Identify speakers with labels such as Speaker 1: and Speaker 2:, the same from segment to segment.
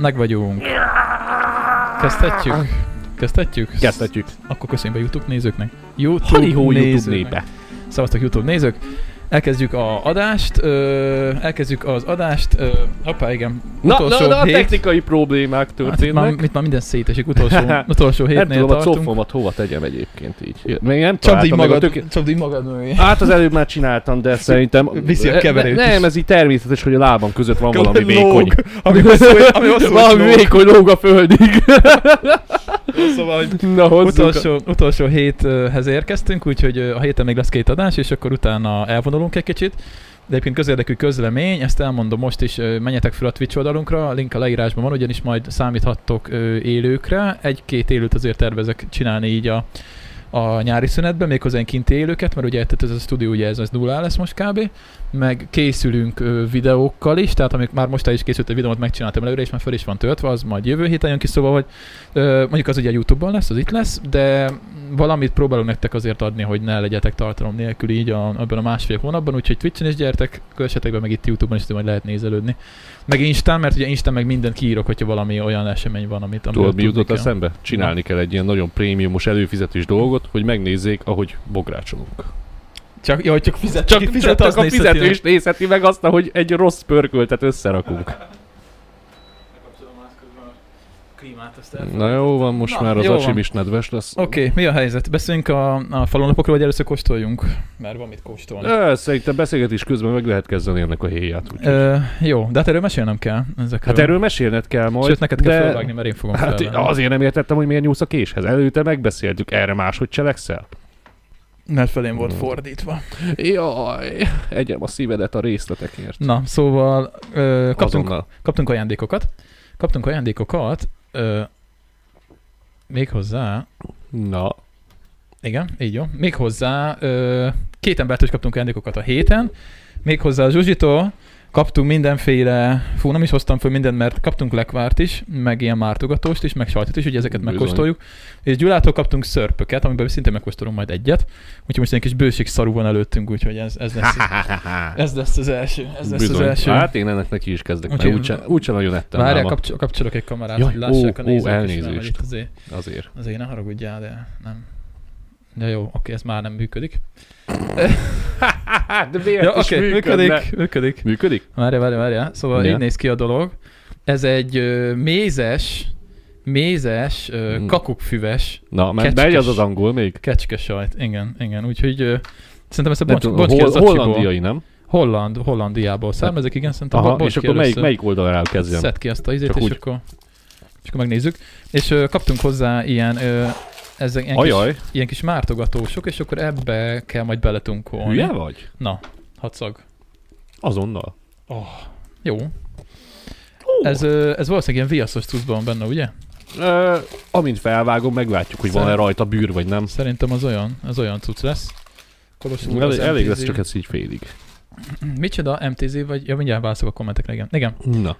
Speaker 1: meg vagyunk. Kezdhetjük? Kezdhetjük?
Speaker 2: Kezdhetjük.
Speaker 1: Akkor köszönjük be YouTube nézőknek. YouTube
Speaker 2: Halihó YouTube
Speaker 1: nézőknek.
Speaker 2: népe.
Speaker 1: Szavaztak YouTube nézők. Elkezdjük a adást, ö, elkezdjük az adást, ö, hoppá, igen,
Speaker 2: Na, na,
Speaker 1: utolsó
Speaker 2: na,
Speaker 1: hét.
Speaker 2: technikai problémák
Speaker 1: Hát itt már,
Speaker 2: történnek.
Speaker 1: itt már minden szétesik, utolsó, utolsó hétnél
Speaker 2: Nem tudom, Hát, a
Speaker 1: tartunk.
Speaker 2: cofomat hova tegyem egyébként így. Még nem
Speaker 1: Csapd így
Speaker 2: találtam meg a
Speaker 1: magad,
Speaker 2: töké-
Speaker 1: csapd így magad mögé.
Speaker 2: Hát az előbb már csináltam, de szerintem...
Speaker 1: Viszi a keverőt
Speaker 2: Ne,
Speaker 1: is.
Speaker 2: nem, ez így természetes, hogy a lábam között van valami
Speaker 1: Lóg,
Speaker 2: vékony.
Speaker 1: Ami hosszú, ami hosszú,
Speaker 2: valami vékony lóg a földig.
Speaker 1: Szóval, hogy
Speaker 2: Na, hozzuk. a-
Speaker 1: Utolsó, utolsó héthez érkeztünk, úgyhogy ö, a héten még lesz két adás, és akkor utána elvonulunk egy kicsit. De egyébként közérdekű közlemény, ezt elmondom most is, ö, menjetek fel a Twitch oldalunkra, a link a leírásban van, ugyanis majd számíthattok ö, élőkre. Egy-két élőt azért tervezek csinálni így a, a nyári szünetben, méghozzá ilyen kinti élőket, mert ugye tehát ez a stúdió ugye ez, ez nullá lesz most kb. Meg készülünk ö, videókkal is, tehát amik már most el is készült egy videómat, megcsináltam előre, és már föl is van töltve, az majd jövő héten jön ki, szóval, hogy Ö, mondjuk az ugye YouTube-on lesz, az itt lesz, de valamit próbálunk nektek azért adni, hogy ne legyetek tartalom nélkül így a, abban a másfél hónapban, úgyhogy Twitch-en is gyertek, kövessetek be, meg itt YouTube-on is, de majd lehet nézelődni. Meg Instán, mert ugye Instán meg mindent kiírok, hogyha valami olyan esemény van, amit amiről
Speaker 2: Tudod, mi
Speaker 1: tudni
Speaker 2: jutott
Speaker 1: kell.
Speaker 2: eszembe? Csinálni kell egy ilyen nagyon prémiumos előfizetős dolgot, hogy megnézzék, ahogy bográcsolunk.
Speaker 1: Csak, jó, csak fizet,
Speaker 2: Csak,
Speaker 1: aki
Speaker 2: fizet,
Speaker 1: fizet,
Speaker 2: csak
Speaker 1: az
Speaker 2: a
Speaker 1: nézheti
Speaker 2: fizető
Speaker 1: meg.
Speaker 2: is nézheti meg azt, hogy egy rossz pörköltet összerakunk. Na jó van, most
Speaker 1: Na,
Speaker 2: már az
Speaker 1: jó van.
Speaker 2: acsim is nedves lesz.
Speaker 1: Oké, okay, mi a helyzet? Beszéljünk a, a falonapokról, vagy először kóstoljunk? Mert van mit kóstolni.
Speaker 2: Ö, Szerintem beszélgetés közben meg lehet kezdeni ennek a héját. úgyhogy.
Speaker 1: Ö, jó, de hát erről mesélnem kell ezekről.
Speaker 2: Hát erről mesélned kell majd.
Speaker 1: Sőt, neked kell
Speaker 2: de-
Speaker 1: felvágni, mert én fogom
Speaker 2: Hát
Speaker 1: felvenni.
Speaker 2: azért nem értettem, hogy miért nyúlsz a késhez. Előtte megbeszéltük, erre máshogy cselekszel.
Speaker 1: Mert felém volt
Speaker 2: Mm.
Speaker 1: fordítva.
Speaker 2: Jaj, egyem a szívedet a részletekért.
Speaker 1: Na, szóval ö, kaptunk,
Speaker 2: Azonnal.
Speaker 1: kaptunk ajándékokat. Kaptunk ajándékokat. Ö, méghozzá,
Speaker 2: Na,
Speaker 1: igen, így jó. Méghozzá ö, két embertől is kaptunk ajándékokat a héten. Méghozzá a Zsuzsitól kaptunk mindenféle, fú, nem is hoztam föl mindent, mert kaptunk lekvárt is, meg ilyen mártogatóst is, meg sajtot is, ugye ezeket
Speaker 2: Bizony.
Speaker 1: megkóstoljuk. És Gyulától kaptunk szörpöket, amiben szintén megkóstolunk majd egyet. Úgyhogy most egy kis bőség szarú van előttünk, úgyhogy ez, ez lesz. Ez lesz az első. Ez lesz az
Speaker 2: bizony.
Speaker 1: első.
Speaker 2: Hát én ennek neki is kezdek, mert
Speaker 1: Úgyhogy-
Speaker 2: úgyse, úgyse nagyon ettem
Speaker 1: Várjál,
Speaker 2: náma.
Speaker 1: kapcsol, kapcsolok egy kamerát,
Speaker 2: Jaj,
Speaker 1: hogy lássák
Speaker 2: ó,
Speaker 1: a
Speaker 2: ó,
Speaker 1: nézők is, mert
Speaker 2: elnézést.
Speaker 1: itt azért,
Speaker 2: Azért.
Speaker 1: azért ne haragudjál, de nem. De jó, oké, ez már nem működik.
Speaker 2: Hát, De miért
Speaker 1: Ja,
Speaker 2: is
Speaker 1: oké,
Speaker 2: működne?
Speaker 1: működik, működik.
Speaker 2: Működik?
Speaker 1: Várjál, várjál, várjál. Szóval
Speaker 2: Ja.
Speaker 1: így néz ki a dolog. Ez egy ö, mézes, mézes, ö,
Speaker 2: Hmm.
Speaker 1: kakukkfüves,
Speaker 2: Na, mert
Speaker 1: Kecskes.
Speaker 2: megy az az angol még.
Speaker 1: kecske sajt. Igen, igen. Úgyhogy ö, szerintem ezt a
Speaker 2: Nem
Speaker 1: bonts,
Speaker 2: tudom,
Speaker 1: bonts ki
Speaker 2: hol-
Speaker 1: az acsiból.
Speaker 2: hollandiai, nem?
Speaker 1: Holland, Hollandiából származik, igen, szerintem
Speaker 2: Aha,
Speaker 1: bonts
Speaker 2: és
Speaker 1: ki
Speaker 2: akkor melyik,
Speaker 1: először.
Speaker 2: melyik oldalára kezdjem?
Speaker 1: Szedd ki azt a izét,
Speaker 2: Csak
Speaker 1: és
Speaker 2: úgy.
Speaker 1: akkor, és akkor megnézzük. És ö, kaptunk hozzá ilyen, ö, ezek, ilyen, kis,
Speaker 2: Ajaj,
Speaker 1: ilyen kis mártogatósok, és akkor ebbe kell majd beletunkolni.
Speaker 2: hülye vagy?
Speaker 1: Na, hadszag.
Speaker 2: Azonnal.
Speaker 1: Jó. Ez, ö, ez valószínűleg ilyen viaszos cuccban van benne, ugye?
Speaker 2: Ö, amint felvágom, meglátjuk, hogy van-e
Speaker 1: Szerint-
Speaker 2: rajta bűr, vagy nem.
Speaker 1: Szerintem az olyan, az olyan cucc lesz. Kolos úr,
Speaker 2: Elég,
Speaker 1: az
Speaker 2: elég izé.
Speaker 1: MTZ.
Speaker 2: lesz csak ez így félig.
Speaker 1: Micsoda, MTZ vagy? Ja, mindjárt válaszolok a kommentekre, igen. Igen.
Speaker 2: Na.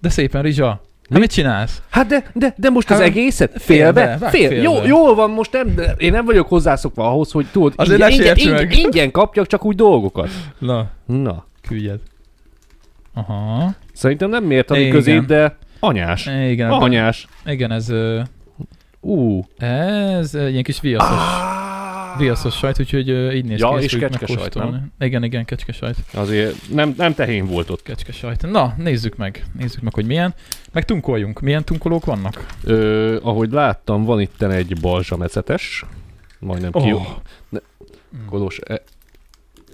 Speaker 1: De szépen, Rizsa. Mi? mit csinálsz?
Speaker 2: Hát de, de, de most
Speaker 1: Hát,
Speaker 2: egészet?
Speaker 1: félbe, vágd félbe.
Speaker 2: Jó, jól van, most nem, de én nem vagyok hozzászokva ahhoz, hogy tudod,
Speaker 1: Azért
Speaker 2: ingyen,
Speaker 1: ne
Speaker 2: ingyen,
Speaker 1: sérts
Speaker 2: ingyen,
Speaker 1: meg.
Speaker 2: ingyen kapjak csak úgy dolgokat.
Speaker 1: Na,
Speaker 2: Na.
Speaker 1: küldjed. Aha.
Speaker 2: Szerintem nem mértani
Speaker 1: Igen.
Speaker 2: közé, de anyás.
Speaker 1: Igen, ebben-
Speaker 2: Anyás.
Speaker 1: igen ez... Ö,
Speaker 2: Ú.
Speaker 1: Ez egy ilyen kis viaszos,
Speaker 2: Ah.
Speaker 1: viaszos sajt, úgyhogy ö, így néz
Speaker 2: Ja,
Speaker 1: ki. ezt
Speaker 2: és
Speaker 1: fogjuk
Speaker 2: kecske sajt, nem?
Speaker 1: megkóstolni. Igen, igen, kecske sajt.
Speaker 2: Azért nem, nem tehén volt ott.
Speaker 1: Kecske sajt. Na, nézzük meg. Nézzük meg, hogy milyen. Meg tunkoljunk. Milyen tunkolók vannak?
Speaker 2: Ö, ahogy láttam, van itten egy balzsamecetes. Majdnem ki.
Speaker 1: Ó.
Speaker 2: Kolos, e,
Speaker 1: Oh.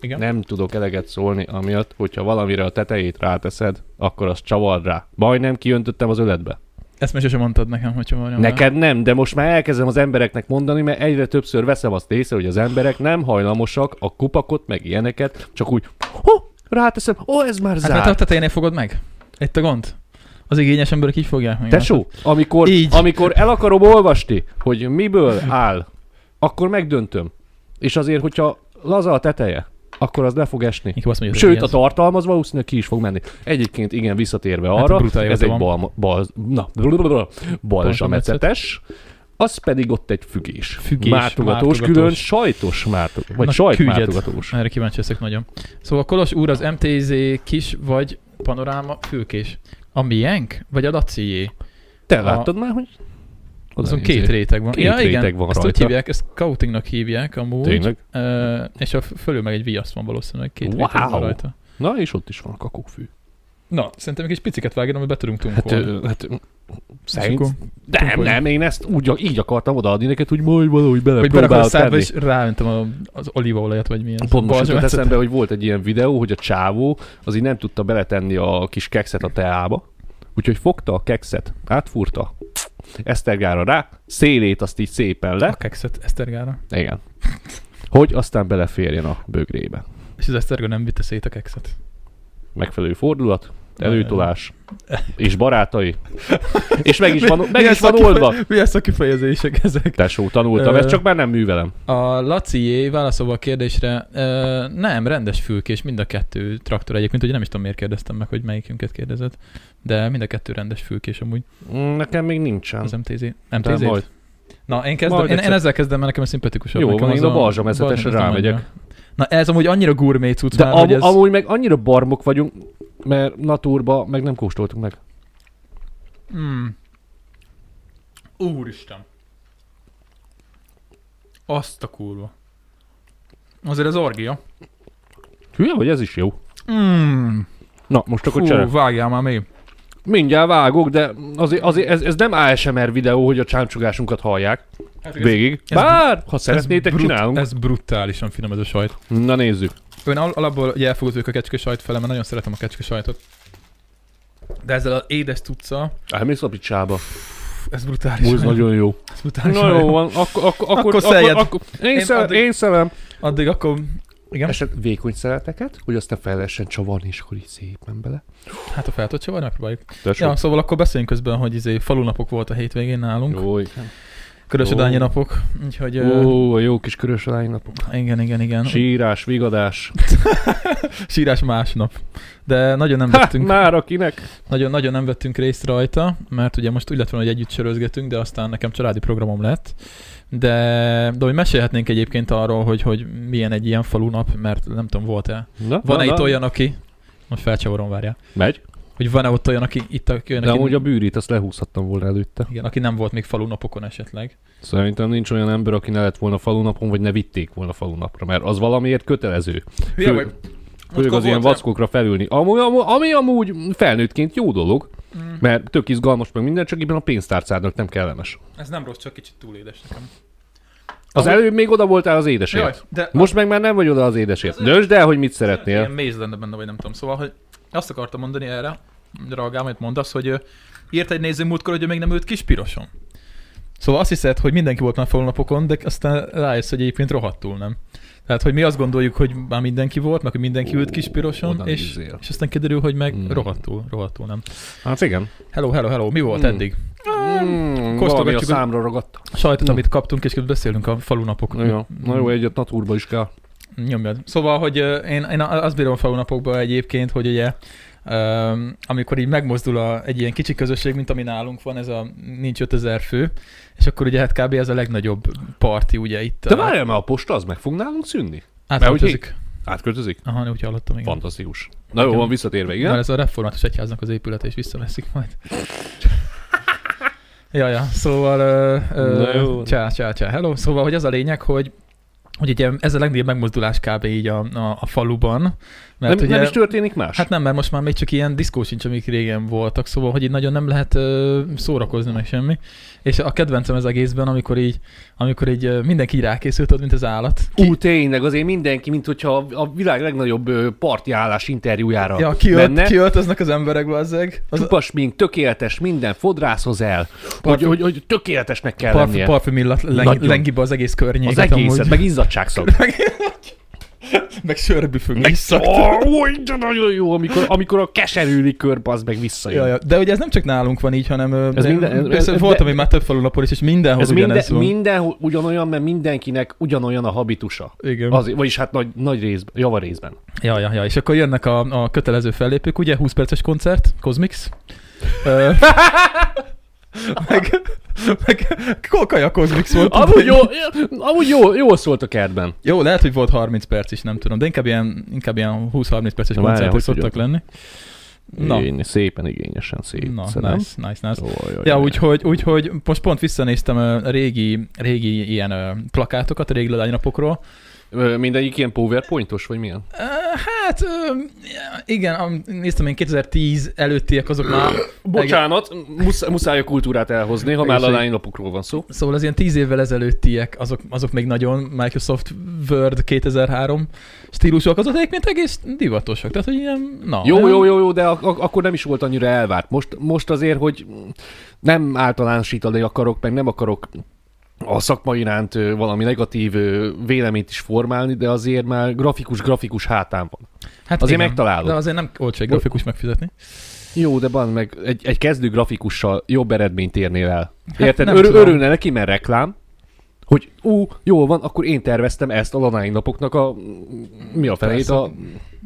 Speaker 1: Igen.
Speaker 2: nem tudok eleget szólni, amiatt, hogyha valamire a tetejét ráteszed, akkor az csavar rá. Majdnem kiöntöttem az öletbe.
Speaker 1: Ezt most sem mondtad nekem, hogyha van.
Speaker 2: Neked nem, de most már elkezdem az embereknek mondani, mert egyre többször veszem azt észre, hogy az emberek nem hajlamosak a kupakot, meg ilyeneket, csak úgy, ho, ráteszem, ó, ez már
Speaker 1: Hát mert te a
Speaker 2: zárt.
Speaker 1: tetejénél fogod meg? Itt a gond? Az igényes emberek így fogják meg.
Speaker 2: Tesó, hát amikor,
Speaker 1: Így.
Speaker 2: amikor el akarom olvasni, hogy miből áll, akkor megdöntöm. És azért, hogyha laza a teteje, akkor az le fog esni.
Speaker 1: Inkább azt mondja,
Speaker 2: Sőt, a tartalmaz valószínűleg ki is fog menni. Egyébként igen, visszatérve
Speaker 1: Hát
Speaker 2: arra,
Speaker 1: brutál
Speaker 2: ez
Speaker 1: élete
Speaker 2: egy bal, bal, na, balzsamecetes, az pedig ott egy fügés.
Speaker 1: Fügés,
Speaker 2: mártogatós,
Speaker 1: mártogatós.
Speaker 2: külön sajtos mártogatós, vagy
Speaker 1: Na,
Speaker 2: sajtmártogatós.
Speaker 1: Erre kíváncsi leszek nagyon. Szóval Kolos úr az MTZ kis vagy panoráma fülkés. A miénk? Vagy a Lacié?
Speaker 2: Te
Speaker 1: A-
Speaker 2: láttad már, hogy... Oda
Speaker 1: Azon
Speaker 2: nézi.
Speaker 1: két réteg van.
Speaker 2: Két
Speaker 1: ja, igen,
Speaker 2: réteg van
Speaker 1: ezt úgy
Speaker 2: rajta.
Speaker 1: hívják, ezt scoutingnak hívják amúgy.
Speaker 2: Tényleg?
Speaker 1: Ö, és a f- fölül meg egy viasz van valószínűleg, két
Speaker 2: Wow!
Speaker 1: réteg van rajta.
Speaker 2: Na, és ott is van a kakukkfű.
Speaker 1: Na, szerintem egy kis piciket vágjon, amit be tudunk
Speaker 2: Hát,
Speaker 1: tunkolni.
Speaker 2: ö, hát
Speaker 1: És
Speaker 2: szerint...
Speaker 1: akkor-
Speaker 2: Nem,
Speaker 1: Tunkolj.
Speaker 2: nem, én ezt úgy, így akartam odaadni neked, hogy majd valahogy
Speaker 1: Hogy berakom a
Speaker 2: belepróbálod
Speaker 1: szádba,
Speaker 2: tenni.
Speaker 1: és ráöntöm a, az olívaolajat, vagy mi ez.
Speaker 2: Pont most jutott
Speaker 1: Balzsamecet.
Speaker 2: eszembe, hogy volt egy ilyen videó, hogy a csávó az így nem tudta beletenni a kis kekszet a teába, úgyhogy fogta a kekszet, átfúrta, esztergára rá, szélét azt így szépen
Speaker 1: A
Speaker 2: le,
Speaker 1: kekszet Esztergára.
Speaker 2: igen, hogy aztán beleférjen a bögrébe.
Speaker 1: És az Eszterga nem vitte szét a kekszet.
Speaker 2: Megfelelő fordulat, előtolás, és barátai, és meg is van, meg
Speaker 1: Mi
Speaker 2: is
Speaker 1: ez
Speaker 2: van
Speaker 1: a kife-
Speaker 2: oldva.
Speaker 1: Mi ez a kifejezések ezek?
Speaker 2: Tesó, tanultam,
Speaker 1: Ö.
Speaker 2: ezt csak már nem művelem.
Speaker 1: A Lacié válaszolva a kérdésre, ö, nem, rendes fülkés, mind a kettő traktor egyébként, ugye nem is tudom miért kérdeztem meg, hogy melyikünket kérdezett, de mind a kettő rendes fülkés amúgy
Speaker 2: Mm, Nekem még nincsen.
Speaker 1: az MTZ.
Speaker 2: De
Speaker 1: MTZ?
Speaker 2: majd.
Speaker 1: Na, én kezdem,
Speaker 2: Majd
Speaker 1: én, én,
Speaker 2: egyszer.
Speaker 1: ezzel kezdem, mert nekem ez szimpatikusabb.
Speaker 2: Jó,
Speaker 1: nekem
Speaker 2: van,
Speaker 1: az
Speaker 2: én a balzsameszetesre
Speaker 1: balzsamesz nem
Speaker 2: rámegyek.
Speaker 1: annyira. Na ez amúgy annyira gurmé cucc
Speaker 2: De
Speaker 1: már, hogy
Speaker 2: am-
Speaker 1: ez...
Speaker 2: amúgy meg annyira barmok vagyunk, mert naturba meg nem kóstoltuk meg.
Speaker 1: Hmm. Úristen. Azt a kurva. Azért ez orgia.
Speaker 2: Hülye vagy, ez is jó.
Speaker 1: Mm.
Speaker 2: Hmm. Na, most akkor
Speaker 1: Hú,
Speaker 2: csinálj.
Speaker 1: vágjál már még.
Speaker 2: Mindjárt vágok, de azért, azért ez, ez nem ASMR videó, hogy a csámcsogásunkat hallják
Speaker 1: Hát,
Speaker 2: végig.
Speaker 1: ez-
Speaker 2: Bár, ha
Speaker 1: Ez
Speaker 2: szeretnétek,
Speaker 1: brut-
Speaker 2: csinálunk.
Speaker 1: Ez brutálisan finom ez a sajt.
Speaker 2: Na nézzük.
Speaker 1: Ön al- alapból ugye elfogott vagyok a kecske sajt fele, mert nagyon szeretem a kecske sajtot. De ezzel az édes tucca,
Speaker 2: Elmész a picsába.
Speaker 1: ez brutális.
Speaker 2: Hú, ez nagyon jó.
Speaker 1: ez brutális.
Speaker 2: Na jó van, akkor, akkor, akkor,
Speaker 1: Akkor szeljed.
Speaker 2: akkor, én,
Speaker 1: Én
Speaker 2: szel,
Speaker 1: addig-
Speaker 2: én szelem.
Speaker 1: Addig akkor... Igen,
Speaker 2: Eset vékony szeleteket, hogy aztán fel lehessen csavarni, és akkor így szépen bele.
Speaker 1: hát a feltott csavar, megpróbáljuk.
Speaker 2: Tesó.
Speaker 1: Ja, szóval akkor beszéljünk közben, hogy izé falunapok volt a hétvégén nálunk.
Speaker 2: Jó, igen.
Speaker 1: Körösödányi
Speaker 2: Jó.
Speaker 1: napok, úgyhogy... ö,
Speaker 2: Ó, a jó kis körös napok.
Speaker 1: igen, igen, igen.
Speaker 2: Sírás, vigadás.
Speaker 1: Sírás másnap. De nagyon nem
Speaker 2: Ha,
Speaker 1: vettünk,
Speaker 2: már akinek.
Speaker 1: nagyon, nagyon nem vettünk részt rajta, mert ugye most úgy lett volna, hogy együtt sörözgetünk, de aztán nekem családi programom lett. De, de hogy mesélhetnénk egyébként arról, hogy, hogy milyen egy ilyen falunap, mert nem tudom, volt-e.
Speaker 2: Na,
Speaker 1: Van-e
Speaker 2: na,
Speaker 1: itt
Speaker 2: na.
Speaker 1: olyan, aki... Most felcsavarom, várjál.
Speaker 2: Megy.
Speaker 1: Hogy van-e ott olyan, aki itt a, olyan,
Speaker 2: De
Speaker 1: aki,
Speaker 2: amúgy a bűrit azt lehúzhattam volna előtte.
Speaker 1: igen, aki nem volt még falunapokon esetleg.
Speaker 2: Szerintem nincs olyan ember, aki ne lett volna falunapon, vagy ne vitték volna falunapra, mert az valamiért kötelező.
Speaker 1: Hülye
Speaker 2: Fő-
Speaker 1: vagy.
Speaker 2: Főleg
Speaker 1: Akkor
Speaker 2: az ilyen
Speaker 1: volt-e?
Speaker 2: vackokra felülni. Amúgy, amúgy, ami amúgy felnőttként jó dolog,
Speaker 1: Mm,
Speaker 2: mert tök izgalmas meg minden, csak éppen a pénztárcádnak nem kellemes.
Speaker 1: ez nem rossz, csak kicsit túl édes nekem.
Speaker 2: Az
Speaker 1: Amúgy-
Speaker 2: előbb még oda voltál az édesért.
Speaker 1: Jaj, de
Speaker 2: Most meg már nem vagy oda az édesért.
Speaker 1: Az-
Speaker 2: Döntsd el, hogy mit
Speaker 1: Ilyen
Speaker 2: szeretnél.
Speaker 1: méz lenne benne, vagy nem tudom. Szóval, hogy azt akartam mondani erre, reagálom, amit mondasz, hogy ö, írt egy néző múltkor, hogy ő még nem ült kispiroson. Szóval azt hiszed, hogy mindenki volt már falunapokon, de aztán rájössz, hogy egyébként rohadtul nem. Tehát, hogy mi azt gondoljuk, hogy már mindenki volt, meg hogy mindenki ült
Speaker 2: Ó,
Speaker 1: kispiroson,
Speaker 2: oda
Speaker 1: és,
Speaker 2: nézzél.
Speaker 1: és aztán kiderül, hogy meg
Speaker 2: Mm.
Speaker 1: rohadtul, rohadtul nem.
Speaker 2: Hát igen.
Speaker 1: Hello, hello, hello, mi volt
Speaker 2: Mm.
Speaker 1: eddig?
Speaker 2: Mm,
Speaker 1: kosztogatjuk
Speaker 2: valami a
Speaker 1: a-
Speaker 2: számra ragadt.
Speaker 1: Sajtot,
Speaker 2: Mm.
Speaker 1: amit kaptunk, és közben beszélünk a falunapokon.
Speaker 2: Na jó, na jó, egyet naturba is kell.
Speaker 1: Nyomjad. Szóval, hogy ö, én, én azt bírom a falunapokban egyébként, hogy ugye öm, amikor így megmozdul a, egy ilyen kicsi közösség, mint ami nálunk van, ez a nincs 5000 fő, és akkor ugye hát kb. ez a legnagyobb parti ugye itt.
Speaker 2: De
Speaker 1: ö,
Speaker 2: várjál, mert a posta az meg fog nálunk szűnni?
Speaker 1: átváltozik.
Speaker 2: Átköltözik?
Speaker 1: Aha, ne, úgy hallottam, igen.
Speaker 2: Fantasztikus. Na jó, van visszatérve, igen?
Speaker 1: Mert ez a református egyháznak az épülete, és visszaveszik majd. ja, ja, szóval... ö, ö,
Speaker 2: Na jó.
Speaker 1: Csá, csá, csá, hello. Szóval, hogy az a lényeg, hogy hogy ugye ez a legnagyobb megmozdulás kb. így a, a, a faluban. Mert
Speaker 2: nem,
Speaker 1: ugye,
Speaker 2: nem is történik más?
Speaker 1: Hát nem, mert most már még csak ilyen diszkó sincs, amik régen voltak, szóval, hogy így nagyon nem lehet ö, szórakozni meg semmi. És a kedvencem ez egészben, amikor így, amikor így ö, mindenki így rákészült, ott, mint az állat.
Speaker 2: Ú, tényleg, azért mindenki, mint hogyha a- a világ legnagyobb ö, parti állás interjújára
Speaker 1: Ja, kiölt,
Speaker 2: menne.
Speaker 1: kiöltöznek az emberek, bazzeg. Az
Speaker 2: Csupasz mink, tökéletes, minden fodrászhoz el. Hogy, hogy, hogy tökéletesnek kell
Speaker 1: parf,
Speaker 2: lennie.
Speaker 1: parfüm illat leng,
Speaker 2: Nagyon.
Speaker 1: lengibe az egész
Speaker 2: az
Speaker 1: környéket.
Speaker 2: egészet,
Speaker 1: amúgy.
Speaker 2: meg izzadságszag.
Speaker 1: meg sörbüfög
Speaker 2: Meg
Speaker 1: vissza.
Speaker 2: Ó, de nagyon jó, amikor, amikor a keserűli kör az meg visszajön.
Speaker 1: Ja, ja. De ugye ez nem csak nálunk van így, hanem ez
Speaker 2: Ez minden-
Speaker 1: minden,
Speaker 2: ez-
Speaker 1: persze
Speaker 2: ez-
Speaker 1: voltam
Speaker 2: de-
Speaker 1: én már több falunapon is, és mindenhol
Speaker 2: Ez
Speaker 1: ez
Speaker 2: minden,
Speaker 1: ugyanez van.
Speaker 2: mindenhol ugyanolyan, mert mindenkinek ugyanolyan a habitusa.
Speaker 1: Igen.
Speaker 2: Az, vagyis hát nagy, nagy részben, java részben.
Speaker 1: Ja, ja, ja, és akkor jönnek a, a kötelező fellépők, ugye 20 perces koncert, Cosmix. Ö, meg, meg kolkaja Cosmix volt.
Speaker 2: Amúgy, jó, amúgy jó, jól szólt a kertben.
Speaker 1: Jó, lehet, hogy volt 30 perc is, nem tudom, de inkább ilyen, inkább ilyen 20-30 perces
Speaker 2: Na, várjál,
Speaker 1: koncertek
Speaker 2: hogy
Speaker 1: szoktak lenni. Na.
Speaker 2: Igény, szépen igényesen szép.
Speaker 1: Na,
Speaker 2: szerintem.
Speaker 1: nice, nice, nice.
Speaker 2: Jó, jó, jó,
Speaker 1: Ja,
Speaker 2: jó.
Speaker 1: úgyhogy, úgyhogy most pont visszanéztem ö, régi, régi ilyen ö, plakátokat a régi ladánynapokról.
Speaker 2: Ö, Mindegyik ilyen powerpointos, vagy milyen?
Speaker 1: Ö, Hát ö, igen, am- néztem én 2010 előttiek azok már.
Speaker 2: Bocsánat, musz, muszáj a kultúrát elhozni, ha már
Speaker 1: Egész-
Speaker 2: a lapokról van szó.
Speaker 1: Szóval az ilyen 10 évvel ezelőttiek, azok, azok még nagyon Microsoft Word 2003 stílusok, azok egyébként egész divatosak. Tehát, hogy ilyen, na.
Speaker 2: Jó,
Speaker 1: nem?
Speaker 2: jó, jó, jó, de ak- ak- akkor nem is volt annyira elvárt. Most, most azért, hogy nem általánosítani akarok, meg nem akarok a szakma iránt ö, valami negatív ö, véleményt is formálni, de azért már grafikus-grafikus hátán van.
Speaker 1: Hát
Speaker 2: Azért
Speaker 1: igen,
Speaker 2: megtalálod.
Speaker 1: De azért nem olcsó egy grafikus megfizetni.
Speaker 2: Jó, de van meg egy, egy kezdő grafikussal jobb eredményt érnél el.
Speaker 1: Hát
Speaker 2: Érted?
Speaker 1: nem
Speaker 2: Örül,
Speaker 1: tudom.
Speaker 2: örülne neki, mert reklám, hogy ú, jól van, akkor én terveztem ezt a lanány napoknak a, mi a felét,
Speaker 1: Persze.
Speaker 2: a,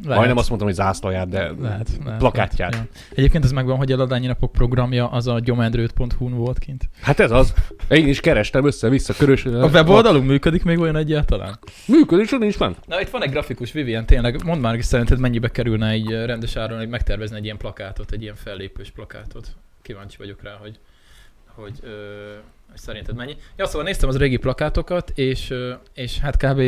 Speaker 1: Lehet.
Speaker 2: majdnem azt mondtam, hogy zászlaját, de
Speaker 1: lehet, lehet,
Speaker 2: plakátját.
Speaker 1: Lehet, ja. Egyébként ez megvan, hogy a ladányi napok programja az a gyomendrőt.hu-n volt kint.
Speaker 2: Hát ez az. Én is kerestem össze-vissza körös.
Speaker 1: A weboldalunk működik még olyan egyáltalán?
Speaker 2: Működés, nincs fent.
Speaker 1: Na itt van egy grafikus, Vivian, tényleg mondd már, hogy szerinted mennyibe kerülne egy eh, rendes áron, hogy megtervezni egy ilyen plakátot, egy ilyen fellépős plakátot. Kíváncsi vagyok rá, hogy, hogy, ö, hogy szerinted mennyi. Ja, szóval néztem az régi plakátokat, és, ö, és hát kb.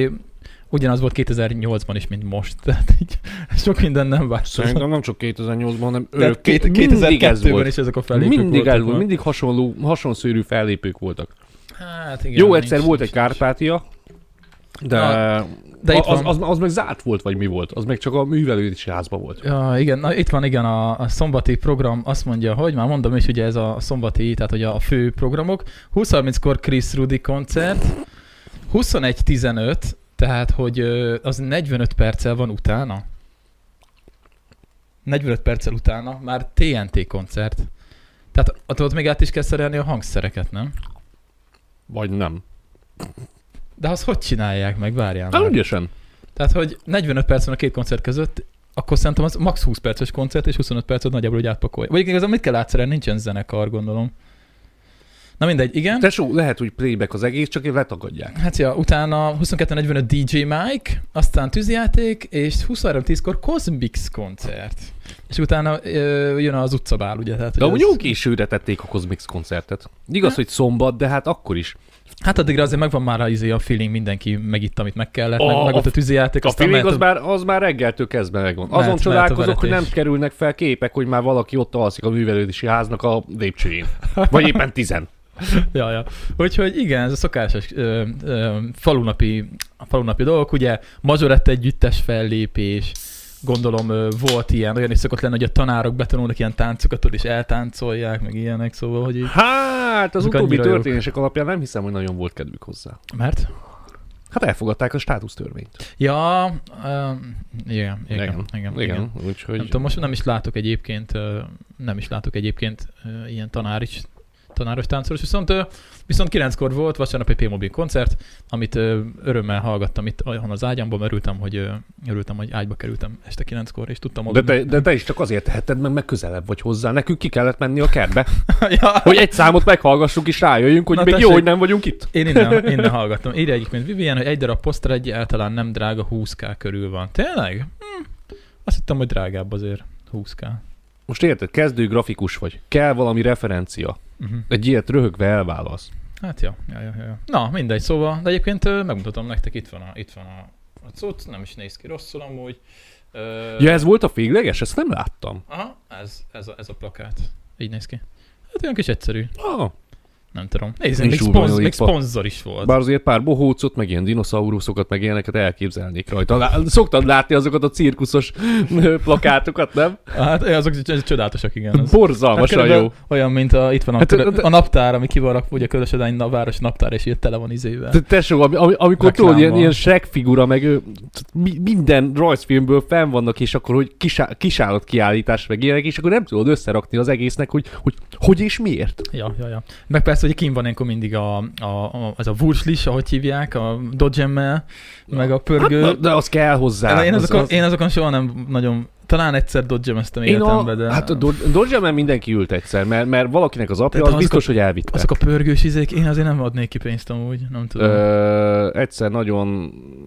Speaker 1: ugyanaz volt 2008-ban is, mint most. Tehát így sok minden nem változott.
Speaker 2: Szerintem nem csak 2008-ban, hanem
Speaker 1: Tehát
Speaker 2: örök.
Speaker 1: két-
Speaker 2: mindig ez
Speaker 1: 2002-ben
Speaker 2: volt.
Speaker 1: is ezek a fellépők
Speaker 2: Mindig
Speaker 1: voltak
Speaker 2: ez volt,
Speaker 1: ma.
Speaker 2: mindig hasonló, hasonszörű fellépők voltak.
Speaker 1: Hát igen.
Speaker 2: Jó,
Speaker 1: nincs-
Speaker 2: egyszer volt egy
Speaker 1: nincs-
Speaker 2: Kárpátia, de,
Speaker 1: Na, de
Speaker 2: de
Speaker 1: itt
Speaker 2: az,
Speaker 1: van.
Speaker 2: az, az, meg zárt volt, vagy mi volt? Az meg csak a művelődési házban volt.
Speaker 1: Ja, igen, na, itt van igen a, a szombati program, azt mondja, hogy már mondom is, ugye ez a szombati, tehát hogy a fő programok. 20-30-kor Chris Rudi koncert, 21-15, tehát hogy ö, az 45 perccel van utána. 45 perccel utána már TNT koncert. Tehát ott- ott még át is kell szerelni a hangszereket, nem?
Speaker 2: Vagy nem.
Speaker 1: De azt hogy csinálják meg, várjál
Speaker 2: Hát
Speaker 1: már.
Speaker 2: ügyesen.
Speaker 1: Tehát, hogy 45 perc van a két koncert között, akkor szerintem az max 20 perces koncert, és 25 percet nagyjából úgy átpakolja. Vagy igazán mit kell átszerelni, nincsen zenekar, gondolom. Na mindegy, igen.
Speaker 2: Tesó, lehet, hogy playback az egész, csak letagadják.
Speaker 1: Hát ja, utána 22.45 DJ Mike, aztán tűzjáték, és 23.10-kor Cosmix koncert. És utána ö, jön az utcabál, ugye? Tehát,
Speaker 2: De
Speaker 1: hogy
Speaker 2: amúgy
Speaker 1: az-
Speaker 2: jó későre tették a Cosmix koncertet. Igaz, hogy szombat, de hát akkor is.
Speaker 1: Hát addigra azért megvan már a, izé, a feeling, mindenki megitt, amit meg kellett,
Speaker 2: A-
Speaker 1: meg, meg volt
Speaker 2: a-
Speaker 1: a tűzjáték,
Speaker 2: A
Speaker 1: aztán
Speaker 2: feeling
Speaker 1: mehet
Speaker 2: az már, az már reggeltől kezdve megvan.
Speaker 1: Mehet-
Speaker 2: Azon
Speaker 1: mehet a
Speaker 2: csodálkozok, hogy nem
Speaker 1: veretés.
Speaker 2: kerülnek fel képek, hogy már valaki ott alszik a művelődési háznak a lépcsőjén. Vagy éppen tizen.
Speaker 1: Ja, ja. Úgyhogy igen, ez a szokásos ö, ö, falunapi, a falunapi dolgok, ugye mazsorett együttes fellépés, gondolom ö, volt ilyen, olyan is szokott lenni, hogy a tanárok betanulnak ilyen táncokat, tudod, és eltáncolják, meg ilyenek, szóval, hogy így.
Speaker 2: Hát, az
Speaker 1: Ezek
Speaker 2: utóbbi
Speaker 1: annyira jók.
Speaker 2: történések alapján nem hiszem, hogy nagyon volt kedvük hozzá.
Speaker 1: Mert?
Speaker 2: Hát elfogadták a státusztörvényt.
Speaker 1: Ja, ö, igen, igen, igen, igen, igen.
Speaker 2: igen. Úgyhogy...
Speaker 1: Nem tudom, most nem is látok egyébként, ö, nem is látok egyébként ö, ilyen tanáris, tanáros táncoros, viszont, ö, viszont kilenckor volt vasárnap egy P-Mobil koncert, amit ö, örömmel hallgattam itt olyan az ágyamban, mert örültem, hogy, ö, örültem, hogy ágyba kerültem este kilenckor, és tudtam
Speaker 2: de
Speaker 1: aludni.
Speaker 2: te, de te is csak azért teheted, mert meg közelebb vagy hozzá. Nekünk ki kellett menni a kertbe,
Speaker 1: ja.
Speaker 2: hogy egy számot meghallgassuk és rájöjjünk, hogy
Speaker 1: Na,
Speaker 2: Na, még tessék. jó,
Speaker 1: tessék.
Speaker 2: hogy nem vagyunk itt.
Speaker 1: Én innen, innen hallgattam. Írja egyébként Vivian, hogy egy darab poszter egyáltalán nem drága, 20k körül van. Tényleg? Hm. Azt hittem, hogy drágább azért. 20k.
Speaker 2: Most érted, kezdő grafikus vagy. Kell valami referencia.
Speaker 1: Uh-huh.
Speaker 2: Egy ilyet röhögve elválasz.
Speaker 1: Hát ja, ja, ja, ja, ja. Na, mindegy, szóval, de egyébként ö, megmutatom nektek, itt van a, itt van a, a cucc, nem is néz ki rosszul amúgy. Ö,
Speaker 2: Ja, ez volt a végleges? Ezt nem láttam.
Speaker 1: Aha, ez, ez, a, ez a plakát. Így néz ki. Hát olyan kis egyszerű,
Speaker 2: Ah.
Speaker 1: nem tudom. Nézzük,
Speaker 2: Nincs
Speaker 1: még,
Speaker 2: durva
Speaker 1: szponz, még
Speaker 2: nyolcba.
Speaker 1: szponzor is volt.
Speaker 2: Bár azért pár bohócot, meg ilyen dinoszauruszokat, meg ilyeneket elképzelnék rajta. Lá- Szoktad látni azokat a cirkuszos ö, plakátokat, nem?
Speaker 1: Hát ö, azok c- c- csodálatosak, igen. Az. Hát
Speaker 2: Borzalmasan
Speaker 1: körülbelül
Speaker 2: jó.
Speaker 1: Olyan, mint a, itt van a,
Speaker 2: Hát,
Speaker 1: hát,
Speaker 2: ö, ö,
Speaker 1: a naptár, ami kivarak, ugye a Körösödány na- város naptár, és így tele van izével.
Speaker 2: Te- Tesó, ami, ami, amikor tudod,
Speaker 1: Reklámmal.
Speaker 2: ilyen, ilyen Shrek figura, meg ö, t- mi- minden rajzfilmből fenn vannak, és akkor, hogy kisá- kisállat kiállítás, meg ilyenek, és akkor nem tudod összerakni az egésznek, hogy hogy, hogy és miért.
Speaker 1: Ja, ja, ja. Meg persze, hogy kim van ilyenkor mindig a, a, a, az a Wurzlis, ahogy hívják, a dodgem meg a pörgő.
Speaker 2: Hát, Na, de az kell hozzá.
Speaker 1: Én,
Speaker 2: az,
Speaker 1: azokon,
Speaker 2: az-
Speaker 1: én azokon soha nem nagyon... Talán egyszer dodgemeztem
Speaker 2: Én
Speaker 1: életembe,
Speaker 2: a,
Speaker 1: de...
Speaker 2: hát a Dodge- Dodgeman mindenki ült egyszer, mert, mert valakinek az apja,
Speaker 1: De
Speaker 2: az
Speaker 1: azok a-
Speaker 2: biztos, hogy elvitte.
Speaker 1: Azok a pörgős izék, én azért nem adnék ki pénzt amúgy, nem tudom.
Speaker 2: Ö, egyszer nagyon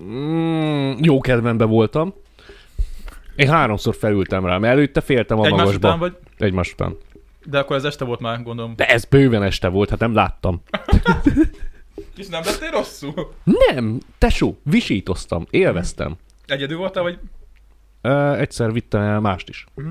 Speaker 2: mm, jó kedvemben voltam, Én háromszor felültem rá, mert előtte féltem a
Speaker 1: Egymás
Speaker 2: magasba.
Speaker 1: után vagy,
Speaker 2: Egymás után.
Speaker 1: de akkor ez este volt már, gondolom.
Speaker 2: De ez bőven este volt, hát nem láttam.
Speaker 1: És nem lettél rosszul?
Speaker 2: Nem, tesó, visítoztam, élveztem.
Speaker 1: Egyedül voltál, vagy
Speaker 2: Ö, egyszer vittem el mást is.
Speaker 1: Mhm.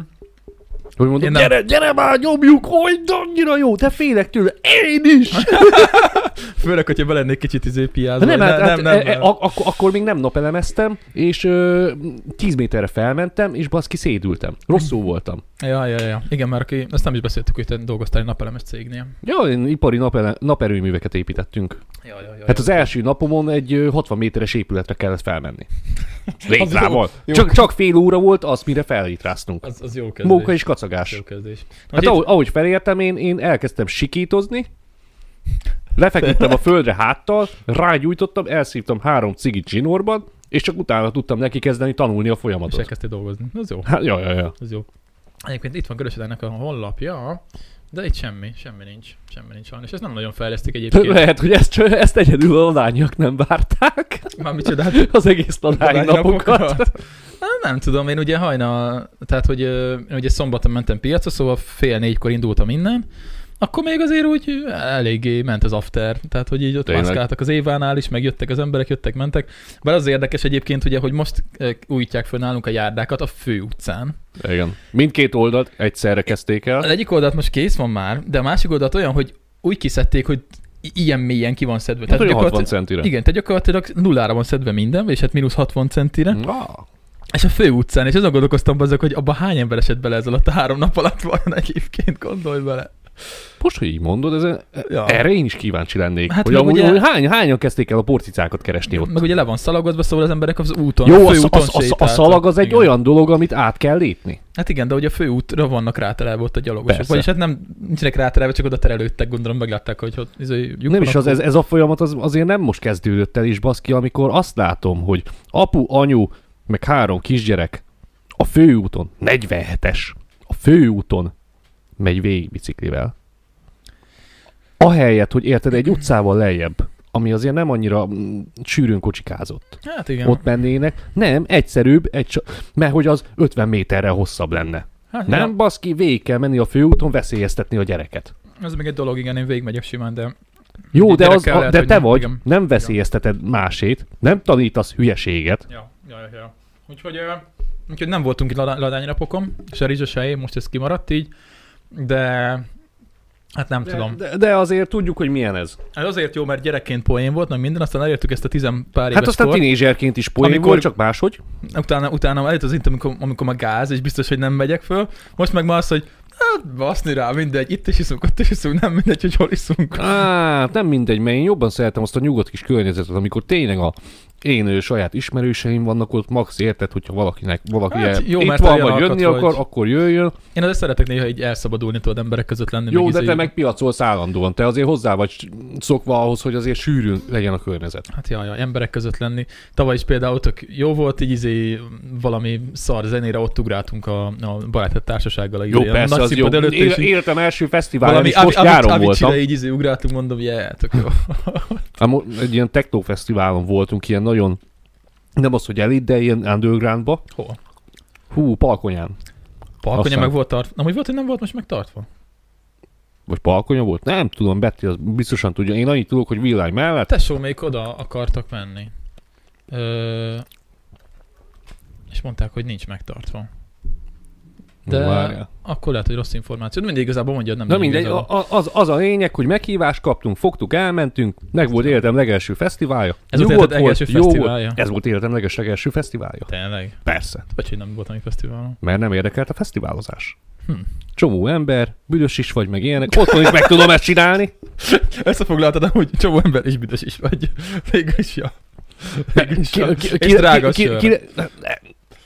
Speaker 2: Hogy mondom,
Speaker 1: Én nem-
Speaker 2: gyere, gyere már, nyomjuk, hogy annyira jó, de félek tőle, én is!
Speaker 1: Hát, Főleg, hogyha belennék kicsit izé piázva.
Speaker 2: nem,
Speaker 1: vagy-
Speaker 2: hát,
Speaker 1: nem, e- nem, nem.
Speaker 2: Ak- ak- akkor még nem napelemeztem, és ö, 10 méterre felmentem, és baszki szédültem. Rosszul voltam.
Speaker 1: Ja, ja, ja. Igen, mert aki, azt nem is beszéltük, hogy te dolgoztál egy napelemes cégnél.
Speaker 2: Ja, én ipari napele- naperőműveket építettünk.
Speaker 1: Ja, ja, ja.
Speaker 2: Hát az első napomon egy ö, 60 méteres épületre kellett felmenni. Létrával.
Speaker 1: jó.
Speaker 2: Csak, csak fél óra volt az, mire fellitráztunk.
Speaker 1: az, az jó kezdés.
Speaker 2: Móka és kacagás.
Speaker 1: Jó kezdés.
Speaker 2: Hát ahogy, ahogy felértem, én, én elkezdtem sikítozni, lefeküdtem a földre háttal, rágyújtottam, elszívtam három cigit zsinórban, és csak utána tudtam neki kezdeni tanulni a
Speaker 1: és
Speaker 2: folyamatot.
Speaker 1: elkezdtél dolgozni. Az jó.
Speaker 2: Hát, ja, ja, ja.
Speaker 1: Az jó. Egyébként itt van Körösödának a honlapja, de itt semmi, semmi nincs, semmi nincs sajnos. Ezt nem nagyon fejlesztik egyébként.
Speaker 2: Lehet, hogy ezt, ezt egyedül a lányok nem várták,
Speaker 1: Már micsodát.
Speaker 2: az egész tanári napokat.
Speaker 1: Hát Nem tudom, én ugye hajnal, tehát hogy ö, én ugye szombaton mentem piacra, szóval fél négykor indultam innen, akkor még azért úgy eléggé ment az after, tehát hogy így ott
Speaker 2: Tényleg?
Speaker 1: mászkáltak az évánál is, meg jöttek az emberek, jöttek, mentek. Bár az érdekes egyébként ugye, hogy most ö, újítják föl nálunk a járdákat a fő utcán.
Speaker 2: Igen. Mindkét oldalt egyszerre kezdték
Speaker 1: Az
Speaker 2: el.
Speaker 1: egyik oldalt most kész van már, de a másik oldalt olyan, hogy úgy kiszedték, hogy i- ilyen mélyen ki van szedve.
Speaker 2: Hát, olyan 60
Speaker 1: gyakorlatilag-
Speaker 2: centire.
Speaker 1: igen, tehát gyakorlatilag nullára van szedve minden, és hát mínusz 60 centire.
Speaker 2: Mhm. Na,
Speaker 1: És a fő utcán, és azon gondolkoztam azok, hogy abban hány ember esett bele ez alatt a három nap alatt vajon egyébként, gondolj bele.
Speaker 2: most, hogy így mondod, ez,
Speaker 1: Ja.
Speaker 2: erre én is kíváncsi lennék.
Speaker 1: Hát
Speaker 2: Hát, hogy
Speaker 1: meg
Speaker 2: amúgy,
Speaker 1: ugye-
Speaker 2: ugye... hány, hányan kezdték el a porcicákat keresni ott?
Speaker 1: Meg ugye le van szalagozva, szóval az emberek az úton,
Speaker 2: Jó,
Speaker 1: a
Speaker 2: a,
Speaker 1: fő
Speaker 2: sz- a,
Speaker 1: úton
Speaker 2: sz- a, sz- a szalag az egy
Speaker 1: igen.
Speaker 2: olyan dolog, amit át kell lépni.
Speaker 1: Hát igen, de ugye a fő útra vannak ráterelve ott a gyalogosok.
Speaker 2: Persze.
Speaker 1: Vagyis hát nem, nincsenek ráterelve, csak oda terelődtek, gondolom meglátták, hogy ott izé, lyuk
Speaker 2: nem
Speaker 1: van,
Speaker 2: is az, ez,
Speaker 1: akkor-
Speaker 2: ez a folyamat az, azért nem most kezdődött el is, baszki, amikor azt látom, hogy apu, anyu, meg három kisgyerek a főúton, 47-es, a főúton megy végig biciklivel. Ahelyett, hogy érted, egy utcával lejjebb, ami azért nem annyira mm, sűrűn kocsikázott.
Speaker 1: Hát igen.
Speaker 2: Ja. Ott mennének. Nem, egyszerűbb, egy, so- mert hogy az 50 méterrel hosszabb lenne.
Speaker 1: hát,
Speaker 2: Nem, baszki, végig kell menni a főúton, veszélyeztetni a gyereket.
Speaker 1: Ja, ez még egy dolog, igen, én végigmegyek simán, de
Speaker 2: Jó, de,
Speaker 1: Gyerekkel
Speaker 2: az,
Speaker 1: lehet,
Speaker 2: a, de
Speaker 1: hogy
Speaker 2: te
Speaker 1: nem,
Speaker 2: vagy,
Speaker 1: igen.
Speaker 2: nem veszélyezteted másét, nem tanítasz hülyeséget.
Speaker 1: Ja, ja, ja, ja. Úgyhogy, ö, úgyhogy nem voltunk itt ladá- ladányrapokon, se rizsa, se én, most ez kimaradt így, de hát nem tudom.
Speaker 2: De, de azért tudjuk, hogy milyen ez.
Speaker 1: Ez azért jó, mert gyerekként poén volt, meg minden, aztán elértük ezt a tizen pár éves
Speaker 2: hát aztán
Speaker 1: kort.
Speaker 2: tinédzserként is poén
Speaker 1: Amikor-
Speaker 2: volt, csak máshogy.
Speaker 1: Utána, utána eljött az int, amikor, amikor már gáz, és biztos, hogy nem megyek föl. Most meg már az, hogy hát baszni rá, mindegy, itt is iszunk, ott is iszunk, nem mindegy, hogy hol iszunk.
Speaker 2: Á, Hát, nem mindegy, mert én jobban szeretem azt a nyugodt kis környezetet, amikor tényleg a én ő, saját ismerőseim vannak ott, max érted, hogyha valakinek valaki
Speaker 1: Hát
Speaker 2: el-
Speaker 1: jó,
Speaker 2: itt
Speaker 1: mert
Speaker 2: van,
Speaker 1: olyan
Speaker 2: vagy
Speaker 1: alkat
Speaker 2: jönni
Speaker 1: vagy.
Speaker 2: akar, akkor jöjjön.
Speaker 1: Én azért szeretek néha így elszabadulni, tudod, emberek között lenni.
Speaker 2: Jó,
Speaker 1: meg
Speaker 2: de
Speaker 1: izé-
Speaker 2: te meg piacolsz állandóan, te azért hozzá vagy szokva ahhoz, hogy azért sűrűn legyen a környezet.
Speaker 1: Hát jaj, jaj, emberek között lenni. Tavaly is például tök jó volt, így izé valami szar zenére ott ugráltunk a, a barátok társasággal.
Speaker 2: Jó,
Speaker 1: izé, a
Speaker 2: persze,
Speaker 1: nagy
Speaker 2: az jó.
Speaker 1: színpad Előtt, és
Speaker 2: Él-
Speaker 1: így
Speaker 2: Életem első fesztiválon
Speaker 1: valami
Speaker 2: is most
Speaker 1: Avi- Avi-
Speaker 2: nyáron voltam.
Speaker 1: Avicii-re így izé ugráltunk, mondom, yeah, tök jó.
Speaker 2: Ám egy ilyen technófesztiválon voltunk, ilyen nagyon, nem az, hogy elit, de ilyen undergroundba.
Speaker 1: Hol?
Speaker 2: Hú, Palkonyán.
Speaker 1: Parkonya
Speaker 2: Aztán.
Speaker 1: meg volt tartva. Amúgy volt, hogy nem volt most megtartva.
Speaker 2: Vagy Palkonya volt? Nem tudom, Betty az biztosan tudja. Én annyit tudok, hogy villány mellett.
Speaker 1: Tesó még oda akartak menni. Ö... És mondták, hogy nincs megtartva. De
Speaker 2: Várjál.
Speaker 1: akkor lehet, hogy rossz információ. De mindig igazából mondja, hogy nem
Speaker 2: Na
Speaker 1: mindig
Speaker 2: mindegy,
Speaker 1: igazad.
Speaker 2: a- a- az, az a lényeg, hogy meghívást kaptunk, fogtuk, elmentünk, meg volt életem legelső fesztiválja.
Speaker 1: Ez volt
Speaker 2: Nyugodt
Speaker 1: életed legelső
Speaker 2: jó
Speaker 1: fesztiválja?
Speaker 2: Volt. Ez volt életem leges- legelső fesztiválja.
Speaker 1: Tényleg.
Speaker 2: Persze,
Speaker 1: Vagy hogy nem volt ami fesztiválon.
Speaker 2: mert nem érdekelt a fesztiválozás.
Speaker 1: Hm.
Speaker 2: Csomó ember, büdös is vagy, meg ilyenek. Otthon is meg tudom ezt csinálni.
Speaker 1: Összefoglaltad, hogy csomó ember is büdös is vagy. Végül is, ja. Végül is, ja.
Speaker 2: ki,
Speaker 1: És drága
Speaker 2: ki,
Speaker 1: sör.
Speaker 2: ki, ki,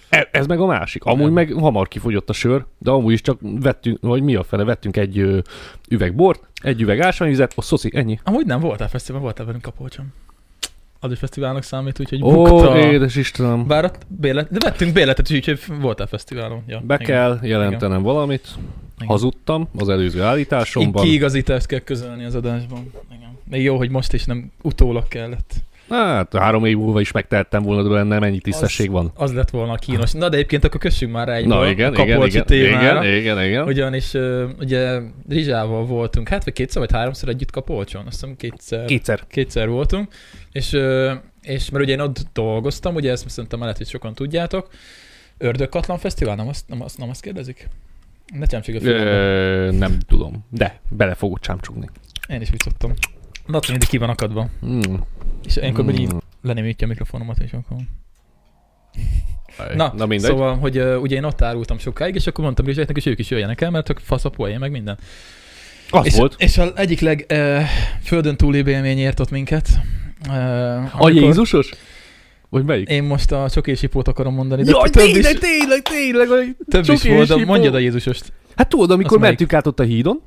Speaker 2: E- ez meg a másik. Amúgy
Speaker 1: Nem.
Speaker 2: meg hamar kifogyott a sör, de amúgy is csak vettünk, vagy mi a fele, vettünk egy ö, üveg bort, egy üveg ásványvizet, a szoszi, ennyi.
Speaker 1: Amúgy nem voltál fesztivál, voltál velünk kapolcsom. Az is fesztiválnak számít, úgyhogy
Speaker 2: Ó,
Speaker 1: bukta.
Speaker 2: édes Istenem.
Speaker 1: Bár ott bélet, de vettünk béletet, úgyhogy voltál fesztiválon. Ja,
Speaker 2: Be
Speaker 1: igen.
Speaker 2: kell jelentenem valamit. Hazudtam az előző
Speaker 1: Így
Speaker 2: állításomban.
Speaker 1: kiigazítást kell közölni az adásban. Igen. Még jó, hogy most is nem utólag kellett.
Speaker 2: Hát három év múlva is megtehettem volna benne, mennyi tisztesség
Speaker 1: az,
Speaker 2: van.
Speaker 1: Az lett volna a kínos. Na de egyébként akkor kössünk már rá egy
Speaker 2: Na igen, igen,
Speaker 1: kapolcsi
Speaker 2: igen,
Speaker 1: témára.
Speaker 2: igen, igen, igen.
Speaker 1: Ugyanis ö, ugye Rizsával voltunk, hát vagy kétszer vagy háromszor együtt kapolcson, azt hiszem kétszer,
Speaker 2: Kétszer.
Speaker 1: kétszer voltunk, és, ö, és mert ugye én ott dolgoztam, ugye ezt szerintem lehet, hogy sokan tudjátok, Ördögkatlan Fesztivál, nem azt, nem azt, nem azt kérdezik? Ne csámcsig a fülembe.
Speaker 2: Ö, nem tudom, de bele fogok csámcsugni.
Speaker 1: Én is úgy szoktam. Na, mindig ki van akadva.
Speaker 2: Mm.
Speaker 1: És ilyenkor mm.
Speaker 2: Mm.
Speaker 1: így lenémítja a mikrofonomat, és akkor...
Speaker 2: Na, Na mindegy. Szóval...
Speaker 1: Szóval, hogy uh, ugye én ott árultam sokáig, és akkor mondtam Rizsáknak, hogy ők is jöjjenek el, mert csak fasz a poén, meg minden.
Speaker 2: Az
Speaker 1: és,
Speaker 2: volt.
Speaker 1: És az egyik leg uh, földön túli élmény ért ott minket. Uh,
Speaker 2: A Jézusos? Vagy melyik?
Speaker 1: Én most a csokési pót akarom mondani, de
Speaker 2: Jaj,
Speaker 1: több is,
Speaker 2: tényleg, tényleg, tényleg. a
Speaker 1: több is
Speaker 2: csoki
Speaker 1: volt, de
Speaker 2: hipó.
Speaker 1: mondjad a Jézusost.
Speaker 2: Hát tudod, amikor
Speaker 1: Azt melyik?
Speaker 2: mentünk át ott a hídon,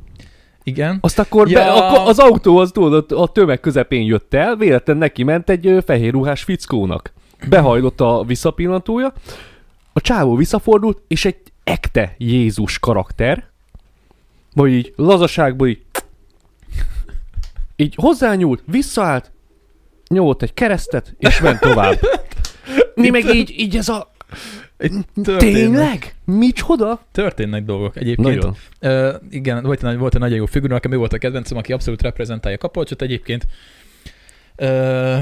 Speaker 1: Igen.
Speaker 2: azt akkor, ja. be,
Speaker 1: Ja.
Speaker 2: akkor az autó az tudod, ott a tömeg közepén jött el, véletlen neki ment egy ö, fehér ruhás fickónak. Behajlott a visszapillantója, a csávó visszafordult, és egy ekte Jézus karakter, majd így lazaságból így, így hozzányúlt, visszaállt, nyomott egy keresztet, és ment tovább. Mi meg így, így ez a... Tényleg? Micsoda?
Speaker 1: Történnek dolgok egyébként.
Speaker 2: Nagyon.
Speaker 1: Ö, igen, volt egy, volt egy nagyon jó figura, nekem ő volt a kedvencem, aki abszolút reprezentálja Kapolcsot egyébként. Ö,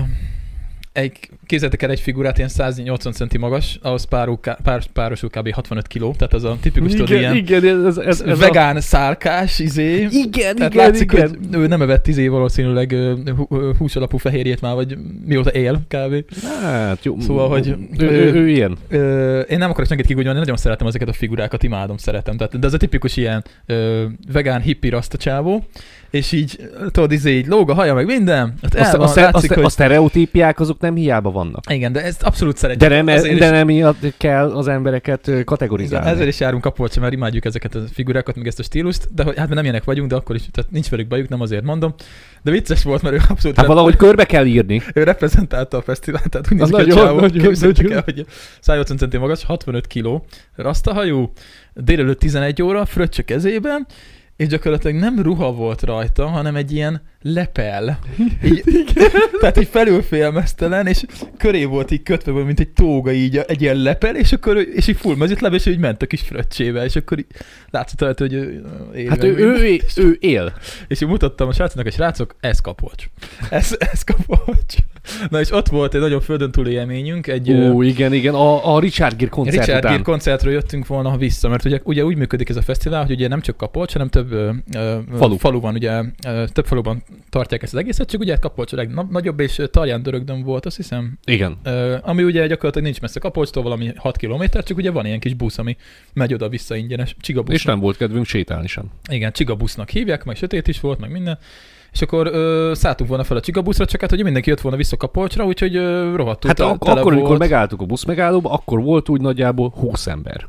Speaker 1: egy, képzeljétek el egy figurát, ilyen 180 centi magas, ahhoz párú, pár, párosul kb. 65 kiló, tehát az a tipikus, tudod,
Speaker 2: Igen,
Speaker 1: ilyen
Speaker 2: igen, ez, ez, ez a...
Speaker 1: vegán szárkás, izé.
Speaker 2: Igen,
Speaker 1: Tehát
Speaker 2: igen,
Speaker 1: látszik,
Speaker 2: igen.
Speaker 1: hogy ő nem evett izé valószínűleg ö, hú- ö, húsalapú fehérjét már, vagy mióta él kb.
Speaker 2: Hát jó.
Speaker 1: Szóval, hogy-
Speaker 2: Ő, ő, ő ilyen.
Speaker 1: Ö, én nem akarok senkit kigugyolni, nagyon szeretem ezeket a figurákat, imádom, szeretem. Tehát, de ez a tipikus ilyen ö, vegán hippi rasta csávó, és így, tudod, izé, így lóg a haja, meg minden. Hát el
Speaker 2: Azt,
Speaker 1: van,
Speaker 2: a, szer-
Speaker 1: látszik,
Speaker 2: a,
Speaker 1: hogy...
Speaker 2: a sztereotípiák azok nem hiába vannak.
Speaker 1: Igen, de ezt abszolút
Speaker 2: De
Speaker 1: szeretem.
Speaker 2: nem, ez,
Speaker 1: Azért
Speaker 2: de
Speaker 1: is-
Speaker 2: nem miatt kell az embereket ö,
Speaker 1: igen,
Speaker 2: kategorizálni.
Speaker 1: ezért is járunk kapolcsa, mert imádjuk ezeket a figurákat, meg ezt a stílust, de hogy, hát mi nem ilyenek vagyunk, de akkor is, tehát nincs velük bajuk, nem azért mondom. De vicces volt, mert ő abszolút
Speaker 2: hát
Speaker 1: rep-
Speaker 2: valahogy körbe kell írni.
Speaker 1: ő reprezentálta a fesztivált, tehát úgy néz
Speaker 2: Az
Speaker 1: ki a
Speaker 2: nagyon,
Speaker 1: csávó,
Speaker 2: nagyon,
Speaker 1: képzeljétek
Speaker 2: nagyon.
Speaker 1: el, hogy 180 centi magas, 65 kiló, rasztahajú, délelőtt 11 óra, fröccsö kezében, és gyakorlatilag nem ruha volt rajta, hanem egy ilyen lepel. Így, tehát így felülfélmeztelen, és köré volt így kötve, mint egy tóga így, egy ilyen lepel, és akkor ő- és így full mezitláb, és ő így ment a kis fröccsével, és akkor így látszott rajta, hogy ő, él,
Speaker 2: Hát ő, ő, ő, ő él.
Speaker 1: és én mutattam a srácnak, és srácok, ez kapolcs. Ez, ez kapolcs. Na és ott volt egy nagyon földön túli élményünk, egy ö,
Speaker 2: Ó, igen, igen. A, a Richard Gere koncert
Speaker 1: Richard
Speaker 2: után.
Speaker 1: Gere koncertről jöttünk volna vissza, mert ugye, ugye úgy működik ez a fesztivál, hogy ugye nem csak Kapolcs, hanem több ö, ö,
Speaker 2: Falu.
Speaker 1: falu van, ugye ö, több faluban tartják ezt az egészet, csak ugye hát Kapolcs a legnagyobb, és ö, Tarján Dörögdön volt, azt hiszem,
Speaker 2: igen.
Speaker 1: ö, ami ugye gyakorlatilag nincs messze Kapolcstól, valami 6 km, csak ugye van ilyen kis busz, ami megy oda-vissza ingyenes, csigabusz.
Speaker 2: És nem volt kedvünk sétálni sem.
Speaker 1: Igen, csigabusznak hívják, meg sötét is volt, meg minden. És akkor ö, szálltunk volna fel a csigabuszra, csak hát ugye mindenki jött volna vissza Kapolcsra, úgyhogy ö, rohadtul
Speaker 2: Hát
Speaker 1: tel-
Speaker 2: ak-
Speaker 1: tele
Speaker 2: akkor, amikor
Speaker 1: volt.
Speaker 2: megálltuk a buszmegállóba, akkor volt úgy nagyjából 20 ember.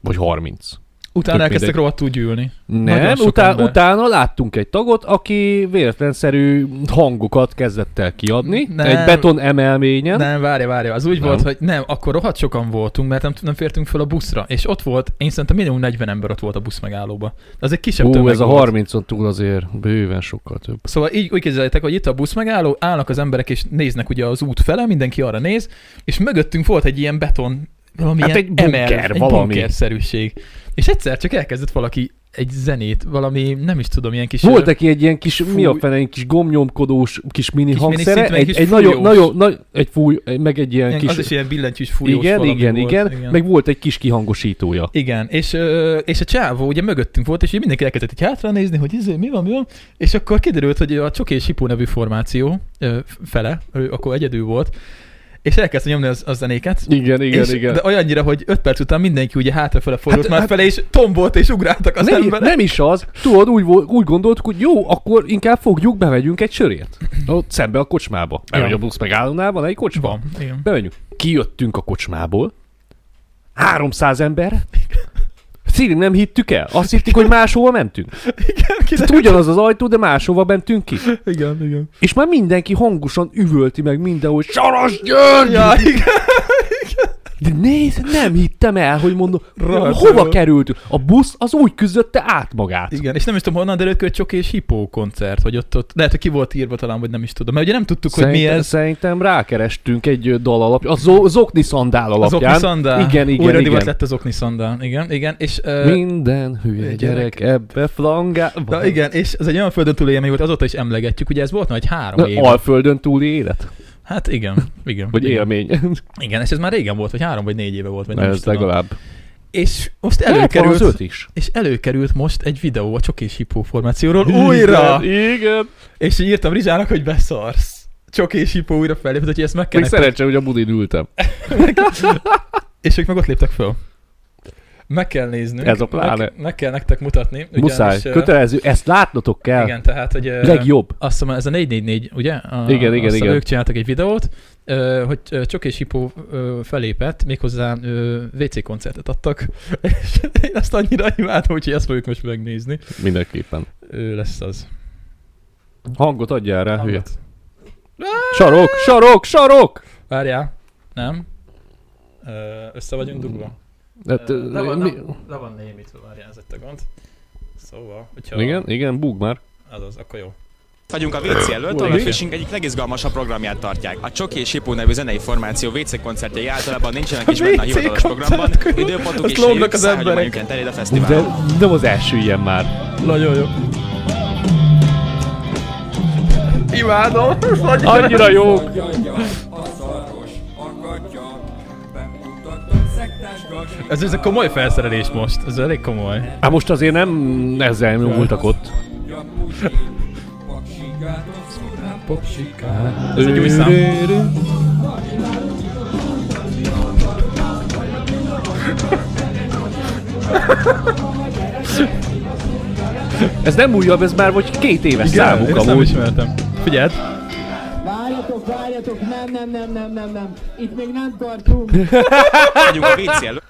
Speaker 2: Vagy 30.
Speaker 1: Utána
Speaker 2: tök
Speaker 1: elkezdtek
Speaker 2: mindegy.
Speaker 1: rohadtul gyűlni. Nagyon
Speaker 2: Nem,
Speaker 1: sok
Speaker 2: utá-
Speaker 1: ember.
Speaker 2: utána láttunk egy tagot, aki véletlenszerű hangokat kezdett el kiadni
Speaker 1: Nem.
Speaker 2: nem. egy beton emelményen. Nem.
Speaker 1: Nem, várja, várja, az úgy
Speaker 2: Nem.
Speaker 1: volt, hogy nem, akkor rohadt sokan voltunk, mert nem, nem fértünk fel a buszra. És ott volt, én szerintem minimum 40 ember ott volt a busz megállóba. Az egy kisebb
Speaker 2: Hú,
Speaker 1: tömeg
Speaker 2: ez a
Speaker 1: volt.
Speaker 2: 30-on túl azért bőven sokkal több.
Speaker 1: Szóval így úgy képzeljétek, hogy itt a busz megálló, állnak az emberek és néznek ugye az út fele, mindenki arra néz, és mögöttünk volt egy ilyen beton, valami
Speaker 2: Hát
Speaker 1: ilyen
Speaker 2: egy bunker,
Speaker 1: emel,
Speaker 2: valami.
Speaker 1: egy bunkerszerűség. És egyszer csak elkezdett valaki egy zenét, valami, nem is tudom, ilyen kis...
Speaker 2: Volt neki egy ilyen kis,
Speaker 1: fúj-
Speaker 2: mi a fene, egy kis gomnyomkodós kis mini
Speaker 1: Kis
Speaker 2: kis
Speaker 1: mini
Speaker 2: hangszere,
Speaker 1: szintű, meg
Speaker 2: egy,
Speaker 1: kis
Speaker 2: egy nagyon,
Speaker 1: fújós.
Speaker 2: nagyon, nagy, egy fúj, meg egy ilyen,
Speaker 1: ilyen,
Speaker 2: kis...
Speaker 1: Az is ilyen billentyűs fújós
Speaker 2: igen,
Speaker 1: valami
Speaker 2: igen,
Speaker 1: volt.
Speaker 2: igen, igen, meg volt egy kis kihangosítója.
Speaker 1: Igen, és, ö, és a csávó ugye mögöttünk volt, és ugye mindenki elkezdett így hátra nézni, hogy izé, mi van, mi van, és akkor kiderült, hogy a Csoki és Hipó nevű formáció ö, fele, ő akkor egyedül volt, és elkezdte nyomni az, az zenéket,
Speaker 2: Igen, igen,
Speaker 1: és,
Speaker 2: igen.
Speaker 1: De olyannyira, hogy öt perc után mindenki ugye hátrafele fordult
Speaker 2: Hát-
Speaker 1: hát, már fele, és tombolt és ugráltak az
Speaker 2: nem,
Speaker 1: emberek.
Speaker 2: nem is az, tudod, úgy, vol- úgy gondoltuk, hogy jó, akkor inkább fogjuk, bevegyünk egy sörét. Ott szembe a kocsmába. Bemegy
Speaker 1: Ja.
Speaker 2: a busz megállónál, van egy kocsma.
Speaker 1: Van, igen.
Speaker 2: Bemegyünk. Kijöttünk a kocsmából. 300 ember. Szíri, nem hittük el. Azt hittük, hogy máshova mentünk. Tehát ugyanaz az ajtó, de máshova mentünk ki.
Speaker 1: Igen, igen.
Speaker 2: És már mindenki hangosan üvölti meg mindenhol, hogy Saras György!
Speaker 1: Ja, igen.
Speaker 2: De nézd, nem hittem el, hogy mondom,
Speaker 1: Rohadt
Speaker 2: hova
Speaker 1: jó.
Speaker 2: került? A busz az úgy küzdötte át magát.
Speaker 1: Igen, és nem is tudom honnan derült ki, hogy Csoki és Hipó koncert, hogy ott, ott lehet, hogy ki volt írva talán, vagy nem is tudom. Mert ugye nem tudtuk, hogy mi
Speaker 2: Szerintem-
Speaker 1: ez.
Speaker 2: Szerintem rákerestünk egy ö, dal alapján, a zo- zokni szandál
Speaker 1: Az
Speaker 2: alapján.
Speaker 1: okni szandál.
Speaker 2: Igen, igen,
Speaker 1: Újra
Speaker 2: igen.
Speaker 1: divat lett az okni szandál. Igen, igen. És, ö,
Speaker 2: Minden hülye
Speaker 1: Egy
Speaker 2: gyerek ebbe flangál.
Speaker 1: Na igen, és ez egy olyan földön túl élmény volt, azóta is emlegetjük, ugye ez volt nagy három év.
Speaker 2: Na, Alföldön túli élet?
Speaker 1: Hát igen, igen.
Speaker 2: Vagy
Speaker 1: igen.
Speaker 2: élmény?
Speaker 1: Igen, és ez már régen volt, vagy három vagy négy éve volt, vagy
Speaker 2: Na,
Speaker 1: nem is
Speaker 2: ez
Speaker 1: tudom.
Speaker 2: legalább.
Speaker 1: És most
Speaker 2: Lehet, van az
Speaker 1: előkerült,
Speaker 2: öt is.
Speaker 1: és előkerült most egy videó a Csoki és Hipó formációról újra!
Speaker 2: Igen, igen.
Speaker 1: És így írtam Rizsának, hogy beszarsz. Csoki és Hipó újra fellépett, hogy ezt meg
Speaker 2: Még
Speaker 1: kell
Speaker 2: szerencsé, hogy a budin ültem.
Speaker 1: És ők meg ott léptek föl. Meg kell néznünk.
Speaker 2: Ez a pláne.
Speaker 1: Meg, meg kell nektek mutatni.
Speaker 2: Muszáj,
Speaker 1: ö,
Speaker 2: kötelező, ezt látnotok kell.
Speaker 1: Igen, tehát, hogy... ö,
Speaker 2: Legjobb.
Speaker 1: Azt hiszem, ez a 444, ugye? A,
Speaker 2: Igen, igen,
Speaker 1: azt hiszem,
Speaker 2: igen.
Speaker 1: Ők csináltak egy videót, ö, hogy ö, Csok és Hipó ö, felépett, méghozzá ö, WC koncertet adtak, és én azt annyira imádom, hogy ezt fogjuk most megnézni.
Speaker 2: Mindenképpen.
Speaker 1: Ő lesz az.
Speaker 2: Hangot adjál rá, hülye.
Speaker 1: Hangot.
Speaker 2: Sarok, sarok, sarok!
Speaker 1: Várjál. Nem? Ö, Össze vagyunk dugva?
Speaker 2: Hát,
Speaker 1: Ö,
Speaker 2: ö,
Speaker 1: le, van,
Speaker 2: mi-
Speaker 1: le, le van némítva, várjál, ez itt a gond. Szóval, hogyha...
Speaker 2: Igen, igen, búg már.
Speaker 1: Az az, akkor jó.
Speaker 3: Vagyunk a WC előtt, ahol a
Speaker 1: Óriási.
Speaker 3: Fishing egyik legizgalmasabb programját tartják. A Csoki és Hipó nevű zenei formáció WC koncertjei általában nincsenek is benne a
Speaker 1: WC
Speaker 3: hivatalos programban.
Speaker 1: koncertek.
Speaker 3: Időpontuk
Speaker 1: Azt
Speaker 3: és
Speaker 1: lopnak
Speaker 3: helyük
Speaker 1: az emberek.
Speaker 3: száhagyományuként terjed a
Speaker 2: De
Speaker 3: fesztiválon.
Speaker 2: nem az első ilyen már.
Speaker 1: Nagyon jó. Imádom!
Speaker 2: Annyira jó!
Speaker 1: Ez, ez a komoly felszerelés most, ez elég komoly.
Speaker 2: Hát most azért nem ezzel múltak ott.
Speaker 1: Ez egy új szám.
Speaker 2: Ez nem újabb, ez már vagy két éves számuk
Speaker 1: én ezt nem
Speaker 2: amúgy.
Speaker 1: ismertem. Figyeld!
Speaker 4: Várjatok, várjatok, nem, nem, nem, nem, nem, nem. Itt még nem tartunk.
Speaker 3: Vagyunk a WC előtt,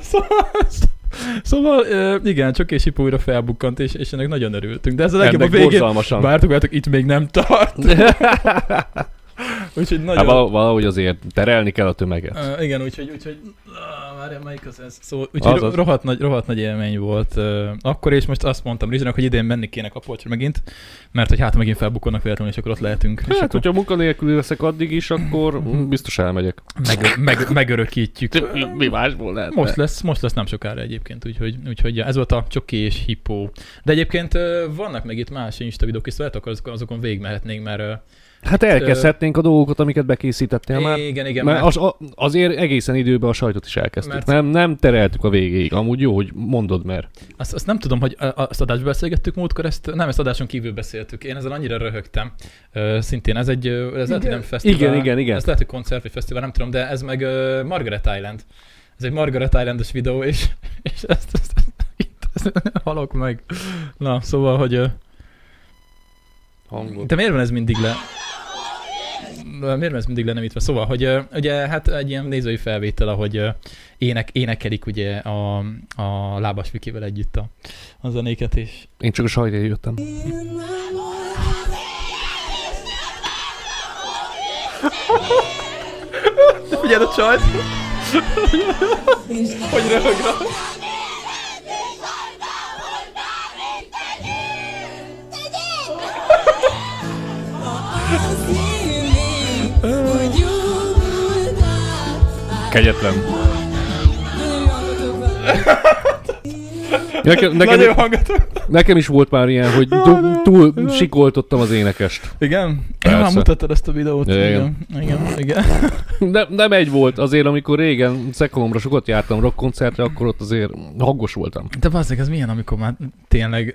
Speaker 1: Szóval, szóval ö, igen, csak és Hipó újra felbukkant, és, és ennek nagyon örültünk. De ez a legjobb a
Speaker 2: Ennek
Speaker 1: végén.
Speaker 2: borzalmasan.
Speaker 1: Vártuk, vártuk, itt még nem tart. Úgyhogy nagyon...
Speaker 2: Hát vala- valahogy azért terelni kell a tömeget.
Speaker 1: Ö, igen, úgyhogy, úgyhogy ah, várjál, melyik az ez? Szóval, úgyhogy
Speaker 2: Azaz.
Speaker 1: ro- rohadt, nagy, rohadt nagy élmény volt ö, akkor, és most azt mondtam Rizsának, hogy idén menni kéne Kapolcsra megint, mert hogy hát ha megint felbukkannak véletlenül, és akkor ott lehetünk. és
Speaker 2: Hát,
Speaker 1: akkor Mhm.
Speaker 2: hogyha munkanélkül leszek addig is, akkor mm, biztos elmegyek.
Speaker 1: meg, meg, megörökítjük.
Speaker 2: Mi másból lehet?
Speaker 1: Most lesz, most lesz nem sokára egyébként, úgyhogy, úgyhogy ja, ez volt a csoki és hipó. De egyébként ö, vannak meg itt más Insta videók is, szóval akkor azokon, azokon végigmehetnénk, mert ö,
Speaker 2: Hát elkezdhetnénk a dolgokat, amiket bekészítettél már.
Speaker 1: igen, igen,
Speaker 2: Mert
Speaker 1: mert,
Speaker 2: az, a- azért egészen időben a sajtot is elkezdtük.
Speaker 1: Mert-
Speaker 2: Nem, nem tereltük a végéig. Amúgy jó, hogy mondod, mert
Speaker 1: azt, azt, nem tudom, hogy ö, azt adásban beszélgettük múltkor, ezt nem, ezt adáson kívül beszéltük. Én ezzel annyira röhögtem. Ö, szintén ez egy, ö, ez lehet, hogy nem fesztivál.
Speaker 2: Igen, igen, igen.
Speaker 1: Ez lehet, hogy koncert vagy fesztivál, nem tudom, de ez meg ö, Margaret Island. Ez egy Margaret Islandos videó, és, és ezt, ezt, ezt, itt, ezt halok meg. Na, szóval, hogy... Ö,
Speaker 2: hangot.
Speaker 1: De miért van ez mindig le? Miért van ez mindig lenemítve? Szóval, hogy ö, ugye hát egy ilyen nézői felvétel, ahogy ö, ének, énekelik ugye a, a lábas vikivel együtt a, a zenéket, és
Speaker 2: Én csak a sajtért jöttem.
Speaker 1: Figyeld a csajt! hogy röhög rá.
Speaker 2: Kegyetlen. Nekem,
Speaker 1: Nagyon
Speaker 2: nekem,
Speaker 1: hangatok.
Speaker 2: nekem is volt már ilyen, hogy túl, túl sikoltottam az énekest.
Speaker 1: Igen?
Speaker 2: Persze.
Speaker 1: Már mutattad ezt a videót.
Speaker 2: Igen.
Speaker 1: Igen, igen. igen.
Speaker 2: Nem, nem egy volt, azért amikor régen Szekolomra sokat jártam rockkoncertre, akkor ott azért hangos voltam.
Speaker 1: De bazdmeg, az milyen, amikor már tényleg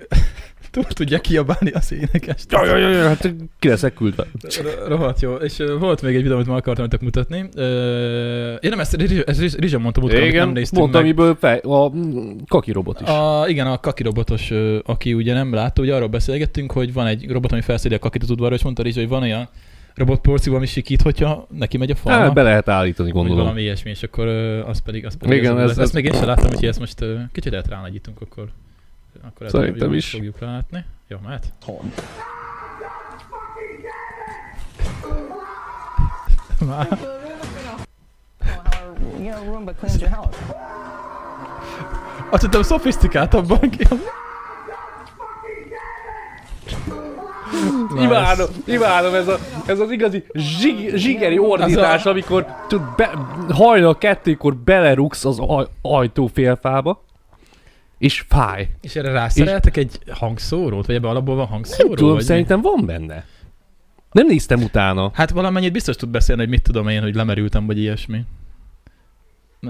Speaker 1: túl tudja kiabálni az énekest.
Speaker 2: Jaj, jaj, jaj, hát ki leszek küldve.
Speaker 1: Ro- Rohadt jó. És ö, volt még egy videó, amit ma akartam nektek mutatni. Ö, én nem ezt Rizs- ez Rizs- Rizsa mondta múltkor, amit
Speaker 2: Igen,
Speaker 1: nem néztünk
Speaker 2: mondtam,
Speaker 1: meg.
Speaker 2: amiből fej, a mm, kaki robot is.
Speaker 1: A, igen, a kaki robotos, ö, aki ugye nem látta, ugye arról beszélgettünk, hogy van egy robot, ami felszedi a kakit az udvarra, és mondta Rizsa, hogy van olyan robotporció, ami sikít, hogyha neki megy a falnak.
Speaker 2: Hát, be lehet állítani,
Speaker 1: Vagy
Speaker 2: gondolom.
Speaker 1: valami ilyesmi, és akkor ö, az pedig... Az pedig
Speaker 2: Igen,
Speaker 1: ez,
Speaker 2: ez- ez-
Speaker 1: ez, ezt még én sem láttam, úgyhogy ezt most ö, kicsit lehet ránagyítunk, akkor... akkor ezt
Speaker 2: Szerintem
Speaker 1: jól
Speaker 2: is.
Speaker 1: Fogjuk látni. Jó, mehet? Már.
Speaker 5: your room but cleans your house.
Speaker 1: Azt hittem szofisztikáltabban ki.
Speaker 2: Imádom, imádom ez, a, ez az igazi zsig, zsigeri ordítás, amikor tud be, hajnal kettőkor belerugsz az aj, ajtófélfába, és fáj.
Speaker 1: És erre rászereltek egy hangszórót? Vagy ebben alapból van hangszóró?
Speaker 2: Nem tudom,
Speaker 1: vagy mi?
Speaker 2: szerintem van benne. Nem néztem utána.
Speaker 1: Hát valamennyit biztos tud beszélni, hogy mit tudom én, hogy lemerültem, vagy ilyesmi.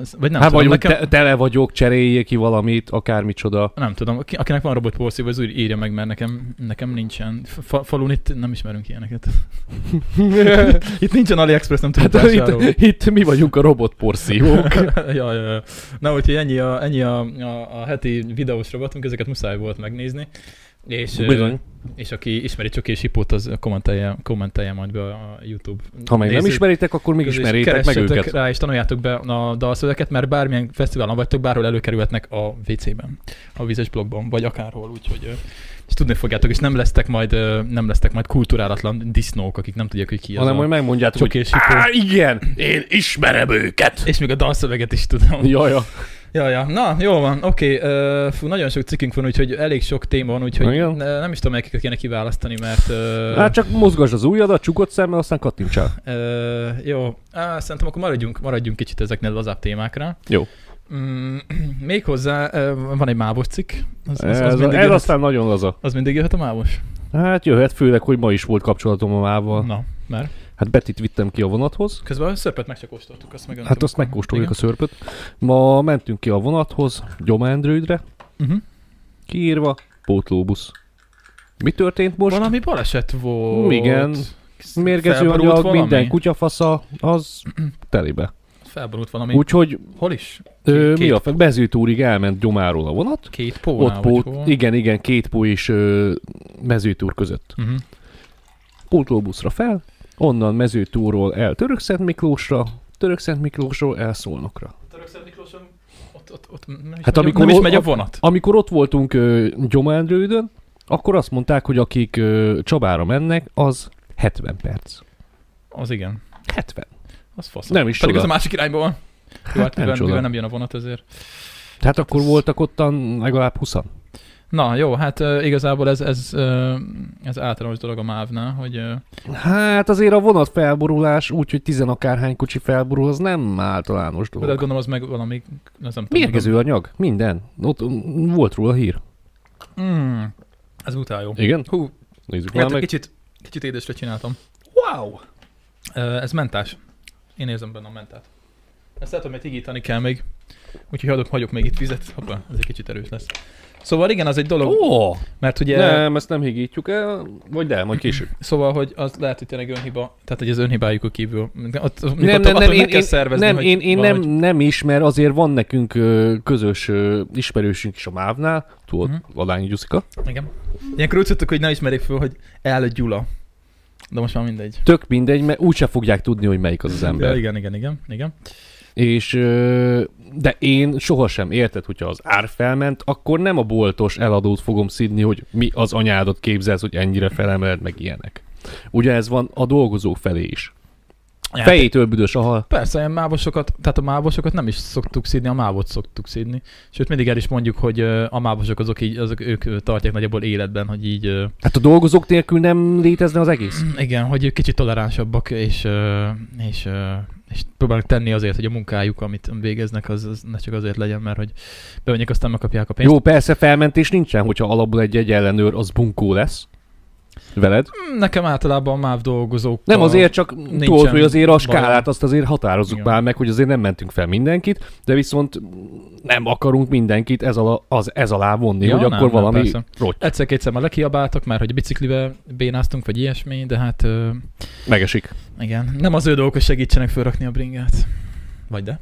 Speaker 1: Ez- Vagy nem
Speaker 2: Hát
Speaker 1: tudom,
Speaker 2: vagy
Speaker 1: nekem...
Speaker 2: nekem... te, tele vagyok, cseréljék ki valamit, akármicsoda.
Speaker 1: Nem tudom, aki- akinek van robot porszív, az úgy írja meg, mert nekem, nekem nincsen. Fa- falun itt nem ismerünk ilyeneket. itt nincsen AliExpress, nem tudunk
Speaker 2: Hát
Speaker 1: hát
Speaker 2: itt, itt mi vagyunk a robotporszívók.
Speaker 1: ja, ja, ja. Na, úgyhogy ennyi, a, ennyi a, a, a heti videós robotunk, ezeket muszáj volt megnézni. És, ö,
Speaker 2: Bizony.
Speaker 1: és aki ismeri csak és hipót, az kommentelje, kommentelje majd be a YouTube.
Speaker 2: Ha meg nem
Speaker 1: nézők
Speaker 2: ismeritek, akkor még
Speaker 1: közé, és
Speaker 2: ismeritek meg
Speaker 1: keressetek
Speaker 2: őket.
Speaker 1: rá, és tanuljátok be a dalszövegeket, mert bármilyen fesztiválon vagytok, bárhol előkerülhetnek a WC-ben, a vizes blogban, vagy akárhol, úgyhogy ö, és tudni fogjátok, és nem lesztek majd, ö, nem lesztek majd kulturálatlan disznók, akik nem tudják, hogy ki az
Speaker 2: Hanem,
Speaker 1: a...
Speaker 2: hogy megmondjátok,
Speaker 1: Csak
Speaker 2: hogy
Speaker 1: és hipó.
Speaker 2: Á, igen, én ismerem őket.
Speaker 1: És még a dalszöveget is tudom.
Speaker 2: Jaja.
Speaker 1: Ja, ja. Na, jó van, oké. Okay. Fú, nagyon sok cikkünk van, úgyhogy elég sok téma van, úgyhogy
Speaker 2: Igen.
Speaker 1: ne, nem is tudom, melyiket kéne kiválasztani, mert... ö,
Speaker 2: Hát csak mozgass az ujjadat, csukott szemmel, aztán kattintsál.
Speaker 1: Ö, jó, Á, szerintem akkor maradjunk, maradjunk kicsit ezeknél lazább témákra.
Speaker 2: Jó.
Speaker 1: Mm, méghozzá ö, van egy mávos cikk. Az,
Speaker 2: Ez,
Speaker 1: az,
Speaker 2: ez,
Speaker 1: az, mindig
Speaker 2: ez
Speaker 1: jöhet,
Speaker 2: aztán nagyon laza.
Speaker 1: az mindig jöhet a mávos?
Speaker 2: Hát jöhet, főleg, hogy ma is volt kapcsolatom a mával.
Speaker 1: Na, mert
Speaker 2: Hát Betit vittem ki a vonathoz.
Speaker 1: közben a szörpet meg csak kóstoltuk, azt meg
Speaker 2: Hát azt megkóstoljuk a szörpöt. Ma mentünk ki a vonathoz, Gyomaendrődre,
Speaker 1: Uh-huh.
Speaker 2: kiírva, pótlóbusz. Mi történt most?
Speaker 1: Valami baleset volt.
Speaker 2: Igen. Mérgező
Speaker 1: felborult
Speaker 2: anyag,
Speaker 1: valami?
Speaker 2: minden kutyafasza, az telibe.
Speaker 1: Felborult valami. Úgy,
Speaker 2: Úgyhogy
Speaker 1: Hol is?
Speaker 2: ö,
Speaker 1: Két-
Speaker 2: mi a fe- mezőtúrig elment gyomáról a vonat,
Speaker 1: Két pólnál
Speaker 2: ott
Speaker 1: vagy
Speaker 2: pót,
Speaker 1: hol?
Speaker 2: igen, igen, két pó és ö, mezőtúr között.
Speaker 1: Mhm.
Speaker 2: Pótlóbuszra fel, onnan mezőtúról el Törökszent Miklósra, Törökszent Miklósról el Szolnokra.
Speaker 1: Törökszent Miklóson, ott, ott, ott nem is,
Speaker 2: Hát
Speaker 1: hát
Speaker 2: amikor
Speaker 1: megy, amikor nem is
Speaker 2: ott-
Speaker 1: megy a
Speaker 2: ott-
Speaker 1: vonat.
Speaker 2: Amikor ott voltunk ö, Gyomándrődön, akkor azt mondták, hogy akik ö, Csabára mennek, az 70 perc.
Speaker 1: Az igen.
Speaker 2: 70.
Speaker 1: Az fasz.
Speaker 2: Nem is
Speaker 1: Pedig
Speaker 2: csoda.
Speaker 1: az a másik irányban van. Jó, hát
Speaker 2: nem
Speaker 1: mivel,
Speaker 2: csoda.
Speaker 1: mivel nem jön a vonat ezért.
Speaker 2: Tehát akkor
Speaker 1: ez-
Speaker 2: voltak ottan legalább 20
Speaker 1: Na jó, hát uh, igazából ez, ez, uh, ez általános dolog a mávnál, hogy uh,
Speaker 2: Hát azért a vonat felborulás, úgyhogy tizenakárhány kocsi felborul, az nem általános
Speaker 1: de hát
Speaker 2: dolog.
Speaker 1: gondolom az meg valami, az nem tudom.
Speaker 2: Mérgező anyag, minden. Ott mm, volt róla hír.
Speaker 1: Mm, ez utál jó.
Speaker 2: Igen?
Speaker 1: Hú,
Speaker 2: Nézzük már
Speaker 1: hát
Speaker 2: meg.
Speaker 1: kicsit, kicsit édesre csináltam.
Speaker 2: Wow!
Speaker 1: Uh, ez mentás. Én érzem benne a mentát. Ezt lehet, hogy higítani kell még. Úgyhogy adok, hagyok még itt vizet. Hoppá, ez egy kicsit erős lesz. Szóval igen, az egy dolog,
Speaker 2: Ó!
Speaker 1: mert ugye...
Speaker 2: Nem, ezt nem higítjuk el, vagy de, majd később.
Speaker 1: Szóval, hogy az lehet, hogy tényleg önhiba, tehát hogy az önhibájukon kívül. de Ott, nem,
Speaker 2: Nem, nem, nem, én,
Speaker 1: kell
Speaker 2: én,
Speaker 1: szervezni,
Speaker 2: nem,
Speaker 1: hogy
Speaker 2: én, én nem,
Speaker 1: valahogy-
Speaker 2: nem is, mert azért van nekünk ö, közös ö, ismerősünk is a Mávnál, tudod,
Speaker 1: Mhm.
Speaker 2: uh-huh. Ladányi Gyuszika.
Speaker 1: Igen. Ilyenkor úgy szoktuk, hogy ne ismerjék föl, hogy el Gyula. De most már mindegy.
Speaker 2: Tök mindegy, mert úgyse fogják tudni, hogy melyik az az
Speaker 1: Ja,
Speaker 2: ember.
Speaker 1: igen, igen, igen, igen.
Speaker 2: És ö, de én sohasem érted, hogyha az ár felment, akkor nem a boltos eladót fogom szidni, hogy mi az anyádat képzelsz, hogy ennyire felemeled, meg ilyenek. Ugye ez van a dolgozók felé is.
Speaker 1: Ja,
Speaker 2: Fejétől büdös a hal.
Speaker 1: Persze, ilyen mávosokat, tehát a mávosokat nem is szoktuk szídni, a mávot szoktuk szídni. Sőt, mindig el is mondjuk, hogy ö, a mávosok azok, így, azok ők ö, tartják nagyjából életben, hogy így, ö,
Speaker 2: Hát a dolgozók nélkül nem létezne az egész.
Speaker 1: igen, hogy ők kicsit toleránsabbak, és, ö, és, ö, és próbálnak tenni azért, hogy a munkájuk, amit végeznek, az, az ne csak azért legyen, mert hogy bevonják, aztán megkapják a pénzt.
Speaker 2: Jó, persze felmentés nincsen, hogyha alapból egy egyenlenőr az bunkó lesz. Veled?
Speaker 1: Hmm, Nekem általában a máv dolgozók.
Speaker 2: Nem azért, csak
Speaker 1: nincsen
Speaker 2: tudod, hogy azért a skálát
Speaker 1: valami.
Speaker 2: azt azért határozzuk
Speaker 1: Igen.
Speaker 2: már meg, hogy azért nem mentünk fel mindenkit, de viszont nem akarunk mindenkit ez alá, az, ez alá vonni,
Speaker 1: Ja,
Speaker 2: hogy
Speaker 1: nem,
Speaker 2: akkor
Speaker 1: nem,
Speaker 2: valami
Speaker 1: persze.
Speaker 2: rotty
Speaker 1: Egyszer-kétszer már lekiabáltak, mert hogy biciklivel bénáztunk, vagy ilyesmi, de hát ö,
Speaker 2: megesik.
Speaker 1: igen, nem az ő dolgok, hogy segítsenek felrakni a bringát. Vagy de?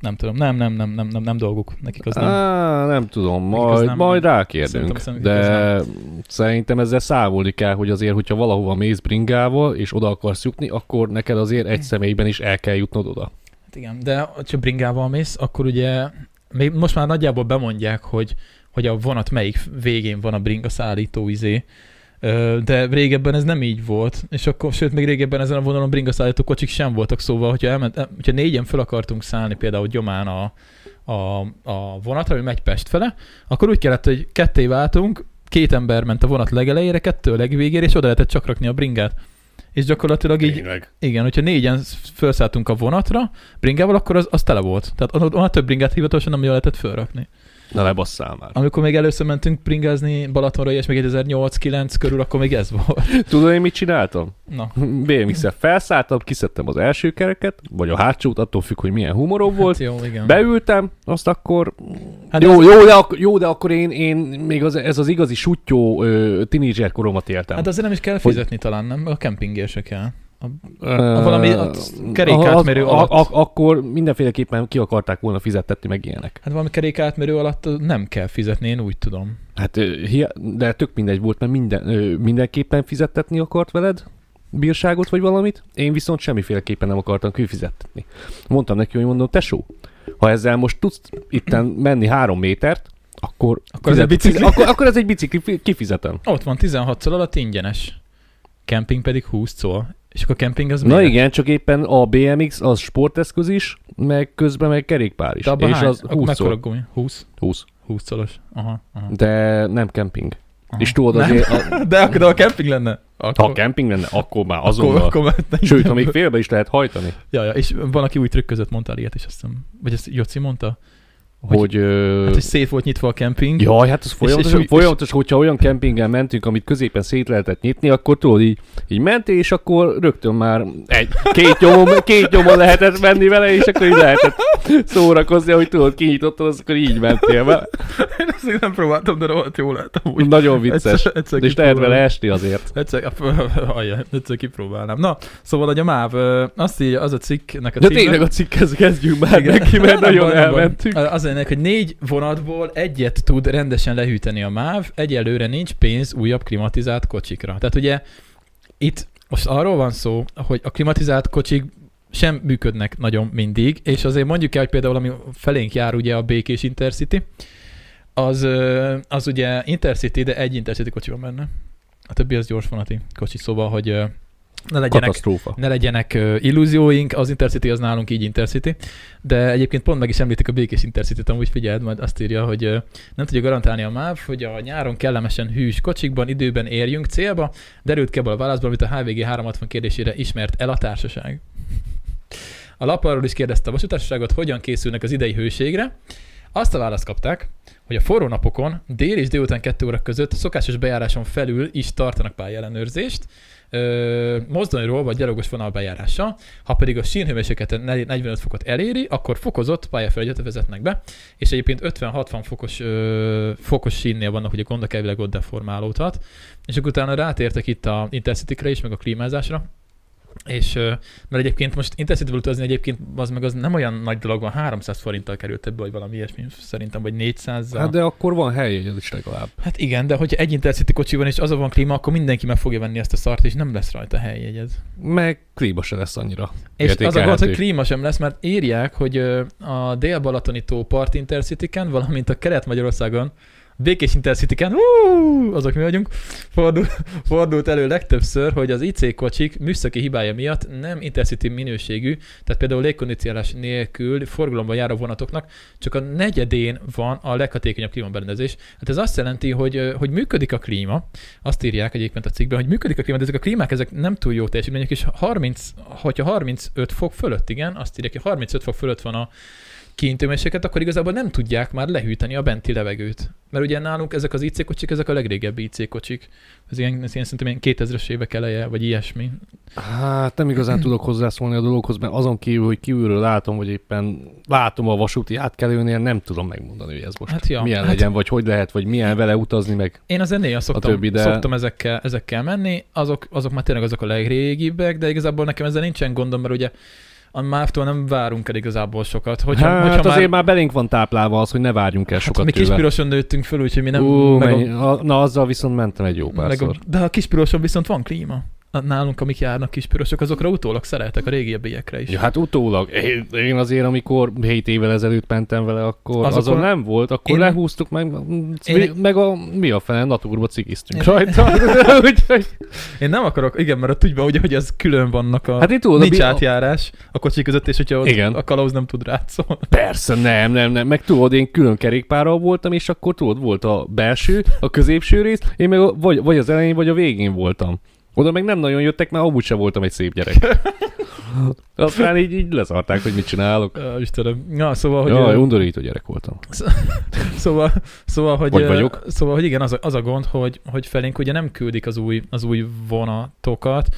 Speaker 1: Nem tudom, nem, nem, nem, nem, nem, nem dolguk. Nekik az nem.
Speaker 2: Á, nem tudom,
Speaker 1: Nekik az
Speaker 2: majd,
Speaker 1: nem-
Speaker 2: majd rákérdünk.
Speaker 1: szerintem- szerintem
Speaker 2: de
Speaker 1: az
Speaker 2: szerintem ezzel számolni kell, hogy azért, hogyha valahova mész bringával, és oda akarsz jutni, akkor neked azért
Speaker 1: Hm.
Speaker 2: egy személyben is el kell jutnod oda.
Speaker 1: Hát igen, de ha csak bringával mész, akkor ugye még most már nagyjából bemondják, hogy, hogy a vonat melyik végén van a bringa szállító izé, Ö, De régebben ez nem így volt, és akkor, sőt, még régebben ezen a vonalon bringaszállító kocsik sem voltak, szóval, hogyha, elment, eh, hogyha négyen fel akartunk szállni például gyomán a, a, a vonatra, ami megy Pest fele, akkor úgy kellett, hogy ketté váltunk, két ember ment a vonat legelejére, kettő a legvégére, és oda lehetett csak rakni a bringát. És gyakorlatilag így,
Speaker 2: Tényleg.
Speaker 1: igen, hogyha négyen felszálltunk a vonatra bringával, akkor az, az tele volt. Tehát on- onnan több bringát hivatalosan nem lehetett felrakni.
Speaker 2: Na ne basszál már.
Speaker 1: Amikor még először mentünk bringázni Balatonra, és még 2008-9 körül, akkor még ez volt.
Speaker 2: Tudod, én mit csináltam?
Speaker 1: Na,
Speaker 2: BMX-el felszálltam, kiszedtem az első kereket, vagy a hátsót, attól függ, hogy milyen humorom volt.
Speaker 1: jó, Hát, igen.
Speaker 2: Beültem, azt akkor... Hát
Speaker 1: Hát
Speaker 2: jó, jó, de ak- jó, de akkor én, én még az, ez az igazi sutyó ö, tínédzser koromat éltem.
Speaker 1: Hát azért nem is kell
Speaker 2: Hogy-
Speaker 1: fizetni talán, nem? A kempingért se kell.
Speaker 2: Ö,
Speaker 1: a valami a- kerékátmérő
Speaker 2: a-
Speaker 1: alatt.
Speaker 2: a- Akkor mindenféleképpen ki akarták volna fizettetni meg ilyenek.
Speaker 1: Hát valami kerék átmérő alatt ö, nem kell fizetni, én úgy tudom.
Speaker 2: Hát, ö, hia- de tök mindegy volt, mert minden, ö, mindenképpen fizettetni akart veled bírságot vagy valamit, én viszont semmiféleképpen nem akartam kifizettetni. Mondtam neki, hogy mondom, tesó, ha ezzel most tudsz itten menni három métert, akkor,
Speaker 1: Akkor ez egy bicikli.
Speaker 2: Akkor, akkor ez egy bicikli, fi- kifizetem.
Speaker 1: Ott van 16 szor alatt ingyenes. Kemping pedig 20 szor. És akkor kemping az
Speaker 2: Na
Speaker 1: miért?
Speaker 2: igen, csak éppen a BMX az sporteszköz is, meg közben meg kerékpár is.
Speaker 1: De abban
Speaker 2: És
Speaker 1: hány?
Speaker 2: az
Speaker 1: Akkor
Speaker 2: 20
Speaker 1: mekkora
Speaker 2: szor.
Speaker 1: gumi? 20?
Speaker 2: 20.
Speaker 1: 20 szoros. Aha, aha.
Speaker 2: De nem kemping.
Speaker 1: aha.
Speaker 2: És tudod
Speaker 1: Nem.
Speaker 2: azért, a,
Speaker 1: De akkor de ha kemping lenne? Akkor,
Speaker 2: ha kemping lenne, akkor már azonnal.
Speaker 1: akkor, akkor mehetne
Speaker 2: Sőt, ha
Speaker 1: ingyen.
Speaker 2: még félbe is lehet hajtani.
Speaker 1: Ja, ja, és van, aki új trükközött mondta ilyet, és azt hiszem, vagy ezt Joci mondta, Hogy-
Speaker 2: hogy, hogy, ö...
Speaker 1: hát, hogy szét volt nyitva a kemping.
Speaker 2: Jaj, hát ez
Speaker 1: és-
Speaker 2: folyamatos,
Speaker 1: és-
Speaker 2: és, folyamatos, hogyha olyan kempingen mentünk, amit középen szét lehetett nyitni, akkor tudod, így, így mentél, és akkor rögtön már egy, két, nyomon, két nyomon lehetett menni vele, és akkor így lehetett szórakozni, hogy tudod, kinyitottad, az akkor így mentél vele.
Speaker 1: Én ezt még nem próbáltam, de rohadt jól láttam. Úgy.
Speaker 2: Nagyon vicces.
Speaker 1: Egyszer, egyszer
Speaker 2: És lehet vele
Speaker 1: kipróbálom.
Speaker 2: esni azért.
Speaker 1: Egyszer, ajaj, egyszer kipróbálnám. Na, szóval hogy a MÁV, ö, azt írja, az a cikknek a
Speaker 2: De
Speaker 1: címe.
Speaker 2: tényleg a cikkhez kezdjünk már
Speaker 1: Igen.
Speaker 2: neki, mert
Speaker 1: Nem
Speaker 2: nagyon
Speaker 1: baj, nem baj.
Speaker 2: elmentünk.
Speaker 1: Az ennek, hogy négy vonatból egyet tud rendesen lehűteni a MÁV, egyelőre nincs pénz újabb klimatizált kocsikra. Tehát ugye itt most arról van szó, hogy a klimatizált kocsik sem működnek nagyon mindig, és azért mondjuk el, hogy például ami felénk jár ugye a Békés Intercity, az, ö, az ugye Intercity, de egy Intercity kocsi van benne. A többi az gyorsvonati kocsi, szóval, hogy ö, ne legyenek
Speaker 2: Katasztrófa.
Speaker 1: ne legyenek ö, illúzióink, az Intercity az nálunk így Intercity, de egyébként pont meg is említik a békés Intercity-t, amúgy figyeld, majd azt írja, hogy ö, nem tudja garantálni a MÁV, hogy a nyáron kellemesen hűs kocsikban időben érjünk célba, derült ki ebből a válaszból, amit a HVG 360 kérdésére ismert el a társaság. A lap arról is kérdezte a vasútársaságot, hogyan készülnek az idei hőségre. Azt a választ kapták, hogy a forró napokon dél és délután 2 óra között szokásos bejáráson felül is tartanak pályellenőrzést, ö, mozdonyról vagy gyalogos vonal bejárása, ha pedig a sínhőmérsékleten 45 fokot eléri, akkor fokozott pályafelügyet vezetnek be, és egyébként 50-60 fokos, ö, fokos sínnél vannak, ugye gondok elvileg ott deformálódhat, és akkor utána rátértek itt a intensity is, meg a klímázásra, és ö, mert egyébként most intensity utazni egyébként az meg az nem olyan nagy dolog van, 300 forinttal került ebből, vagy valami ilyesmi szerintem, vagy 400
Speaker 2: Hát de akkor van helyjegyed is legalább.
Speaker 1: Hát igen, de hogyha egy Intercity kocsi van, és azon van klíma, akkor mindenki meg fogja venni ezt a szart, és nem lesz rajta helyjegyed.
Speaker 2: Meg klíma se lesz annyira.
Speaker 1: És az a gond,
Speaker 2: értékelhető.
Speaker 1: hogy klíma sem lesz, mert írják, hogy ö, a dél-balatoni tópart intercity valamint a kelet-magyarországon Békés intercity hú, azok mi vagyunk, fordul, fordult elő legtöbbször, hogy az IC kocsik műszaki hibája miatt nem intercity minőségű, tehát például légkondicionálás nélkül forgalomban járó vonatoknak csak a negyedén van a leghatékonyabb klímaberendezés. Hát ez azt jelenti, hogy, ö, hogy működik a klíma, azt írják egyébként a cikkben, hogy működik a klíma, de ezek a klímák ezek nem túl jó teljesítmények, és 30, hogyha 35 fok fölött, igen, azt írják, hogy 35 fok fölött van a kiintőmérséklet, akkor igazából nem tudják már lehűteni a benti levegőt. Mert ugye nálunk ezek az IC kocsik, ezek a legrégebbi IC kocsik. Ez ilyen, ez ilyen szerintem ilyen 2000-es évek eleje, vagy ilyesmi.
Speaker 2: Hát nem igazán tudok hozzászólni a dologhoz, mert azon kívül, hogy kívülről látom, vagy éppen látom a vasúti átkelőnél, nem tudom megmondani, hogy ez most
Speaker 1: Hát ja,
Speaker 2: milyen
Speaker 1: hát-
Speaker 2: legyen, vagy hogy lehet, vagy milyen vele utazni meg.
Speaker 1: Én az ennél szoktam,
Speaker 2: többi, de-
Speaker 1: szoktam ezekkel, ezekkel menni, azok, azok már tényleg azok a legrégibbek, de igazából nekem ezzel nincsen gondom, mert ugye a MÁV-tól nem várunk el igazából sokat. Hogyha,
Speaker 2: hát
Speaker 1: hogyha Hát,
Speaker 2: azért már belénk van táplálva az, hogy ne várjunk el sokat
Speaker 1: mi
Speaker 2: tőle.
Speaker 1: kispiroson nőttünk föl, úgyhogy mi nem...
Speaker 2: Ú,
Speaker 1: meg a-
Speaker 2: mennyi, a... Na azzal viszont mentem egy jó
Speaker 1: meg
Speaker 2: párszor.
Speaker 1: a, de a kispiroson viszont van klíma. nálunk, amik járnak kis pirosok, azokra utólag szereltek a régiebbiekre is.
Speaker 2: Ja, hát utólag. Én, én azért, amikor 7 évvel ezelőtt mentem vele, akkor
Speaker 1: Az
Speaker 2: az azon
Speaker 1: akkor-
Speaker 2: nem volt, akkor
Speaker 1: Én-
Speaker 2: én... lehúztuk meg,
Speaker 1: Én-
Speaker 2: én... meg a mi a fene, naturba cigiztünk
Speaker 1: Én-
Speaker 2: rajta. Úgyhogy...
Speaker 1: Én nem akarok, igen, mert ott úgy van, ugye, hogy ez külön vannak a...
Speaker 2: Hát itt tudod, a
Speaker 1: nincs
Speaker 2: bi- a-
Speaker 1: átjárás a kocsi között, és hogyha ott
Speaker 2: Igen.
Speaker 1: a kalauz nem tud szóval- rátszolni.
Speaker 2: Persze, nem, nem, nem. Meg tudod, én külön kerékpárral voltam, és akkor tudod, volt a belső, a középső rész, én meg a, vagy, vagy az elején, vagy a végén voltam. Oda meg nem nagyon jöttek, mert amúgy sem voltam egy szép gyerek. Aztán így, így lezarták, hogy mit csinálok.
Speaker 1: Ö, Istenem. Na, szóval, hogy...
Speaker 2: Jaj,
Speaker 1: ö,
Speaker 2: undorító gyerek voltam.
Speaker 1: Szóval, szóval, hogy,
Speaker 2: Vagy
Speaker 1: ö,
Speaker 2: vagyok.
Speaker 1: szóval, hogy igen, az a, az a gond, hogy, hogy felénk ugye nem küldik az új, az új vonatokat,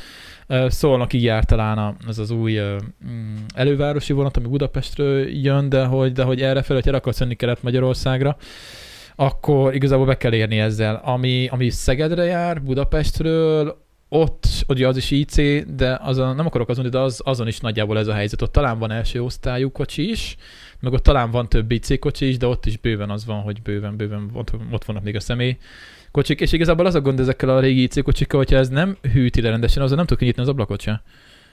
Speaker 1: Ö, szólnak így jár talán a- az az új ö, mm, elővárosi vonat, ami Budapestről jön, de hogy, de hogy erre fel, hogyha el akarsz jönni Kelet-Magyarországra, akkor igazából be kell érni ezzel. Ami, ami Szegedre jár, Budapestről, ott, ugye az is IC, de azon, nem akarok azon, de az, azon is nagyjából ez a helyzet. Ott talán van első osztályú kocsi is, meg ott talán van több IC kocsi is, de ott is bőven az van, hogy bőven, bőven ott, ott vannak még a személy kocsik, és igazából az a gond ezekkel a régi IC kocsikkal, hogyha ez nem hűti le rendesen, azzal nem tudok kinyitni az ablakot sem.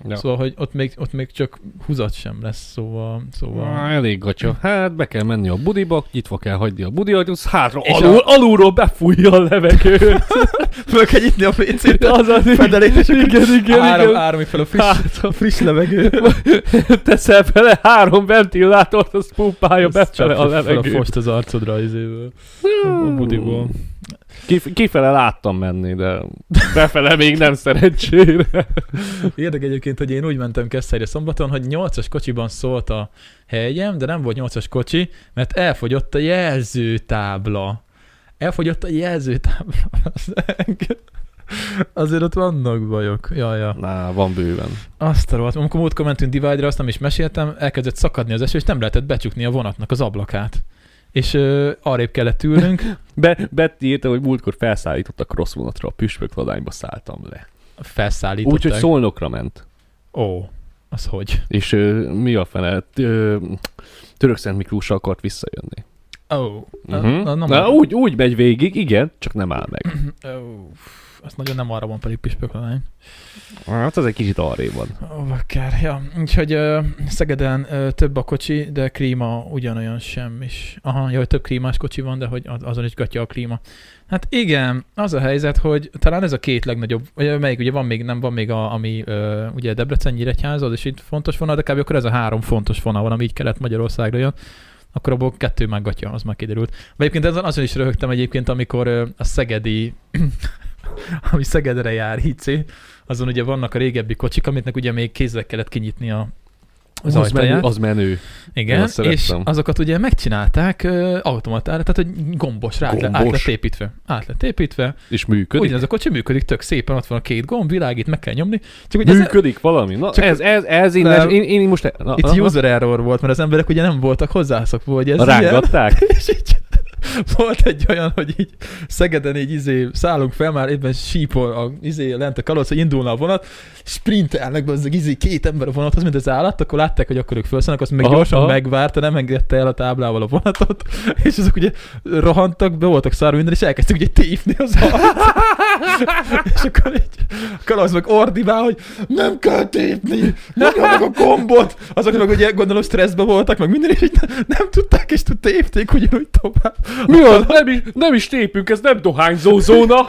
Speaker 1: Ja.
Speaker 2: Ja.
Speaker 1: Szóval, hogy ott még, ott még csak húzat sem lesz, szóval... szóval...
Speaker 2: Á, elég gatya. Hát be kell menni a budiba, nyitva kell hagyni a budi ajtót, hátra
Speaker 1: És
Speaker 2: alul, a... alulról befújja a levegőt.
Speaker 1: Föl kell nyitni a pénzét,
Speaker 2: az az
Speaker 1: fedelét, és akkor
Speaker 2: igen, igen,
Speaker 1: áram,
Speaker 2: igen.
Speaker 1: áramlik fel a friss,
Speaker 2: Hát,
Speaker 1: a friss levegő.
Speaker 2: teszel bele három ventilátort, az pumpálja
Speaker 1: Ez
Speaker 2: Hát befele a
Speaker 1: csapja fel A
Speaker 2: levegőt.
Speaker 1: fost az arcodra izéből. A budiból.
Speaker 2: Kif- kifele láttam menni, de befele még nem szerencsére.
Speaker 1: Érdek egyébként, hogy én úgy mentem Keszthelyre szombaton, hogy 8-as kocsiban szólt a helyem, de nem volt 8-as kocsi, mert elfogyott a jelzőtábla. Elfogyott a jelzőtábla. Azért ott vannak bajok. Ja, ja.
Speaker 2: Na, van bőven.
Speaker 1: Azt a rohadt. Amikor múltkor mentünk Divide-ra, azt nem is meséltem, elkezdett szakadni az eső, és nem lehetett becsukni a vonatnak az ablakát. És ö, arrébb kellett ülnünk.
Speaker 2: Be- Betty írta, hogy múltkor felszállítottak cross vonatra, a püspök ladányba szálltam le.
Speaker 1: Felszállították.
Speaker 2: Úgyhogy szolnokra ment.
Speaker 1: Ó, az hogy?
Speaker 2: És ö, mi a fene? Ö, Török Szent Miklósra akart visszajönni.
Speaker 1: Ó. Oh.
Speaker 2: Mhm. Na, úgy, úgy megy végig, igen, csak nem áll meg.
Speaker 1: Ó, azt nagyon nem arra van pedig püspök lány.
Speaker 2: Hát az egy kicsit arrébb van.
Speaker 1: Ó, bakker, ja. Úgyhogy ö, Szegeden ö, több a kocsi, de klíma ugyanolyan sem is. Aha, jó, hogy több klímás kocsi van, de hogy az- azon is gatya a klíma. Hát igen, az a helyzet, hogy talán ez a két legnagyobb, vagy melyik ugye van még, nem van még a, ami ö, ugye Debrecen Nyíregyház, az is itt fontos vonal, de kb. akkor ez a három fontos vonal van, ami így Kelet-Magyarországra jön akkor abból kettő már gatya, az már kiderült. Vagy egyébként ezen azon is röhögtem egyébként, amikor ö, a szegedi, ami Szegedre jár, IC, azon ugye vannak a régebbi kocsik, amiknek ugye még kézzel kellett kinyitni a az
Speaker 2: az, menő,
Speaker 1: ajtaját.
Speaker 2: az menő.
Speaker 1: Igen,
Speaker 2: azt
Speaker 1: és
Speaker 2: szerettem.
Speaker 1: azokat ugye megcsinálták ö, automatára, tehát hogy gombos, rá gombos. át lett
Speaker 2: Gombos.
Speaker 1: építve. Át lett építve.
Speaker 2: És működik.
Speaker 1: Ugyanez a kocsi működik, tök szépen, ott van a két gomb, világít, meg kell nyomni. Csak ugye ez,
Speaker 2: Működik valami? Na,
Speaker 1: Csak-
Speaker 2: ez, ez, ez így,
Speaker 1: Nem.
Speaker 2: nem. Én, én most... Na,
Speaker 1: itt
Speaker 2: na, na.
Speaker 1: user error volt, mert az emberek ugye nem voltak hozzászokva, hogy ez ilyen.
Speaker 2: Rángatták?
Speaker 1: És így volt egy olyan, hogy így Szegeden így izé szállunk fel, már éppen sípol a, izé lent a kalóz, hogy indulna a vonat, sprintelnek be az izé két ember a vonathoz, mint az állat, akkor látták, hogy akkor ők felszállnak, azt meg
Speaker 2: Aha,
Speaker 1: gyorsan
Speaker 2: aha.
Speaker 1: megvárta, nem engedte el a táblával a vonatot, és azok ugye rohantak, be voltak szárva minden, és elkezdtük ugye tépni az alatt. és akkor így a kalóz meg ordibál, hogy nem kell tépni, nyomjanak a gombot. Azok meg ugye gondolom stresszben voltak, meg minden, és így ne- nem tudták, és tud tépték ugyanúgy tovább.
Speaker 2: Mi az? Nem is, nem is tépünk, ez nem dohányzó zóna.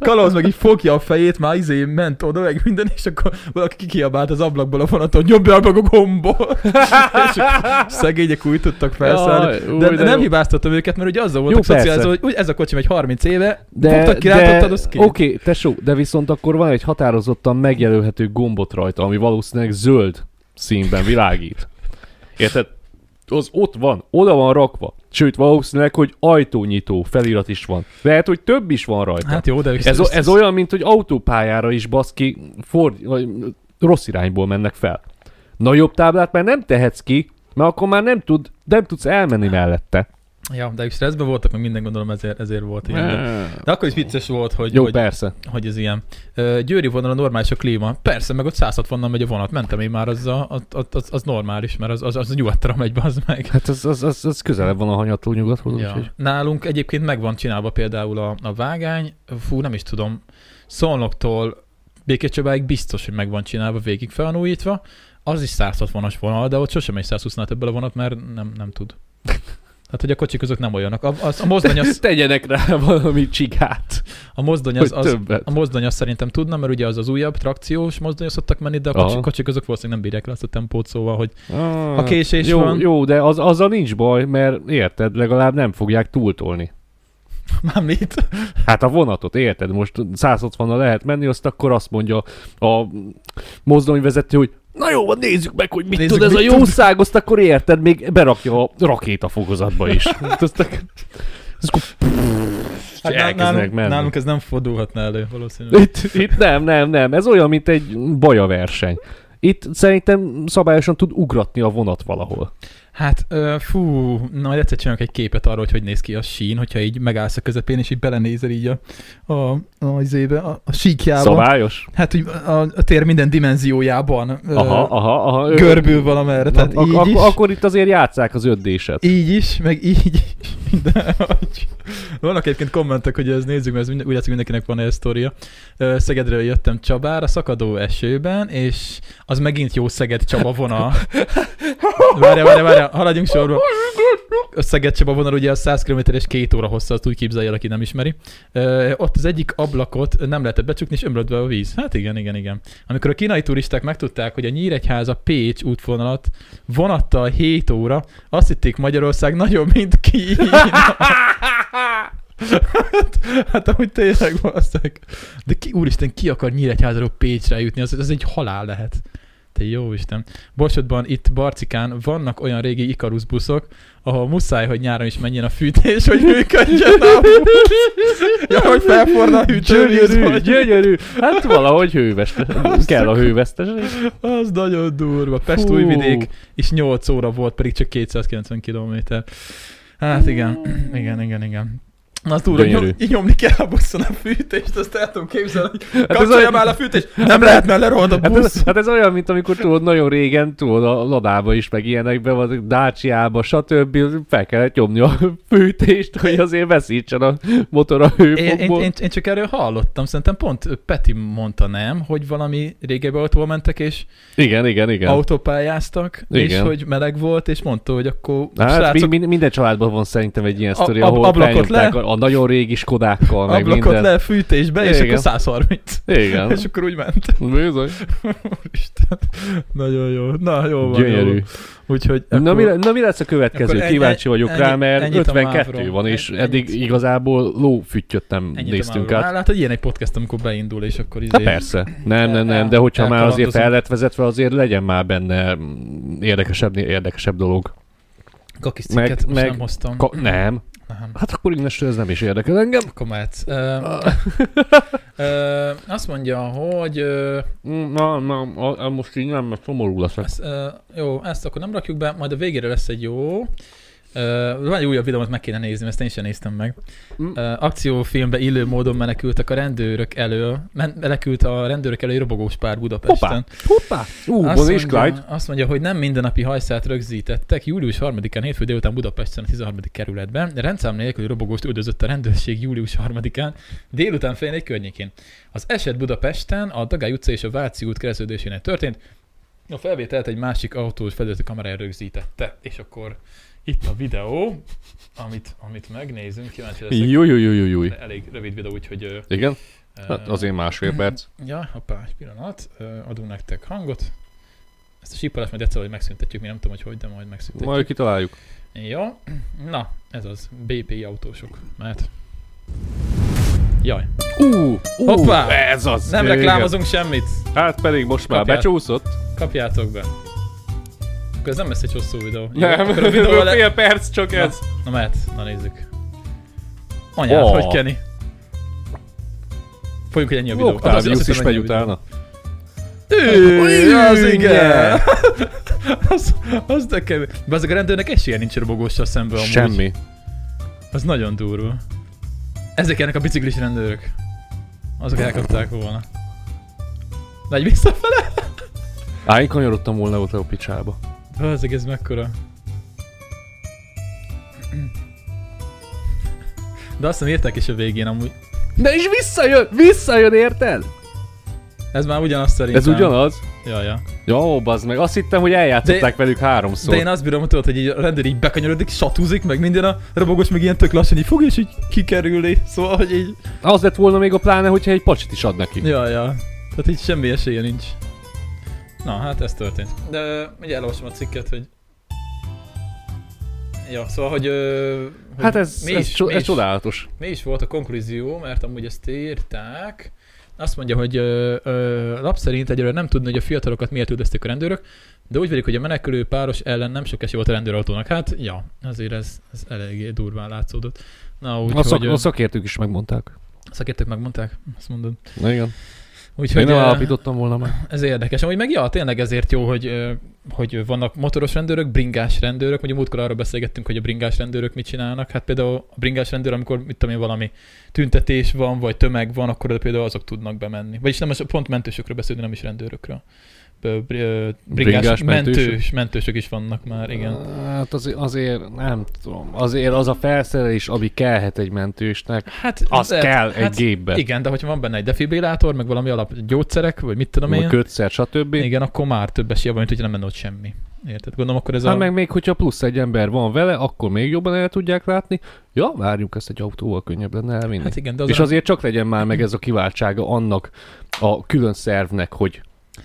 Speaker 1: Kalauz meg így fogja a fejét, már izé ment oda, meg minden, és akkor valaki kikiabált az ablakból a vonaton, nyomja meg a gombot. és akkor szegények úgy tudtak felszállni.
Speaker 2: Jaj, új,
Speaker 1: de,
Speaker 2: de
Speaker 1: nem
Speaker 2: jó.
Speaker 1: hibáztatom őket, mert ugye azzal voltak
Speaker 2: persze.
Speaker 1: szociálizó, hogy úgy ez a kocsi megy 30 éve, fogtak ki, rátottad, az ki.
Speaker 2: Oké, okay, tesó, de viszont akkor van egy határozottan megjelölhető gombot rajta, ami valószínűleg zöld színben világít. Érted? Az ott van, oda van rakva. Sőt, valószínűleg, hogy ajtónyitó felirat is van. Lehet, hogy több is van rajta.
Speaker 1: Hát jó, de
Speaker 2: Ez, o- ez olyan, mint hogy autópályára is baszki, ford, vagy rossz irányból mennek fel. Nagyobb táblát már nem tehetsz ki, mert akkor már nem, tud, nem tudsz elmenni mellette.
Speaker 1: Ja, de ők stresszben voltak, meg minden gondolom ezért, ezért volt ilyen. De, de akkor is vicces volt, hogy,
Speaker 2: Jó,
Speaker 1: hogy
Speaker 2: persze.
Speaker 1: hogy ez ilyen. Ö, Győri vonalon normális a klíma. Persze, meg ott 160-nal megy a vonat. Mentem én már azzal, az, az, az, az normális, mert az, az, az nyugatra megy, az meg.
Speaker 2: Hát az, az, az, az közelebb van a hanyató nyugathoz, ja.
Speaker 1: Ja.
Speaker 2: úgyhogy...
Speaker 1: Nálunk egyébként meg van csinálva például a, a vágány, fú, nem is tudom, Szolnoktól Békés Csabáig biztos, hogy meg van csinálva, végig felújítva. Az is 160-as vonal, de ott sosem egy 120-nál többel a vonat, mert nem, nem tud. Tehát, hogy a kocsik azok nem olyanok. A, az, a mozdony az,
Speaker 2: Tegyenek rá valami csigát,
Speaker 1: a mozdony az,
Speaker 2: hogy
Speaker 1: az,
Speaker 2: többet.
Speaker 1: a mozdony az szerintem tudna, mert ugye az az újabb trakciós mozdonyok szoktak menni, de a kocsik,
Speaker 2: Aha.
Speaker 1: kocsik azok valószínűleg nem bírják le azt a tempót, szóval, hogy
Speaker 2: Ah,
Speaker 1: ha késés
Speaker 2: jó,
Speaker 1: van,
Speaker 2: Jó, de az, azzal nincs baj, mert érted, legalább nem fogják túltolni.
Speaker 1: már mit?
Speaker 2: Hát a vonatot, érted? Most 160-nal lehet menni, azt akkor azt mondja a mozdonyvezető, hogy na jó, van, nézzük meg, hogy mit
Speaker 1: Nézzük,
Speaker 2: nézzük, tud ez
Speaker 1: mit
Speaker 2: a
Speaker 1: tud.
Speaker 2: jószág, azt akkor érted, még berakja a rakétafokozatba is. Hát azt ak- azt akkor
Speaker 1: Hát nál-
Speaker 2: elkezdenek
Speaker 1: nálunk,
Speaker 2: menni.
Speaker 1: nálunk ez nem fordulhatna elő valószínűleg.
Speaker 2: Itt, itt nem, nem, nem. Ez olyan, mint egy bajaverseny. Itt szerintem szabályosan tud ugratni a vonat valahol.
Speaker 1: Hát, ö, fú, na majd egyszer csinálok egy képet arról, hogy hogy néz ki a sín, hogyha így megállsz a közepén, és így belenézel így a, a, a, izébe, a, a síkjába.
Speaker 2: Szabályos?
Speaker 1: Hát, úgy a, a tér minden dimenziójában ö,
Speaker 2: Aha, aha, aha. Ö,
Speaker 1: görbül valamerre,
Speaker 2: na,
Speaker 1: tehát így
Speaker 2: ak-
Speaker 1: is.
Speaker 2: ak- akkor itt azért játszák az öddéset.
Speaker 1: Így is, meg így is. De, hogy... Vannak egyébként kommentek, hogy ez nézzük, mert ez minden, úgy látszik mindenkinek van egy sztoria. Ö, Szegedről jöttem Csabára, szakadó esőben, és az megint jó Szeged-Csaba vonal. Várja, várja, várja, haladjunk sorba. A Szeged-Csaba vonal ugye a 100 km és 2 óra hosszú, azt úgy képzelje el, aki nem ismeri. Ö, ott az egyik ablakot nem lehetett becsukni, és ömlött be a víz. Hát igen, igen, igen. Amikor a kínai turisták megtudták, hogy a Nyíregyháza Pécs útvonalat vonattal 7 óra, azt hitték Magyarország nagyon, mint Kína. hát, hát amúgy tényleg valószínűleg. De ki, úristen, ki akar Nyíregyházáról Pécsre jutni? Az, az egy halál lehet. Te jó Isten. Borsodban itt Barcikán vannak olyan régi Icarus buszok, ahol muszáj, hogy nyáron is menjen a fűtés, hogy működjön a busz. Ja, hogy felforna a hűtővíz,
Speaker 2: Gyönyörű,
Speaker 1: vagy...
Speaker 2: gyönyörű. Hát valahogy hőves. Kell a hőveszteség.
Speaker 1: Az nagyon durva. Pest
Speaker 2: Fú.
Speaker 1: újvidék is 8 óra volt, pedig csak 290 km. Hát igen, igen, igen, igen. Na túl, hogy
Speaker 2: Hmm. Gyönyörű.
Speaker 1: nyom, így nyomni kell a buszon a fűtést, azt el tudom képzelni, hogy
Speaker 2: Hát ez
Speaker 1: kapcsolja
Speaker 2: olyan-
Speaker 1: már a fűtést, nem lehet, mert lerohad a
Speaker 2: Hát ez,
Speaker 1: busz.
Speaker 2: hát ez olyan, mint amikor tudod, nagyon régen, tudod, a ladába is, meg ilyenekbe, vagy Dácsiába, stb. fel kellett nyomni a fűtést, hogy azért veszítsen a motor a
Speaker 1: Én, én,
Speaker 2: hőfokból.
Speaker 1: én, én csak erről hallottam, szerintem pont Peti mondta nem, hogy valami régebbi autóval mentek és
Speaker 2: Igen, igen, igen.
Speaker 1: Igen. autópályáztak, Igen. és
Speaker 2: Igen.
Speaker 1: hogy meleg volt, és mondta, hogy akkor
Speaker 2: Hát
Speaker 1: srácok,
Speaker 2: mi, mi, minden családban van szerintem egy ilyen
Speaker 1: A-
Speaker 2: sztori,
Speaker 1: ab-
Speaker 2: ahol
Speaker 1: ablakot
Speaker 2: felnyomták
Speaker 1: le?
Speaker 2: a, a nagyon régi Skodákkal, meg
Speaker 1: ablakot
Speaker 2: minden.
Speaker 1: le fűtésbe, és
Speaker 2: Igen.
Speaker 1: akkor 130.
Speaker 2: Igen.
Speaker 1: És akkor úgy ment.
Speaker 2: Bizony.
Speaker 1: Úristen. Nagyon jó. Na, jó van.
Speaker 2: Gyönyörű.
Speaker 1: Jó. Úgyhogy
Speaker 2: Na mi,
Speaker 1: akkor
Speaker 2: le- na mi lesz a következő?
Speaker 1: akkor e- e-
Speaker 2: Kíváncsi vagyok rá,
Speaker 1: ennyi-
Speaker 2: mert
Speaker 1: ennyit a
Speaker 2: 52
Speaker 1: mávról.
Speaker 2: van, és
Speaker 1: Ennyit.
Speaker 2: eddig igazából lófüttyöt nem
Speaker 1: ennyit
Speaker 2: néztünk
Speaker 1: a
Speaker 2: át.
Speaker 1: máról. Hát ilyen egy podcast, amikor beindul, és akkor
Speaker 2: Na
Speaker 1: izé...
Speaker 2: persze. Nem, nem, nem, de
Speaker 1: el-
Speaker 2: hogyha már azért
Speaker 1: elkalandozunk.
Speaker 2: el lett vezetve, azért legyen már benne mm, érdekesebb, érdekesebb dolog.
Speaker 1: Kakis
Speaker 2: Meg-
Speaker 1: cikket most
Speaker 2: meg-
Speaker 1: nem hoztam.
Speaker 2: Ka- nem.
Speaker 1: Nem.
Speaker 2: Hát akkor innestől ez nem is érdekel engem.
Speaker 1: Akkor mehetsz. Ö, ö, azt mondja, hogy ö,
Speaker 2: Mm, Na, na, a- a- most így nem, mert szomorú leszek.
Speaker 1: ezt, ö, jó, ezt akkor nem rakjuk be, majd a végére lesz egy jó. Ö, van egy újabb videómat meg kéne nézni, ezt én sem néztem meg.
Speaker 2: Mm.
Speaker 1: Ö, akciófilmbe illő módon menekültek a rendőrök elől, men- menekült a rendőrök elől egy robogós pár Budapesten.
Speaker 2: Hoppá! Hoppá! Ú,
Speaker 1: Azt
Speaker 2: van is Clyde.
Speaker 1: mondja, azt mondja, hogy nem mindennapi hajszát rögzítettek. Július 3-án hétfő délután Budapesten a 13. kerületben. Rendszám nélküli robogóst üldözött a rendőrség július 3-án délután fél négy környékén. Az eset Budapesten a Dagály utca és a Váci út keresztődésénél történt. A felvételt egy másik autós felületű kamerája rögzítette. És akkor itt a videó, amit, amit megnézünk. Kíváncsi leszek.
Speaker 2: Júj, júj, júj, júj.
Speaker 1: De Elég rövid videó, úgyhogy... ö,
Speaker 2: Igen?
Speaker 1: ö,
Speaker 2: Hát azért
Speaker 1: Mhm.
Speaker 2: másfél perc.
Speaker 1: Ja, hoppá, egy pillanat, Ö, adunk nektek hangot. Ezt a sípolást majd egyszer, hogy megszüntetjük, mi nem tudom, hogy hogy, de majd megszüntetjük.
Speaker 2: Majd kitaláljuk.
Speaker 1: Jó, na, ez az, BPI autósok, mehet. Jaj,
Speaker 2: Ú, ú,
Speaker 1: Hoppá!
Speaker 2: Ez az!
Speaker 1: nem
Speaker 2: Igen.
Speaker 1: reklámozunk semmit,
Speaker 2: Hát pedig most már
Speaker 1: Kapjál.
Speaker 2: becsúszott.
Speaker 1: kapjátok be. Akkor ez nem lesz egy hosszú videó. Jó,
Speaker 2: Nem,
Speaker 1: akkor a videó le...
Speaker 2: fél perc csak
Speaker 1: Na,
Speaker 2: ez.
Speaker 1: na mehet, na nézzük. Anyád,
Speaker 2: Ó.
Speaker 1: hogy Kenny? Folyjuk egy ennyi a videó. Hát Azt- azt
Speaker 2: Octavius
Speaker 1: hiszem,
Speaker 2: is
Speaker 1: ennyi
Speaker 2: megy
Speaker 1: a videó.
Speaker 2: utána.
Speaker 1: Ő, az
Speaker 2: Ő,
Speaker 1: igen! az, az de kevés. Bazzeg a rendőrnek esélye nincs robogóssal szemben amúgy.
Speaker 2: Semmi.
Speaker 1: Az nagyon durva. Ezek ennek a biciklis rendőrök. Azok elkapták volna. Megy visszafele?
Speaker 2: Á, én kanyarodtam volna ott a picsába.
Speaker 1: Bazzeg ez mekkora. De azt hiszem írták is a végén amúgy.
Speaker 2: De és visszajön! Visszajön, érted?
Speaker 1: Ez már ugyanaz szerintem.
Speaker 2: Ez ugyanaz?
Speaker 1: Ja, ja.
Speaker 2: Jó, bazd meg, azt hittem, hogy eljátszották De... velük háromszor.
Speaker 1: De én azt bírom, tudod, hogy így a rendőr így bekanyarodik, satúzik, meg minden a robogos, meg ilyen tök lassan így fogja, és így kikerülni. Szóval, hogy így...
Speaker 2: Az lett volna még a pláne, hogyha egy pacsit is ad neki.
Speaker 1: Ja, ja. Tehát így semmi esélye nincs. Na, hát ez történt. De ö, ugye elolvasom a cikket, hogy... Ja, szóval, hogy... ö, hogy
Speaker 2: Hát ez,
Speaker 1: mi
Speaker 2: ez,
Speaker 1: is-
Speaker 2: cso-
Speaker 1: mi
Speaker 2: ez
Speaker 1: is-
Speaker 2: csodálatos.
Speaker 1: Mi is volt a konklúzió, mert amúgy ezt írták. Azt mondja, hogy ö, ö, lap szerint egyelőre nem tudni, hogy a fiatalokat miért üldözték a rendőrök, de úgy vélik, hogy a menekülő páros ellen nem sok esély volt a rendőrautónak. Hát, ja, azért ez, ez eléggé durván látszódott. Na,
Speaker 2: A, szak,
Speaker 1: úgyhogy
Speaker 2: a
Speaker 1: ö,
Speaker 2: szakértők is megmondták.
Speaker 1: szakértők megmondták, azt mondod.
Speaker 2: Na igen.
Speaker 1: Úgyhogy
Speaker 2: Én nem
Speaker 1: ö,
Speaker 2: alapítottam volna meg.
Speaker 1: ez érdekes. Amúgy meg ja, tényleg ezért jó, hogy, ö, hogy vannak motoros rendőrök, bringás rendőrök. Ugye múltkor arról beszélgettünk, hogy a bringás rendőrök mit csinálnak. Hát például a bringás rendőr, amikor mit tudom én, valami tüntetés van, vagy tömeg van, akkor oda például azok tudnak bemenni. Vagyis nem, most pont mentősökről beszélni, nem is rendőrökről. Ö, br- ö, Bringás,
Speaker 2: Bringás
Speaker 1: bringás mentős.
Speaker 2: mentősök?
Speaker 1: mentős, mentősök is vannak már, igen.
Speaker 2: Hát az, azért, nem tudom, azért az a felszerelés, ami kellhet egy mentősnek,
Speaker 1: Hát,
Speaker 2: az
Speaker 1: lehet-
Speaker 2: kell egy gépbe.
Speaker 1: Igen, de hogyha van benne egy defibrillátor, meg valami alap gyógyszerek, vagy mit tudom
Speaker 2: a
Speaker 1: én,
Speaker 2: kötszer, stb.
Speaker 1: igen, akkor már több esélye van, mint hogyha nem menne ott semmi. Érted? Gondolom, akkor ez
Speaker 2: Hát
Speaker 1: a...
Speaker 2: meg még, hogyha plusz egy ember van vele, akkor még jobban el tudják látni. Ja, várjuk ezt egy autóval, könnyebb lenne elvinni.
Speaker 1: Hát
Speaker 2: Hát,
Speaker 1: igen, de az
Speaker 2: és
Speaker 1: a-
Speaker 2: azért csak legyen már meg ez a kiváltsága annak a külön szervnek, hogy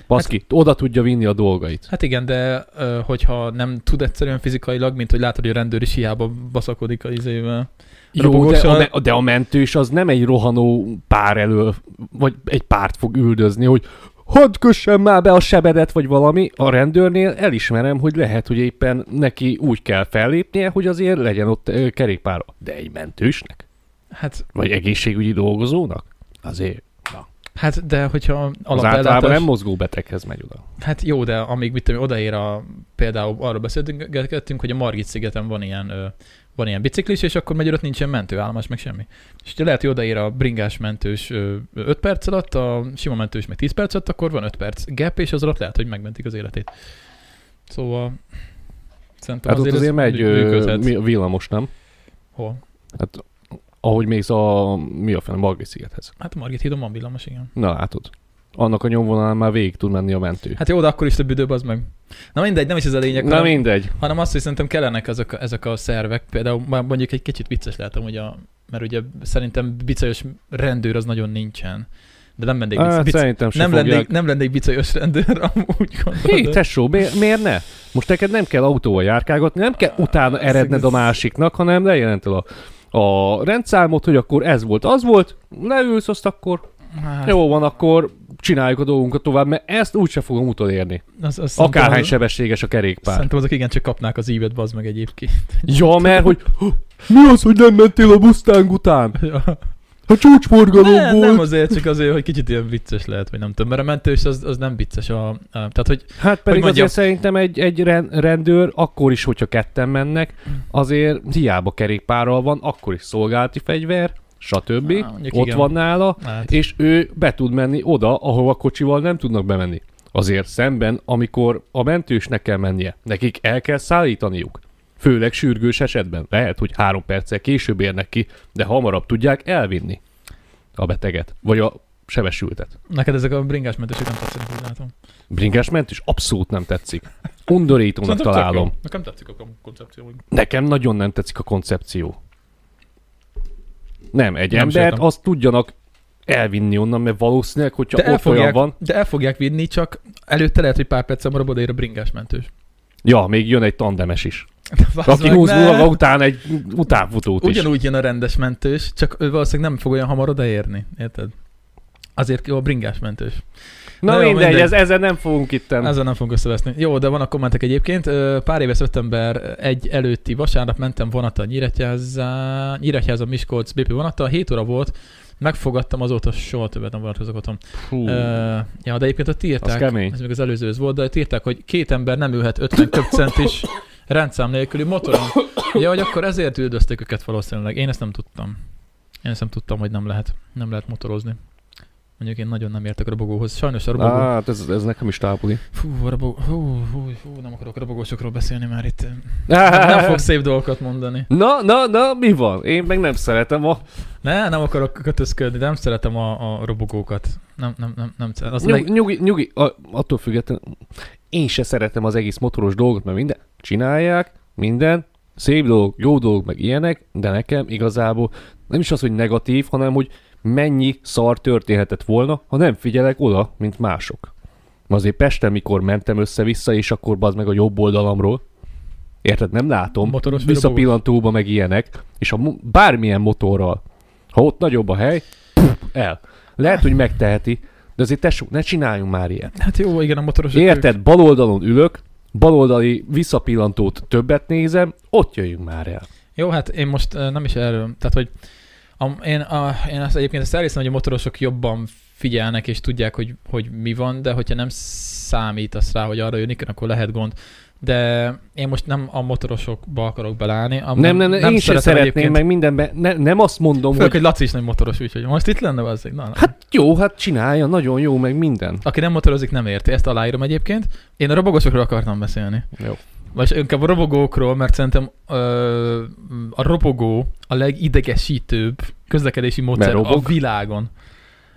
Speaker 2: baszki, hát, oda tudja vinni a dolgait.
Speaker 1: Hát igen, de ö, hogyha nem tud egyszerűen fizikailag, mint hogy látod, hogy a rendőr is hiába baszakodik a izével.
Speaker 2: Jó, de
Speaker 1: robogosan-
Speaker 2: a, me- de a mentős az nem egy rohanó pár elől, vagy egy párt fog üldözni, hogy hadd kössem már be a sebedet, vagy valami. A rendőrnél elismerem, hogy lehet, hogy éppen neki úgy kell fellépnie, hogy azért legyen ott ö, kerékpára. De egy mentősnek?
Speaker 1: Hát,
Speaker 2: vagy egészségügyi dolgozónak? Azért
Speaker 1: hát de hogyha
Speaker 2: az általában
Speaker 1: alapellátás...
Speaker 2: nem
Speaker 1: Nem...
Speaker 2: mozgó beteghez megy oda.
Speaker 1: Hát jó, de amíg mit tudom, én, odaér a... Például arról beszélgettünk, hogy a Margit szigeten van ilyen, ö, van ilyen biciklis, és akkor megy ott nincsen mentőállomás, meg semmi. És ugye lehet, hogy odaér a bringás mentős 5 perc alatt, a sima mentős meg 10 perc alatt, akkor van 5 perc gap, és az alatt lehet, hogy megmentik az életét. Szóval... Szerintem
Speaker 2: Hát azért,
Speaker 1: ez
Speaker 2: azért megy
Speaker 1: mű-
Speaker 2: ö,
Speaker 1: működhet.
Speaker 2: mi- villamos, nem? Hát,
Speaker 1: Hol?
Speaker 2: Ahogy mész a, mi a fene, Margit szigethez.
Speaker 1: Hát a Margit hídon van villamos, igen.
Speaker 2: Na látod. Annak a nyomvonalán már végig tud menni a mentő.
Speaker 1: Hát jó, de akkor is több időbb az meg. Na mindegy, nem is ez a lényeg,
Speaker 2: Na
Speaker 1: hanem,
Speaker 2: mindegy.
Speaker 1: hanem azt, hogy szerintem kellenek ezek, a- ezek a szervek. Például már mondjuk egy kicsit vicces látom, hogy a, mert ugye szerintem bicajos rendőr az nagyon nincsen. De nem lennék
Speaker 2: Hát,
Speaker 1: bic-
Speaker 2: szerintem sem
Speaker 1: nem, lennék,
Speaker 2: fogják.
Speaker 1: nem lennék bicajos rendőr, amúgy
Speaker 2: Hé,
Speaker 1: gondolod.
Speaker 2: tesó, mi- miért ne? Most neked nem kell autóval járkálgatni, nem kell utána eredned a másiknak, hanem lejelented a, a rendszámot, hogy akkor ez volt, az volt, leülsz, azt akkor
Speaker 1: Hát,
Speaker 2: jó van, akkor csináljuk a dolgunkat tovább, mert ezt úgyse fogom utolérni.
Speaker 1: Az, az szerintem
Speaker 2: Akárhány
Speaker 1: az-
Speaker 2: sebességes a kerékpár.
Speaker 1: Szerintem azok igencsak kapnák az ívet, bazd meg egyébként.
Speaker 2: Ja, mert hogy mi az, hogy nem mentél a busztánk után?
Speaker 1: Ja.
Speaker 2: Ha csúcsforgalom
Speaker 1: Ne,
Speaker 2: volt.
Speaker 1: nem azért, csak azért, hogy kicsit ilyen vicces lehet, vagy nem tudom. Mert a mentős az, az nem vicces. A, a, tehát, hogy
Speaker 2: Hát pedig
Speaker 1: mondjam?
Speaker 2: azért szerintem egy, egy ren- rendőr, akkor is, hogyha ketten mennek, azért hiába kerékpárral van, akkor is szolgálati fegyver, stb.
Speaker 1: Á, mondjuk
Speaker 2: ott
Speaker 1: igen.
Speaker 2: van nála,
Speaker 1: hát,
Speaker 2: és ő be tud menni oda, ahova kocsival nem tudnak bemenni. Azért szemben, amikor a mentősnek kell mennie, nekik el kell szállítaniuk. Főleg sürgős esetben. Lehet, hogy három perccel később érnek ki, de hamarabb tudják elvinni a beteget, vagy a sebesültet.
Speaker 1: neked ezek a bringás mentősök nem tetszenek, úgy látom.
Speaker 2: Bringás mentős abszolút nem tetszik. Undorítónak
Speaker 1: Szerintem tök
Speaker 2: találom.
Speaker 1: jó. Nekem tetszik a koncepció. hogy-
Speaker 2: Nekem nagyon nem tetszik a koncepció. Nem, egy
Speaker 1: Nem
Speaker 2: nem embert
Speaker 1: sértem.
Speaker 2: azt tudjanak elvinni onnan, mert valószínűleg, hogyha
Speaker 1: De
Speaker 2: de
Speaker 1: el,
Speaker 2: ott olyan
Speaker 1: fogják,
Speaker 2: van,
Speaker 1: van. de el fogják vinni, csak előtte lehet, hogy pár perc hamarabb odaér a bringás mentős.
Speaker 2: ja, még jön egy tandemes is.
Speaker 1: Bazd
Speaker 2: Aki
Speaker 1: meg,
Speaker 2: húz
Speaker 1: ne!
Speaker 2: maga után egy utánfutót is.
Speaker 1: Ugyanúgy jön a rendes mentős, csak ő valószínűleg nem fog olyan hamar odaérni. Érted? Azért jó a bringás mentős.
Speaker 2: Na
Speaker 1: Na jó,
Speaker 2: mindegy,
Speaker 1: mindegy.
Speaker 2: Ez, ezzel nem fogunk itten. Ez...
Speaker 1: Ezzel nem fogunk összeveszni. Jó, de vannak kommentek egyébként. Ö, Pár éve szeptember egy előtti vasárnap mentem vonata Nyíregyháza, Nyíregyháza Miskolc BP vonata, 7 óra volt, megfogadtam azóta, soha többet nem vonatkozok otthon.
Speaker 2: Hú,
Speaker 1: Ö, ja, de egyébként ott írták,
Speaker 2: Az kemény.
Speaker 1: ez még az előzőhöz volt, de ott írták, hogy két ember nem ülhet 50 köbcentis rendszám nélküli motoron. Ja, hogy akkor ezért üldözték őket valószínűleg. Én ezt nem tudtam. Én ezt nem tudtam, hogy nem lehet, nem lehet motorozni. Mondjuk én nagyon nem értek a robogóhoz. Sajnos a robogó...
Speaker 2: Á, Hát ez, ez nekem is tápuli.
Speaker 1: Fú, a robogó... Hú, hú, hú, nem akarok robogósokról beszélni már itt. eh, Nem fog szép dolgokat mondani.
Speaker 2: Na, na, na, mi van? Én meg nem szeretem a...
Speaker 1: Ne, nem akarok kötözködni, nem szeretem a, a robogókat. Nem, nem, nem, nem. szeretem. Az
Speaker 2: Nyug,
Speaker 1: leg...
Speaker 2: nyugi, nyugi, a, attól függetlenül én se szeretem az egész motoros dolgot, mert minden csinálják, minden, szép dolog, jó dolog, meg ilyenek, de nekem igazából nem is az, hogy negatív, hanem hogy mennyi szar történhetett volna, ha nem figyelek oda, mint mások. Azért Pesten, mikor mentem össze-vissza, és akkor bazd meg a jobb oldalamról, érted, nem látom,
Speaker 1: Motoros vagy
Speaker 2: visszapillantóba meg ilyenek, és a mo- bármilyen motorral, ha ott nagyobb a hely, el. Lehet, hogy megteheti, de azért tessük, ne csináljunk már ilyet.
Speaker 1: Hát jó, igen, a motoros.
Speaker 2: Érted, bal oldalon ülök, baloldali visszapillantót többet nézem, ott jöjjünk már el.
Speaker 1: Jó, hát én most eh, nem is erről. Tehát, hogy a, én, a, én azt egyébként ezt elhiszem, hogy a motorosok jobban figyelnek és tudják, hogy, hogy mi van, de hogyha nem számítasz rá, hogy arra jönnik, akkor lehet gond. De én most nem a motorosokba akarok belállni. A,
Speaker 2: nem, nem, nem, én sem szeretném, meg mindenben, ne, nem azt mondom,
Speaker 1: Főleg,
Speaker 2: hogy
Speaker 1: hogy Laci is nem motoros, úgyhogy most itt lenne az. Na, na.
Speaker 2: hát jó, hát csinálja, nagyon jó, meg minden.
Speaker 1: Aki nem motorozik, nem érti. Ezt aláírom egyébként. Én a robogosokról akartam beszélni.
Speaker 2: Jó.
Speaker 1: Vagy inkább a robogókról, mert szerintem ö, a robogó a legidegesítőbb közlekedési módszer
Speaker 2: Mert
Speaker 1: a
Speaker 2: robog?
Speaker 1: világon.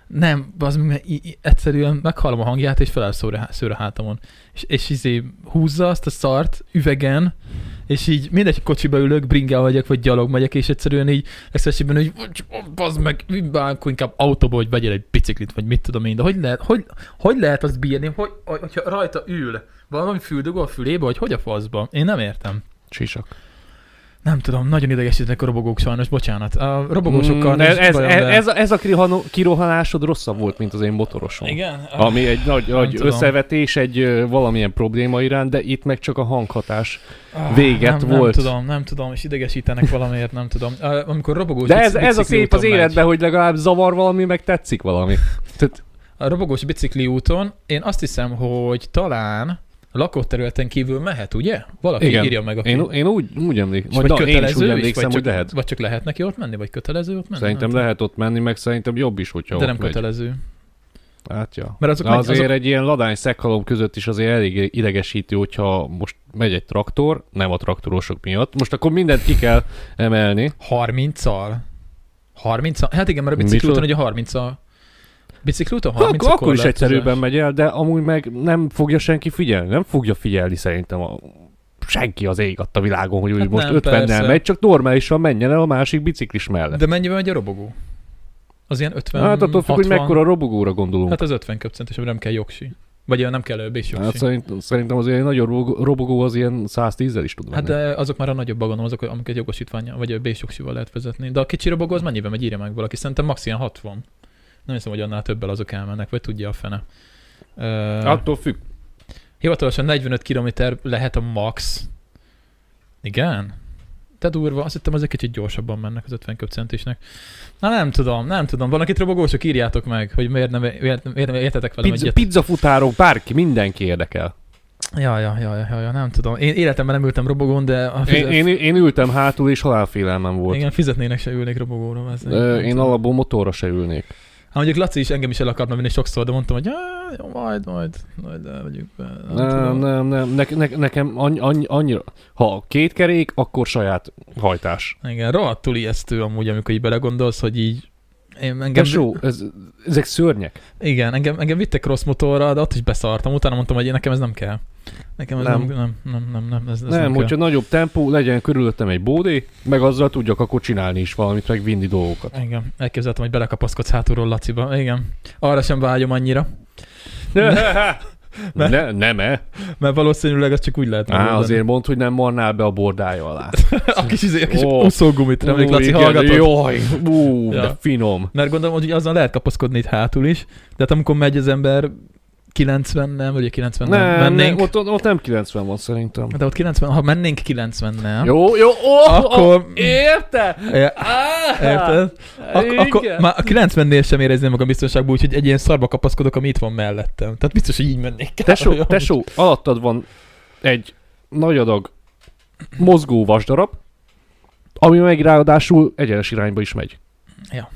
Speaker 1: Nem, az mert i- i- egyszerűen meghallom a hangját, és feláll szőre, szőre hátamon. És, és izé húzza azt a szart üvegen, és így mindegy, kocsiba ülök, bringel megyek, vagy gyalog megyek, és egyszerűen így eszesében, hogy bazd meg, akkor inkább autóba, hogy vegyél egy biciklit, vagy mit tudom én, de hogy lehet, hogy, hogy lehet azt bírni, hogy, hogy- hogyha rajta ül, valami füldugó a fülébe, vagy hogy a faszba? Én nem értem.
Speaker 2: Csisak.
Speaker 1: Nem tudom, nagyon idegesítenek a robogók sajnos, bocsánat. A robogósokkal
Speaker 2: Mm,
Speaker 1: nincs
Speaker 2: ez, ez,
Speaker 1: bajom,
Speaker 2: ez,
Speaker 1: de-
Speaker 2: ez, a, ez a kirihano- kirohanásod rosszabb volt, mint az én motorosom.
Speaker 1: Igen?
Speaker 2: Ami egy nagy, nagy
Speaker 1: tudom.
Speaker 2: összevetés, egy ö, valamilyen probléma irán, de itt meg csak a hanghatás.
Speaker 1: Ah,
Speaker 2: véget
Speaker 1: nem,
Speaker 2: volt.
Speaker 1: Nem tudom, nem tudom, és idegesítenek valamiért, nem tudom. Ah, Amikor robogós
Speaker 2: De
Speaker 1: bic-
Speaker 2: ez, ez a
Speaker 1: bicikli
Speaker 2: szép az
Speaker 1: úton megy.
Speaker 2: életben, hogy legalább zavar valami, meg tetszik valami. Tehát,
Speaker 1: A robogós bicikli úton én azt hiszem, hogy talán lakott területen kívül mehet, ugye? Valaki
Speaker 2: Igen.
Speaker 1: írja meg, aki...
Speaker 2: én, én úgy, úgy emlékszem,
Speaker 1: És
Speaker 2: vagy na, én is úgy
Speaker 1: is,
Speaker 2: emlékszem,
Speaker 1: vagy
Speaker 2: hogy
Speaker 1: csak,
Speaker 2: lehet.
Speaker 1: Vagy csak lehet neki ott menni, vagy kötelező ott menni?
Speaker 2: Szerintem
Speaker 1: nem,
Speaker 2: lehet ott menni, meg szerintem jobb is, hogyha ott
Speaker 1: tudom. De nem
Speaker 2: megy.
Speaker 1: kötelező.
Speaker 2: Hát, ja.
Speaker 1: Mert azok,
Speaker 2: De azért
Speaker 1: azok
Speaker 2: egy ilyen ladány szekhalom között is azért elég idegesítő, hogyha most megy egy traktor, nem a traktorosok miatt. Most akkor mindent ki kell emelni.
Speaker 1: 30-al. 30 Hát igen, mert a biciklúton ugye 30-al. Biciklúton 30
Speaker 2: Ak- Hát akkor is egyszerűbben megy el, de amúgy meg nem fogja senki figyelni. Nem fogja figyelni szerintem a senki az ég adta világon, hogy úgy
Speaker 1: Hát
Speaker 2: most
Speaker 1: nem,
Speaker 2: 50-nel
Speaker 1: persze.
Speaker 2: megy, csak normálisan menjen el a másik biciklis mellett.
Speaker 1: De mennyiben megy a robogó? Az ilyen 50,
Speaker 2: Hát attól függ,
Speaker 1: 60,
Speaker 2: hogy mekkora robogóra gondolunk.
Speaker 1: Hát az 50 köpcent, és nem kell jogsi. Vagy ilyen nem kell ö, bés jogsi.
Speaker 2: Hát
Speaker 1: Hát,
Speaker 2: szerint, szerintem azért egy nagyon robogó- robogó az ilyen 110-zel is tud menni.
Speaker 1: hát de azok már a nagyobb gondolom, azok, amiket jogosítványa, vagy a bés jogsival lehet vezetni. De a kicsi robogó az mennyiben megy, írja meg valaki. Szerintem max ilyen 60. Nem hiszem, hogy annál többel azok elmennek, vagy tudja a fene. Uh,
Speaker 2: Attól függ.
Speaker 1: Hivatalosan 45 km lehet a max. Igen? Te durva, azt hittem, az egy kicsit gyorsabban mennek az 50 köpcentisnek. Na nem tudom, nem tudom. Van, akit robogósok, írjátok meg, hogy miért nem, miért, miért nem értetek velem
Speaker 2: Pizza,
Speaker 1: egyet.
Speaker 2: pizzafutárok, bárki, mindenki érdekel.
Speaker 1: Ja, ja, ja, ja, ja, ja, nem tudom. Én életemben nem ültem robogón, de a
Speaker 2: Én,
Speaker 1: fizet...
Speaker 2: én, én ültem hátul, és halálfélelmem volt.
Speaker 1: igen, fizetnének se ülnék robogóra. Ez
Speaker 2: Ö, én alapból motorra se ülnék.
Speaker 1: Hát mondjuk Laci is engem is el akarna vinni sokszor, de mondtam, hogy "Á, jó, majd, majd, majd elmegyünk be. Nem,
Speaker 2: Nem,
Speaker 1: tudom.
Speaker 2: nem, nem. Ne, ne, nekem any, any, annyira... Ha két kerék, akkor saját hajtás.
Speaker 1: Igen, rohadtul ijesztő amúgy, amikor így belegondolsz, hogy így én engem,
Speaker 2: Tesó, ez, ezek szörnyek.
Speaker 1: Igen, engem, engem vittek rossz motorra, de ott is beszartam. Utána mondtam, hogy én- nekem ez nem kell. Nekem ez nem,
Speaker 2: Nem.
Speaker 1: nem, nem, nem, nem, ez, ez
Speaker 2: Ez nem,
Speaker 1: kell.
Speaker 2: hogyha nagyobb tempó, legyen körülöttem egy bódé, meg azzal tudjak akkor csinálni is valamit, meg vinni dolgokat.
Speaker 1: Igen, elképzeltem, hogy belekapaszkodsz hátulról Laciba. Igen, arra sem vágyom annyira,
Speaker 2: ne, nem -e?
Speaker 1: mert valószínűleg az csak úgy lehet
Speaker 2: Á,
Speaker 1: megoldani.
Speaker 2: azért mondd, hogy nem marnál be a bordája alá.
Speaker 1: a kis, izé, a kis
Speaker 2: Ó.
Speaker 1: oh. uszógumit, remélik,
Speaker 2: Ú,
Speaker 1: Laci,
Speaker 2: igen,
Speaker 1: hallgatod?
Speaker 2: Jaj, ú,
Speaker 1: Ja.
Speaker 2: de finom.
Speaker 1: Mert gondolom, hogy azzal lehet kapaszkodni itt hátul is, de hát amikor megy az ember 90 nem, ugye 90 nem,
Speaker 2: Nem,
Speaker 1: mennénk,
Speaker 2: nem ott, ott nem 90 van szerintem.
Speaker 1: de ott 90, ha mennénk 90 nem,
Speaker 2: Jó, jó, ó,
Speaker 1: Akkor-
Speaker 2: ó, érte?
Speaker 1: Ja,
Speaker 2: Á,
Speaker 1: érted? Ak- akkor
Speaker 2: igen. Hát,
Speaker 1: már a 90-nél sem érezném magam biztonságban, úgyhogy egy ilyen szarba kapaszkodok, ami itt van mellettem. Tehát biztos, hogy így mennék.
Speaker 2: Tesó, tesó, alattad van egy nagy adag mozgó vasdarab, ami meg ráadásul egyenes irányba is megy.
Speaker 1: Ja,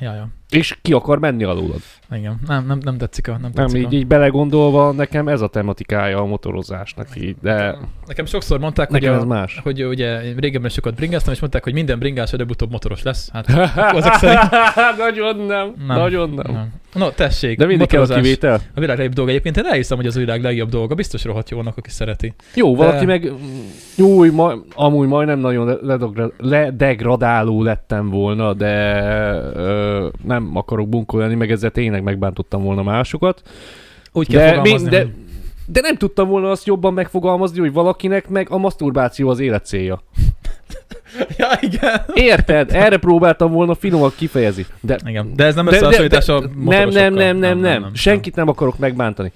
Speaker 1: ja.
Speaker 2: És ki akar menni alólad.
Speaker 1: Igen, nem, nem, nem tetszik a... Nem
Speaker 2: Nem,
Speaker 1: tetszik
Speaker 2: így,
Speaker 1: a...
Speaker 2: így belegondolva nekem ez a tematikája a motorozásnak így, de
Speaker 1: Nekem sokszor mondták, hogy,
Speaker 2: nekem ez
Speaker 1: a,
Speaker 2: más.
Speaker 1: hogy ugye régebben sokat bringáztam, és mondták, hogy minden bringás előbb-utóbb motoros lesz. Hát akkor ezek szerint
Speaker 2: nagyon nem,
Speaker 1: Nem.
Speaker 2: nagyon nem.
Speaker 1: nem. No, tessék,
Speaker 2: De mindig kell a
Speaker 1: motorozás.
Speaker 2: kivétel.
Speaker 1: A világ legjobb dolga. Egyébként én elhiszem, hogy az a világ legjobb dolga. Biztos rohadt jónak, aki szereti.
Speaker 2: Jó,
Speaker 1: De-
Speaker 2: valaki meg, jó, ma, amúgy majdnem nagyon ledogra- ledegradáló lettem volna, de ö, nem akarok bunkolni, meg ezzel tényleg megbántottam volna másokat.
Speaker 1: Úgy kell
Speaker 2: De,
Speaker 1: fogalmazni,
Speaker 2: mind, de,
Speaker 1: hogy-
Speaker 2: de nem tudtam volna azt jobban megfogalmazni, hogy valakinek meg a maszturbáció az élet célja.
Speaker 1: Ja, igen.
Speaker 2: Érted? Erre próbáltam volna finoman kifejezni. De
Speaker 1: Igen, de ez nem
Speaker 2: De- de-
Speaker 1: összehasonlítás
Speaker 2: de-
Speaker 1: a
Speaker 2: nem,
Speaker 1: motorosokkal.
Speaker 2: nem, nem, nem, nem. Senkit nem akarok megbántani.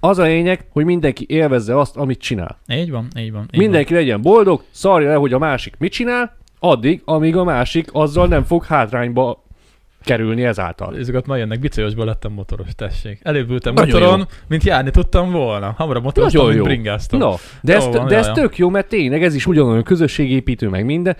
Speaker 2: Az a lényeg, hogy mindenki élvezze azt, amit csinál.
Speaker 1: Így van, így van. Így
Speaker 2: Mindenki legyen boldog, szarja le, hogy a másik mit csinál, addig, amíg a másik azzal nem fog hátrányba kerülni ezáltal.
Speaker 1: Van. Ezeket majd jönnek, bicajosból lettem motoros, tessék. Előbb ültem
Speaker 2: Nagyon
Speaker 1: motoron,
Speaker 2: jó.
Speaker 1: mint járni tudtam volna. Hamarabb motoroztam,
Speaker 2: Nagyon
Speaker 1: mint
Speaker 2: jó.
Speaker 1: bringáztam.
Speaker 2: Na, de ez,
Speaker 1: Jó van,
Speaker 2: de ez
Speaker 1: jaj,
Speaker 2: tök jó, mert tényleg ez is ugyanolyan közösségépítő, meg minden.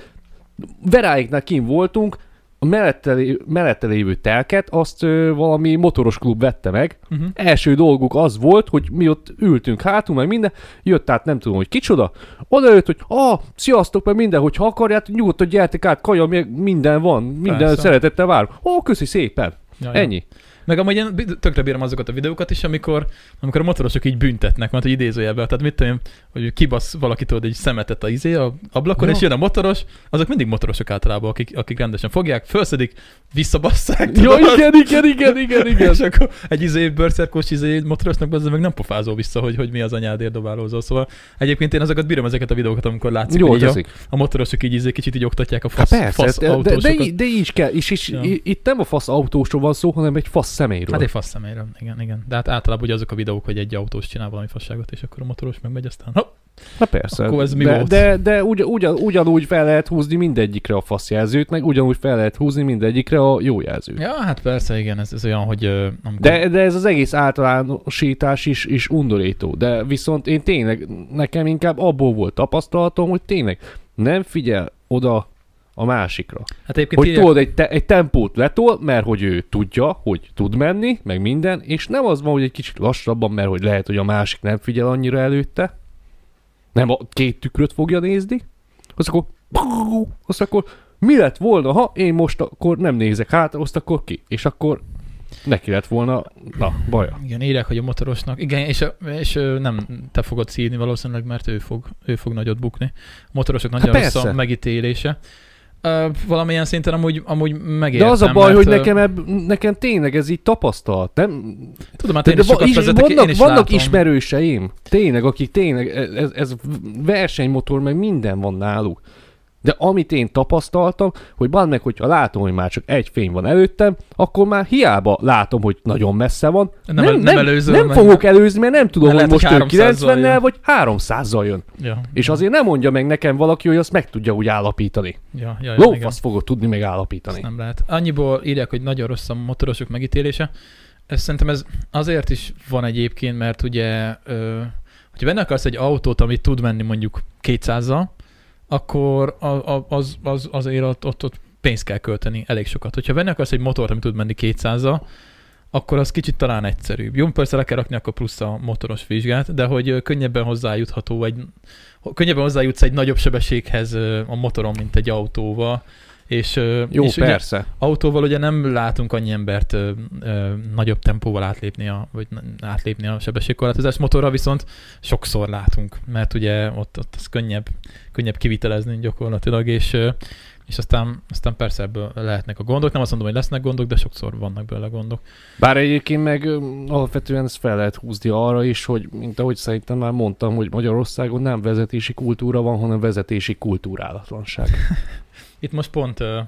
Speaker 2: Veráiknál kim voltunk, a mellette, lé- mellette lévő telket azt ö, valami motoros klub vette meg,
Speaker 1: Uh-huh.
Speaker 2: első dolguk az volt, hogy mi ott ültünk hátul, meg minden, jött át nem tudom, hogy kicsoda, oda jött, hogy ah, sziasztok, meg minden, hogyha akarjátok, nyugodtan gyertek át, kaja, meg minden van, minden
Speaker 1: Persze.
Speaker 2: Persze. szeretettel várom. Ó, oh, köszi szépen.
Speaker 1: Ja, ja.
Speaker 2: Ennyi.
Speaker 1: Meg amúgy én bi- tökre bírom azokat a videókat is, amikor, amikor a motorosok így büntetnek, mert hogy idézőjelben, tehát mit tudom, én, hogy kibasz valaki tudod egy szemetet a izé a ablakon,
Speaker 2: Ja.
Speaker 1: és jön a motoros, azok mindig motorosok általában, akik, akik rendesen fogják, felszedik, visszabasszák.
Speaker 2: Jó,
Speaker 1: tudod,
Speaker 2: igen, igen, igen, igen, igen.
Speaker 1: És akkor egy izé bőrszerkós izé motorosnak az meg nem pofázol vissza, hogy, hogy mi az anyádért dobálózol. Szóval egyébként én azokat bírom ezeket a videókat, amikor látszik,
Speaker 2: Jó,
Speaker 1: hogy így a,
Speaker 2: teszik.
Speaker 1: a, motorosok így izé kicsit így oktatják a
Speaker 2: Hát
Speaker 1: fasz,
Speaker 2: persze,
Speaker 1: fasz
Speaker 2: de, de, de,
Speaker 1: autósokat.
Speaker 2: í- de így kell, és, és
Speaker 1: Ja.
Speaker 2: ja. itt nem a fasz autósról van szó, hanem egy fasz személyről.
Speaker 1: Hát egy fasz személyre, igen, igen. De hát általában ugye azok a videók, hogy egy autós csinál valami fasságot, és akkor a motoros megmegy, aztán hopp,
Speaker 2: Na persze,
Speaker 1: Akkor ez mi
Speaker 2: de,
Speaker 1: volt?
Speaker 2: de, de ugy, ugyan, ugyanúgy fel lehet húzni mindegyikre a faszjelzőt, meg ugyanúgy fel lehet húzni mindegyikre a jó jelzőt.
Speaker 1: Ja, hát persze, igen, ez, ez olyan, hogy... ö, Amikor...
Speaker 2: De, de ez az egész általánosítás is, is undorító. De viszont én tényleg, nekem inkább abból volt tapasztalatom, hogy tényleg nem figyel oda a másikra.
Speaker 1: hát egyébként
Speaker 2: Hogy
Speaker 1: írják,
Speaker 2: tudod, egy, te, egy tempót letol, mert hogy ő tudja, hogy tud menni, meg minden, és nem az van, hogy egy kicsit lassabban, mert hogy lehet, hogy a másik nem figyel annyira előtte, nem a két tükröt fogja nézni, azt akkor, azt akkor mi lett volna, ha én most akkor nem nézek hátra, azt akkor ki, és akkor neki lett volna, na, baja.
Speaker 1: Igen, írják, hogy a motorosnak... Igen, és, és ö, nem te fogod szívni valószínűleg, mert ő fog, ő fog nagyot bukni. A motorosok nagyon rossz a
Speaker 2: Hát persze.
Speaker 1: megítélése. Ö, valamilyen szinten amúgy, amúgy
Speaker 2: De
Speaker 1: megértem.
Speaker 2: az a baj,
Speaker 1: mert,
Speaker 2: hogy
Speaker 1: ö,
Speaker 2: nekem, ebb, nekem tényleg ez így tapasztalt, nem,
Speaker 1: Tudom, hát
Speaker 2: De,
Speaker 1: én
Speaker 2: de
Speaker 1: is
Speaker 2: va-
Speaker 1: sokat
Speaker 2: is,
Speaker 1: vezetek, én
Speaker 2: vannak,
Speaker 1: is
Speaker 2: vannak
Speaker 1: látom.
Speaker 2: ismerőseim, tényleg, akik tényleg, e- ez, ez versenymotor, meg minden van náluk. De amit én tapasztaltam, hogy van meg, hogyha látom, hogy már csak egy fény van előttem, akkor már hiába látom, hogy nagyon messze van.
Speaker 1: Nem el- nem előzöm
Speaker 2: nem
Speaker 1: meg.
Speaker 2: fogok előzni, mert nem tudom,
Speaker 1: Mert
Speaker 2: hogy most
Speaker 1: lehet,
Speaker 2: ő
Speaker 1: hogy 300-zal jön.
Speaker 2: 90-nel vagy 300-zal jön.
Speaker 1: Ja,
Speaker 2: És azért nem mondja meg nekem valaki, hogy azt meg tudja úgy állapítani.
Speaker 1: ja, ja, ja, igen.
Speaker 2: Lófasz fogod tudni megállapítani.
Speaker 1: Ezt nem lehet. Annyiból írják, hogy nagyon rossz a motorosok megítélése. Ez szerintem ez azért is van egyébként, mert ugye, ö, hogyha benne akarsz egy autót, ami tud menni mondjuk 200-zal, akkor a, a, az, az, azért ott, ott, ott pénzt kell költeni elég sokat. Hogyha benne akarsz egy motort, ami tud menni 200-zal, akkor az kicsit talán egyszerűbb. Jó, persze le kell rakni akkor plusz a motoros vizsgát, de hogy ö, könnyebben hozzájutható egy, ho- könnyebben hozzájutsz egy nagyobb sebességhez ö, a motoron, mint egy autóval. És, ö,
Speaker 2: Jó,
Speaker 1: és ugye
Speaker 2: persze.
Speaker 1: autóval ugye nem látunk annyi embert ö, ö, nagyobb tempóval átlépni a, vagy n- átlépni a sebességkorlátozást. Motorra viszont sokszor látunk, mert ugye ott, ott az könnyebb, könnyebb kivitelezni gyakorlatilag, és, ö, és aztán, aztán persze ebből lehetnek a gondok. Nem azt mondom, hogy lesznek gondok, de sokszor vannak belőle gondok.
Speaker 2: Bár egyébként meg öm, alapvetően ezt fel lehet húzni arra is, hogy mint ahogy szerintem már mondtam, hogy Magyarországon nem vezetési kultúra van, hanem vezetési kultúrálatlanság.
Speaker 1: Itt most pont, ö, hát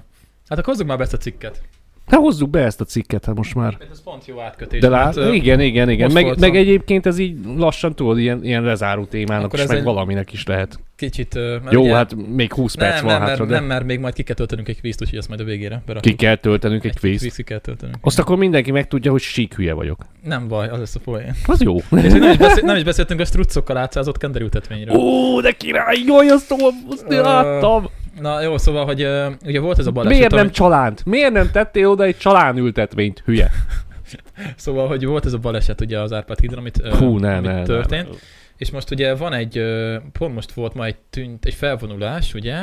Speaker 1: akkor hozzuk már be ezt a cikket.
Speaker 2: Hát hozzuk be ezt a cikket, hát most már.
Speaker 1: Ez pont jó átkötés.
Speaker 2: De
Speaker 1: mert,
Speaker 2: lát,
Speaker 1: hát, ö,
Speaker 2: igen, igen, igen.
Speaker 1: most
Speaker 2: Meg,
Speaker 1: voltam.
Speaker 2: meg, egyébként ez így lassan tudod, ilyen, ilyen lezáró témának
Speaker 1: Akkor
Speaker 2: is,
Speaker 1: ez
Speaker 2: meg
Speaker 1: egy-
Speaker 2: valaminek is lehet.
Speaker 1: Kicsit... ö, Mert
Speaker 2: Jó,
Speaker 1: ugye-
Speaker 2: hát még 20
Speaker 1: nem,
Speaker 2: perc
Speaker 1: nem,
Speaker 2: van
Speaker 1: mert,
Speaker 2: hátra, de
Speaker 1: nem, mert még majd ki kell töltenünk egy kvízt, úgyhogy ezt majd a végére berakjuk.
Speaker 2: ki kell töltenünk egy
Speaker 1: kis
Speaker 2: kvízt.
Speaker 1: Ki kell töltenünk.
Speaker 2: Azt akkor mindenki megtudja, hogy sík hülye vagyok.
Speaker 1: Nem baj, az lesz a poén.
Speaker 2: Az jó.
Speaker 1: És nem, is beszél, nem is beszéltünk a struccokkal átszázott kenderültetvényről.
Speaker 2: Ó, de király, jaj, azt, azt láttam.
Speaker 1: Na jó, szóval, hogy ö, ugye volt ez a baleset.
Speaker 2: Miért nem
Speaker 1: ami-
Speaker 2: csalánt? Miért nem tettél oda egy csalán ültetvényt, hülye?
Speaker 1: Szóval, hogy volt ez a baleset ugye az Árpád hídon, amit, ö,
Speaker 2: Hú, ne,
Speaker 1: amit
Speaker 2: ne, ne,
Speaker 1: történt.
Speaker 2: ne.
Speaker 1: És most ugye van egy, ö, pont most volt ma egy, tűnt, egy felvonulás, ugye,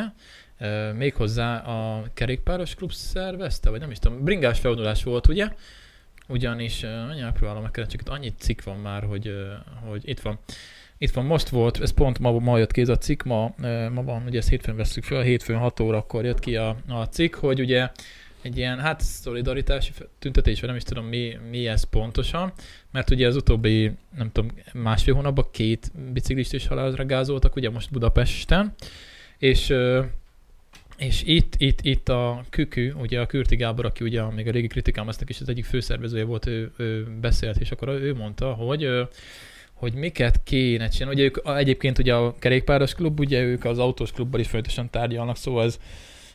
Speaker 1: Ö, méghozzá a kerékpáros klub szervezte, vagy nem is tudom, bringás felvonulás volt, ugye, ugyanis, ö, mindjárt próbálom megkeresni, csak itt annyi cikk van már, hogy, ö, hogy itt van. Itt van, most volt, ez pont ma, ma jött ki ez a cikk, ma, ö, ma van, ugye ezt hétfőn veszük fel, hétfőn 6 órakor jött ki a, a cikk, hogy ugye egy ilyen, hát szolidaritási fe- tüntetés, vagy nem is tudom mi, mi ez pontosan, mert ugye az utóbbi, nem tudom, másfél hónapban két biciklist is halálra gázoltak, ugye most Budapesten, és, ö, és itt, itt, itt a Kükü, ugye a Kürti Gábor, aki ugye a- még a régi kritikám, aztnak is az egyik főszervezője volt, ő, ő beszélt, és akkor ő mondta, hogy ö, hogy miket kéne csinálni. Ugye ők a- egyébként ugye a kerékpáros klub, ugye ők az autós klubbal is folyamatosan tárgyalnak, szóval ez,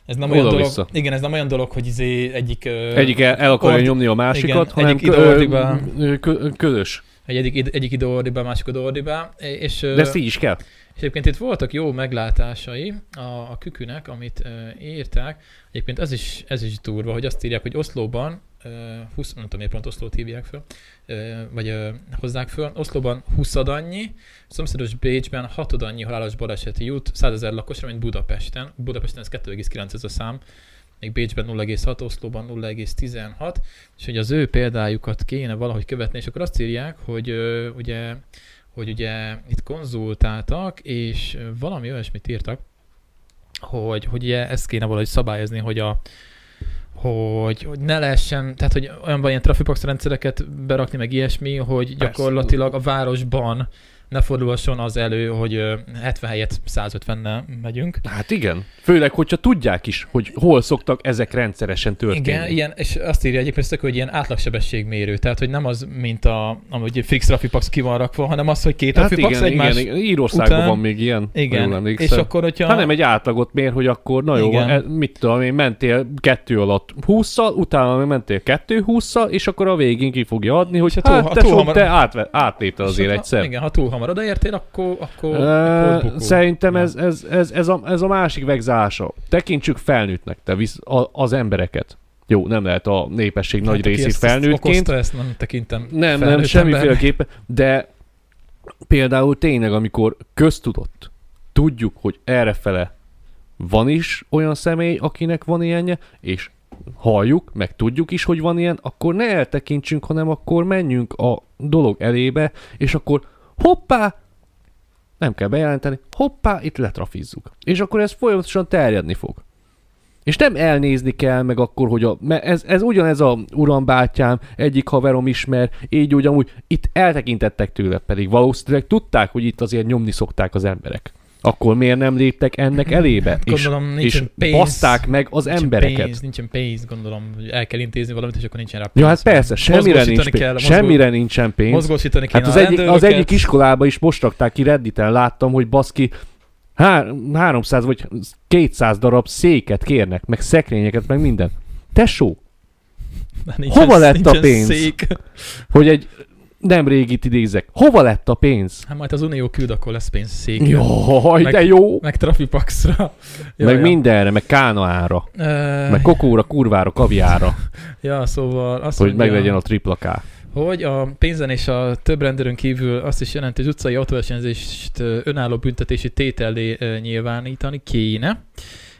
Speaker 1: ez nem olyan
Speaker 2: Oda-vissza.
Speaker 1: dolog, igen, ez nem olyan dolog, hogy izé egyik, ö,
Speaker 2: Egyik el, el akarja
Speaker 1: Ord-
Speaker 2: nyomni a másikat,
Speaker 1: igen,
Speaker 2: hanem
Speaker 1: egyik
Speaker 2: kö-
Speaker 1: ide,
Speaker 2: ö,
Speaker 1: ordik be.
Speaker 2: ö, kö- közös.
Speaker 1: Egy, egyik, egyik ide ordibá, másik oda ordibá, és, ö,
Speaker 2: De ezt így is kell.
Speaker 1: és egyébként itt voltak jó meglátásai a, a kükünek, amit ö, írták. Egyébként ez is, ez is durva, hogy azt írják, hogy Oszlóban, ö, 20, nem tudom miért pont Oszlót hívják föl, ö, vagy ö, hozzák föl, Oszlóban 20 annyi, szomszédos Bécsben 6 annyi halálos baleset jut 100 ezer lakosra, mint Budapesten. Budapesten ez 2,9 ez a szám, még Bécsben 0,6, Oszlóban 0,16, és hogy az ő példájukat kéne valahogy követni, és akkor azt írják, hogy ö, ugye hogy ugye itt konzultáltak, és valami olyasmit írtak, hogy, hogy ugye ezt kéne valahogy szabályozni, hogy a hogy, hogy ne lehessen, tehát hogy olyanban ilyen trafipax rendszereket berakni, meg ilyesmi, hogy
Speaker 2: Persze.
Speaker 1: gyakorlatilag a városban ne fordulhasson az elő, hogy ö, 70 helyet 150-nel megyünk.
Speaker 2: Hát igen. Főleg, hogyha tudják is, hogy hol szoktak ezek rendszeresen történni.
Speaker 1: Igen, ilyen, és azt írja egyébként tök, hogy ilyen átlagsebességmérő, tehát hogy nem az, mint a, amúgy fix trafipax ki van rakva, hanem az, hogy két
Speaker 2: Hát
Speaker 1: trafipax
Speaker 2: igen,
Speaker 1: egymás...
Speaker 2: igen, igen, Írországban
Speaker 1: után-
Speaker 2: van még ilyen, ha jól
Speaker 1: igen. és
Speaker 2: emlékszem.
Speaker 1: akkor, hogyha...
Speaker 2: Ha nem egy átlagot mér, hogy akkor na jó,
Speaker 1: Igen.
Speaker 2: e, mit tudom én, mentél kettő alatt 20 utána még mentél kettő 20 és akkor a végén ki fogja adni, hogy
Speaker 1: És ha túl-
Speaker 2: hát
Speaker 1: ha
Speaker 2: te,
Speaker 1: túl
Speaker 2: sok,
Speaker 1: hamar-
Speaker 2: te átve, átlépted azért
Speaker 1: És
Speaker 2: egyszer.
Speaker 1: Ha, igen, ha túl hamar odaértél, akkor, akkor,
Speaker 2: Ö,
Speaker 1: akkor bukó.
Speaker 2: Szerintem
Speaker 1: Ja.
Speaker 2: ez, ez, ez, ez, a, ez a másik vegzása. Tekintsük felnőttnek te visz, a, az embereket. Jó, nem lehet a népesség
Speaker 1: Hát,
Speaker 2: nagy
Speaker 1: aki
Speaker 2: részét
Speaker 1: ezt- ezt
Speaker 2: felnőttként.
Speaker 1: Okozta, ezt nem tekintem
Speaker 2: Nem, nem,
Speaker 1: felnőtt embernek.
Speaker 2: semmiféleképpen. De például tényleg, amikor köztudott, tudjuk, hogy errefele van is olyan személy, akinek van ilyenje, és halljuk, meg tudjuk is, hogy van ilyen, akkor ne eltekintsünk, hanem akkor menjünk a dolog elébe, és akkor hoppá, nem kell bejelenteni, hoppá, itt letrafizzuk. És akkor ez folyamatosan terjedni fog. És nem elnézni kell meg akkor, hogy a, mert ez, ez ugyanez a urambátyám, egyik haverom ismer, így ugyanúgy, itt eltekintettek tőle pedig, valószínűleg tudták, hogy itt azért nyomni szokták az emberek. Akkor miért nem léptek ennek elébe?
Speaker 1: Gondolom,
Speaker 2: és
Speaker 1: nincsen
Speaker 2: és
Speaker 1: pénz.
Speaker 2: baszták meg az
Speaker 1: Nincsen
Speaker 2: embereket.
Speaker 1: Pénz, nincsen pénz, gondolom, hogy el kell intézni valamit, és akkor nincsen rá pénz.
Speaker 2: Ja, hát persze, semmire,
Speaker 1: Mozgósítani
Speaker 2: nincs pénz,
Speaker 1: kell, mozgó-
Speaker 2: semmire nincsen pénz.
Speaker 1: Mozgósítani kéne
Speaker 2: Hát az,
Speaker 1: a
Speaker 2: egy, az
Speaker 1: rendőröket.
Speaker 2: egyik iskolába is most rakták ki Redditen, láttam, hogy baszki, há- 300 vagy 200 darab széket kérnek, meg szekrényeket, meg minden. Tesó,
Speaker 1: Nincsen-
Speaker 2: hova lett a
Speaker 1: nincsen
Speaker 2: pénz?
Speaker 1: Szék.
Speaker 2: hogy egy nem régit idézek. Hova lett a pénz?
Speaker 1: Hát majd az Unió küld, akkor lesz pénz székre.
Speaker 2: Jaj,
Speaker 1: Meg-
Speaker 2: de jó!
Speaker 1: Meg trafipaxra. Ja,
Speaker 2: meg
Speaker 1: ja.
Speaker 2: mindenre, meg kánaára,
Speaker 1: Ö,
Speaker 2: meg kokóra, kurvára, kaviára,
Speaker 1: Ja, szóval azt
Speaker 2: hogy
Speaker 1: mondja-
Speaker 2: meglegyen a tripla K.
Speaker 1: Hogy a pénzen és a több rendőrön kívül azt is jelenti, hogy az utcai autóversenyzést ö, önálló büntetési tétellé ö, nyilvánítani kéne,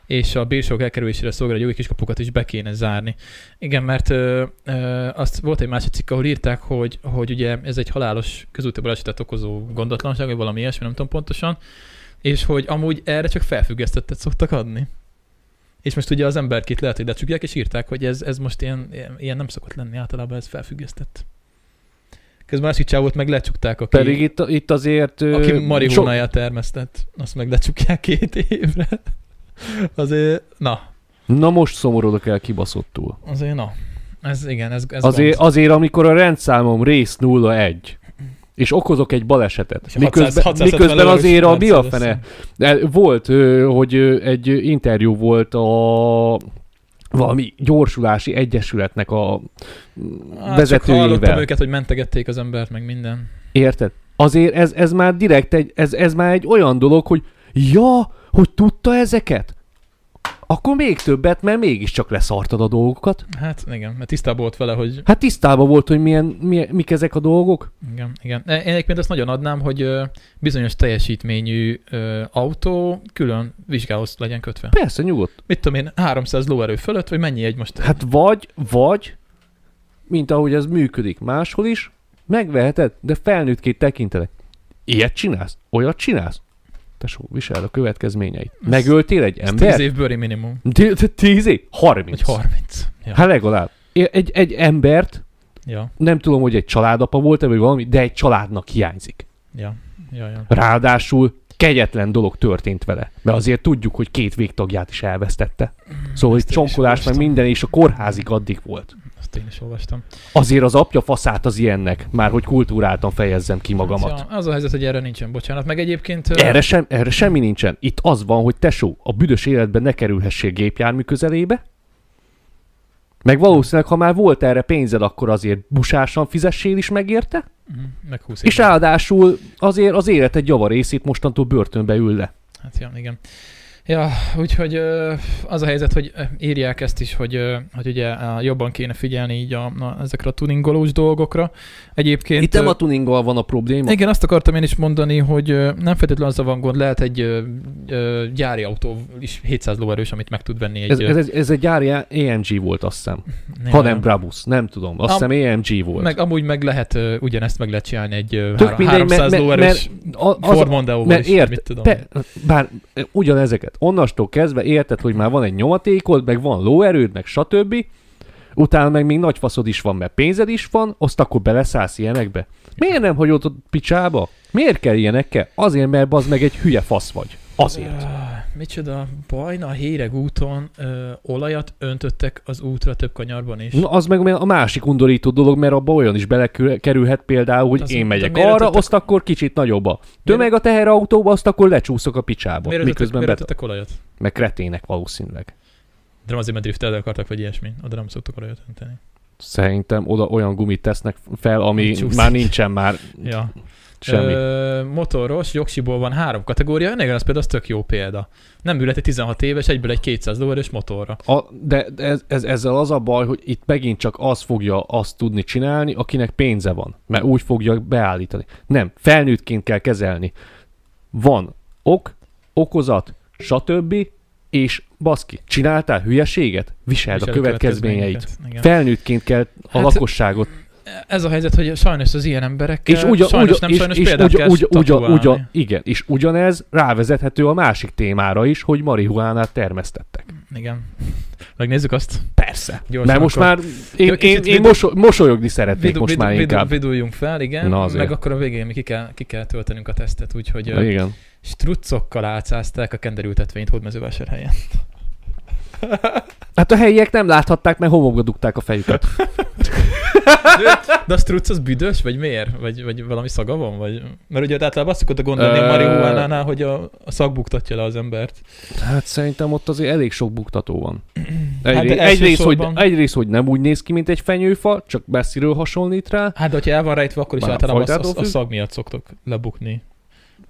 Speaker 1: és a bírságok elkerülésére szolgáló jogi kiskapukat is be kéne zárni. Igen, mert ö, ö, azt volt egy másik cikk, ahol írták, hogy, hogy ugye ez egy halálos közúti balesetet okozó gondatlanság, vagy valami ilyesmi, nem tudom pontosan, és hogy amúgy erre csak felfüggesztettet szoktak adni. És most ugye az emberkét lehet, hogy lecsukják, és írták, hogy ez, ez most ilyen, ilyen nem szokott lenni, általában ez felfüggesztett. Közben másik csávót meg lecsukták, aki,
Speaker 2: Pedig itt, itt azért... ö,
Speaker 1: aki
Speaker 2: sok-
Speaker 1: marihunáját termesztett, azt meg lecsukják két évre. Azért, na,
Speaker 2: Na most szomorodok el kibaszottul.
Speaker 1: azért na. Ez igen, ez, ez
Speaker 2: Azért,
Speaker 1: gond.
Speaker 2: azért, amikor a rendszámom rész 01, és okozok egy balesetet.
Speaker 1: És a 600
Speaker 2: Miközben,
Speaker 1: 670
Speaker 2: miközben
Speaker 1: eurós
Speaker 2: azért a mi a
Speaker 1: Mercedes.
Speaker 2: fene? De Volt, ö, hogy ö, egy interjú volt a valami gyorsulási egyesületnek a
Speaker 1: Hát Csak hallottam
Speaker 2: vezetőjével.
Speaker 1: őket, hogy mentegették az embert, meg minden.
Speaker 2: Érted? Azért ez, ez már direkt egy, ez, ez már egy olyan dolog, hogy ja, hogy tudta ezeket? akkor még többet, mert mégiscsak leszartad a dolgokat.
Speaker 1: Hát igen, mert tisztában volt vele, hogy
Speaker 2: Hát tisztában volt, hogy milyen, milyen, mik ezek a dolgok.
Speaker 1: Igen, igen. E, Én egyébként azt nagyon adnám, hogy ö, bizonyos teljesítményű ö, autó külön vizsgához legyen kötve.
Speaker 2: Persze, nyugodt.
Speaker 1: Mit tudom én, 300 lóerő fölött, vagy mennyi egy most?
Speaker 2: Hát vagy, vagy, mint ahogy ez működik máshol is, megveheted, de felnőttként tekintelek. Ilyet csinálsz? Olyat csinálsz? Tesó, visel a következményeit. Megöltél egy
Speaker 1: Ez 10
Speaker 2: embert?
Speaker 1: év bőri minimum.
Speaker 2: Tíz év?
Speaker 1: Vagy
Speaker 2: Harminc.
Speaker 1: 30. Ja.
Speaker 2: Hát legalább. É- Egy, egy embert,
Speaker 1: ja,
Speaker 2: nem tudom, hogy egy családapa volt-e, vagy valami, de egy családnak hiányzik.
Speaker 1: ja, ja, ja.
Speaker 2: Ráadásul kegyetlen dolog történt vele, mert azért tudjuk, hogy két végtagját is elvesztette. Szóval itt
Speaker 1: ezt én is
Speaker 2: csonkolás meg
Speaker 1: olvastam.
Speaker 2: minden, és a kórházig addig volt.
Speaker 1: Azt én is olvastam.
Speaker 2: Azért az apja faszát az ilyennek, már hogy kultúráltan fejezzem ki magamat.
Speaker 1: Hát, Ja, az a helyzet, hogy erre nincsen bocsánat. Meg egyébként... ö,
Speaker 2: Erre, sem, erre semmi nincsen. Itt az van, hogy tesó, a büdös életben ne kerülhessél gépjármű közelébe, meg valószínűleg, ha már volt erre pénzed, akkor azért busásan fizessél is megérte,
Speaker 1: mhm, Meg 20
Speaker 2: és
Speaker 1: év.
Speaker 2: ráadásul azért az élet egy java részét mostantól börtönbe ül le.
Speaker 1: Hát ja, igen. Ja, úgyhogy ö, az a helyzet, hogy ö, írják ezt is, hogy, ö, hogy ugye á, jobban kéne figyelni így a, a, ezekre a tuningolós dolgokra. Egyébként...
Speaker 2: Itt nem
Speaker 1: ö,
Speaker 2: a tuninggal van a probléma.
Speaker 1: Igen, azt akartam én is mondani, hogy ö, nem feltétlenül az a van gond, lehet egy ö, ö, gyári autó is 700 lóerős, amit meg tud venni egy...
Speaker 2: Ez,
Speaker 1: ö,
Speaker 2: ez, ez, ez egy gyári AMG volt, azt hiszem.
Speaker 1: néhány-
Speaker 2: Ha nem Brabus, nem tudom. Azt
Speaker 1: Am-
Speaker 2: hiszem AMG volt.
Speaker 1: Meg amúgy meg lehet, ö, ugyanezt meg lehet csinálni egy ö,
Speaker 2: Tök
Speaker 1: há-
Speaker 2: mindegy, mert-
Speaker 1: 300
Speaker 2: mert-
Speaker 1: lóerős
Speaker 2: a- az-
Speaker 1: Ford Mondeo-val
Speaker 2: mert
Speaker 1: is,
Speaker 2: ért,
Speaker 1: mit tudom.
Speaker 2: pe, bár e, ugyanezeket, onnastól kezdve érted, hogy már van egy nyomatékod, meg van lóerőd, meg stb. Utána meg még nagy faszod is van, mert pénzed is van, azt akkor beleszállsz ilyenekbe. Miért nem hagyod ott picsába? Miért kell ilyenekkel? Azért, mert az meg egy hülye fasz vagy. Azért.
Speaker 1: Ah, Micsoda, Bajna Héreg úton ö, olajat öntöttek az útra több kanyarban is.
Speaker 2: Na, az meg a másik undorító dolog, mert abba olyan is belekerülhet például, hogy
Speaker 1: Hát Az-
Speaker 2: én megyek
Speaker 1: de miért
Speaker 2: arra,
Speaker 1: ötöttek-
Speaker 2: azt akkor kicsit nagyobb a tömeg a teherautóba, azt akkor lecsúszok a picsába.
Speaker 1: Miért öntöttek,
Speaker 2: miközben
Speaker 1: miért
Speaker 2: bet...
Speaker 1: öntöttek olajat?
Speaker 2: Meg kretének valószínűleg.
Speaker 1: De nem azért, mert driftelni akartak, vagy ilyesmi. Oda nem szoktak olajat önteni.
Speaker 2: Szerintem oda olyan gumit tesznek fel, ami
Speaker 1: Csúszik.
Speaker 2: már nincsen már
Speaker 1: Ja.
Speaker 2: semmi.
Speaker 1: Ö, motoros, jogsiból van három kategória. Igen, az például az tök jó példa. Nem ülhet egy 16 éves, egyből egy 200 lóerős motorra.
Speaker 2: A, de de ez, ez, ezzel az a baj, hogy itt megint csak az fogja azt tudni csinálni, akinek pénze van, mert úgy fogja beállítani. Nem, felnőttként kell kezelni. Van ok, okozat, stb. És baszki, csináltál hülyeséget? Viseld a
Speaker 1: Viselő
Speaker 2: következményeit.
Speaker 1: következményeket. Igen.
Speaker 2: Felnőttként kell a
Speaker 1: Hát-
Speaker 2: lakosságot.
Speaker 1: Ez a helyzet, hogy sajnos az ilyen emberekkel,
Speaker 2: És ugyan,
Speaker 1: sajnos
Speaker 2: ugyan,
Speaker 1: nem
Speaker 2: és,
Speaker 1: sajnos
Speaker 2: és
Speaker 1: példát
Speaker 2: ugyan,
Speaker 1: kell
Speaker 2: ugyan, ugyan,
Speaker 1: statuálni.
Speaker 2: ugyan, igen, és ugyanez rávezethető a másik témára is, hogy marihuánát termesztettek.
Speaker 1: Igen. Megnézzük azt.
Speaker 2: Persze.
Speaker 1: Gyorsan
Speaker 2: Mert most
Speaker 1: akkor.
Speaker 2: már én,
Speaker 1: Jó,
Speaker 2: én, én
Speaker 1: kicsit vidu-
Speaker 2: moso- mosolyogni szeretnék
Speaker 1: Vidu,
Speaker 2: most
Speaker 1: vidu,
Speaker 2: már
Speaker 1: vidu,
Speaker 2: inkább.
Speaker 1: viduljunk fel, igen.
Speaker 2: Na
Speaker 1: Na
Speaker 2: azért.
Speaker 1: Meg akkor a végén mi ki kell, ki kell töltenünk a tesztet, úgyhogy ö,
Speaker 2: Igen.
Speaker 1: struccokkal álcázták a kenderültetvényt hódmezővásárhelyen.
Speaker 2: Hát a helyiek nem láthatták, mert homokba dugták a fejüket.
Speaker 1: De a strucc az büdös, vagy miért? Vagy, vagy valami szaga van? Vagy... Mert ugye ott általában azt szokott gondolni
Speaker 2: Ö-
Speaker 1: a marihuánánál, hogy a, a szag buktatja le az embert.
Speaker 2: Hát szerintem ott azért elég sok buktató van. Egy,
Speaker 1: Hát
Speaker 2: hát
Speaker 1: de
Speaker 2: egyrészt, hogy,
Speaker 1: elsősorban-
Speaker 2: egyrészt, hogy nem úgy néz ki, mint egy fenyőfa, csak messziről hasonlít rá.
Speaker 1: Hát, de hogyha el van rejtve, akkor is
Speaker 2: Már
Speaker 1: általában a, a,
Speaker 2: fajtától
Speaker 1: a
Speaker 2: függ?
Speaker 1: szag miatt szoktok lebukni.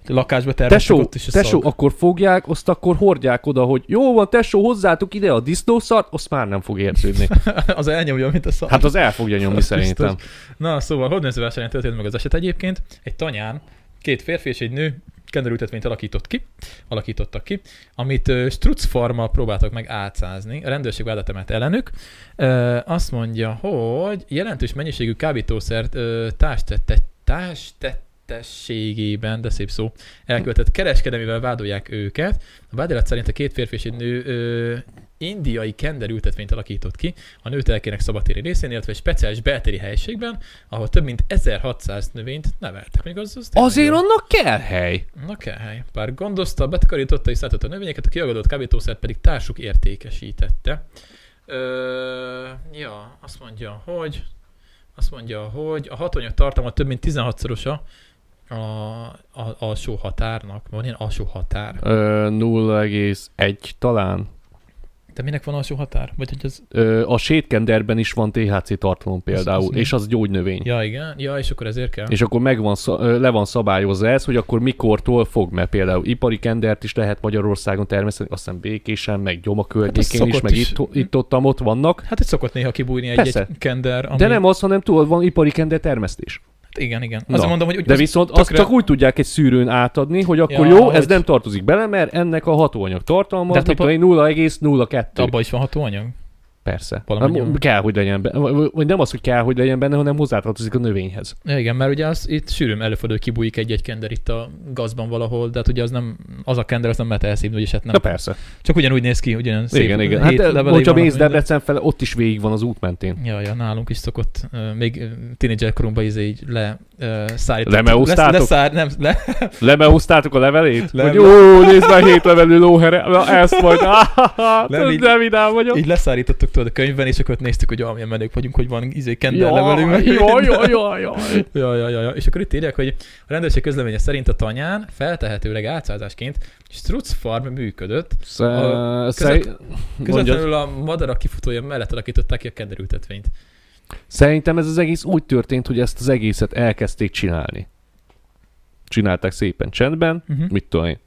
Speaker 1: A lakásba termesztek,
Speaker 2: Tesó,
Speaker 1: ott is a
Speaker 2: tesó,
Speaker 1: szag.
Speaker 2: akkor fogják, azt akkor hordják oda, hogy jó van, tesó, hozzátok ide a disznószart, azt már nem fog érződni.
Speaker 1: az elnyomja, mint a szag.
Speaker 2: Hát az el fogja nyomni
Speaker 1: Az
Speaker 2: szerintem.
Speaker 1: Na, szóval hódmezővásárhelyen történt meg az eset egyébként. Egy tanyán két férfi és egy nő kenderültetvényt alakított ki, alakítottak ki, amit ö, strucfarmal próbáltak meg álcázni. A rendőrség vádat emelt ellenük. Ö, Azt mondja, hogy jelentős mennyiségű kábítószert ö, társtette, társtettességében, de szép szó, elkövetett kereskedelmivel vádolják őket. A vádirat szerint a két férfi és egy nő ö, indiai kenderültetvényt alakított ki, a nőtelkének szabadtéri részén, illetve egy speciális beltéri helyiségben, ahol több mint 1600 növényt neveltek. Még az, az tényleg
Speaker 2: Azért
Speaker 1: jó.
Speaker 2: annak kell hely.
Speaker 1: Na kell hely. Pár gondozta, betakarította és szállította a növényeket, a kiagadott kábítószert pedig társuk értékesítette. Ö, ja, azt mondja, hogy azt mondja, hogy a hatóanyag tartalma több mint 16-szorosa a, a, alsó határnak. Van ilyen alsó határ?
Speaker 2: Ö, 0,1 talán.
Speaker 1: De minek van alsó határ? Vagy hogy az...
Speaker 2: Ö, a sétkenderben is van THC tartalom például,
Speaker 1: mi?
Speaker 2: és az gyógynövény.
Speaker 1: Ja, igen. Ja, és akkor ezért kell.
Speaker 2: És akkor megvan, szab- ö, le van szabályozva ez, hogy akkor mikortól fog, mert például ipari kendert is lehet Magyarországon termeszteni, azt hiszem Békésen, meg Gyoma környékén
Speaker 1: Hát szokott
Speaker 2: is, meg
Speaker 1: is.
Speaker 2: Itt, itt ott, ott vannak.
Speaker 1: Hát itt szokott néha kibújni egy,
Speaker 2: Persze.
Speaker 1: egy kender, ami...
Speaker 2: De nem az, hanem tudod, van ipari kender termesztés.
Speaker 1: Hát igen, igen.
Speaker 2: Na,
Speaker 1: Azt mondom, hogy... úgy-
Speaker 2: De
Speaker 1: az
Speaker 2: viszont
Speaker 1: tökre-
Speaker 2: azt csak úgy tudják egy szűrőn átadni, hogy akkor
Speaker 1: Ja,
Speaker 2: jó, ez
Speaker 1: hogy-
Speaker 2: nem tartozik bele, mert ennek a hatóanyag tartalma,
Speaker 1: De
Speaker 2: de
Speaker 1: hát
Speaker 2: mit
Speaker 1: abba-
Speaker 2: tudom én, 0,02.
Speaker 1: Abba is van hatóanyag?
Speaker 2: Persze.
Speaker 1: Valamennyi
Speaker 2: Hát,
Speaker 1: van.
Speaker 2: kell, hogy legyen benne. Vagy- Vagy nem az, hogy kell, hogy legyen benne, hanem hozzátartozik a növényhez.
Speaker 1: Ja, igen, mert ugye az itt sűrűn előfordul, hogy kibújik egy-egy kender itt a gazban valahol, de hát ugye az nem, az a kender az nem lehet elszívni, úgyis hát
Speaker 2: Nem. Na
Speaker 1: nem.
Speaker 2: persze.
Speaker 1: Csak ugyanúgy néz ki, ugyanolyan szép.
Speaker 2: igen, igen.
Speaker 1: hét
Speaker 2: Hát,
Speaker 1: levelei
Speaker 2: hogyha
Speaker 1: vannak
Speaker 2: mész
Speaker 1: minden.
Speaker 2: Debrecen fele, ott is végig van az út mentén.
Speaker 1: Ja, ja, nálunk is szokott, ö, még tínédzser korunkban izé így le ö, szállítottuk.
Speaker 2: Lemeúztátok?
Speaker 1: Lesz- Leszár, nem, le,
Speaker 2: Lebeúztátok a levelét?
Speaker 1: Nem.
Speaker 2: Nem. Hogy ó, nézd már hét levelű lóhere, na ezt majd, ah,
Speaker 1: Nem, így-
Speaker 2: de vidám vagyok.
Speaker 1: így leszállítottuk tudod a könyvben, és akkor ott néztük, hogy olyan menők vagyunk, hogy van izé kender levelünk.
Speaker 2: Jaj,
Speaker 1: meg
Speaker 2: jaj, jaj,
Speaker 1: minden.
Speaker 2: jaj, jaj.
Speaker 1: Ja, ja, ja, ja. És akkor itt írják, hogy a rendőrség közleménye szerint a tanyán feltehetőleg átszázásként Strutz Farm működött,
Speaker 2: Sze-
Speaker 1: között-
Speaker 2: sze- mondjad.
Speaker 1: Közvetlenül a madarak kifutója mellett alakították ki a kenderültetvényt.
Speaker 2: Szerintem ez az egész úgy történt, hogy ezt az egészet elkezdték csinálni. Csinálták szépen csendben,
Speaker 1: Uh-huh.
Speaker 2: mit tudom én,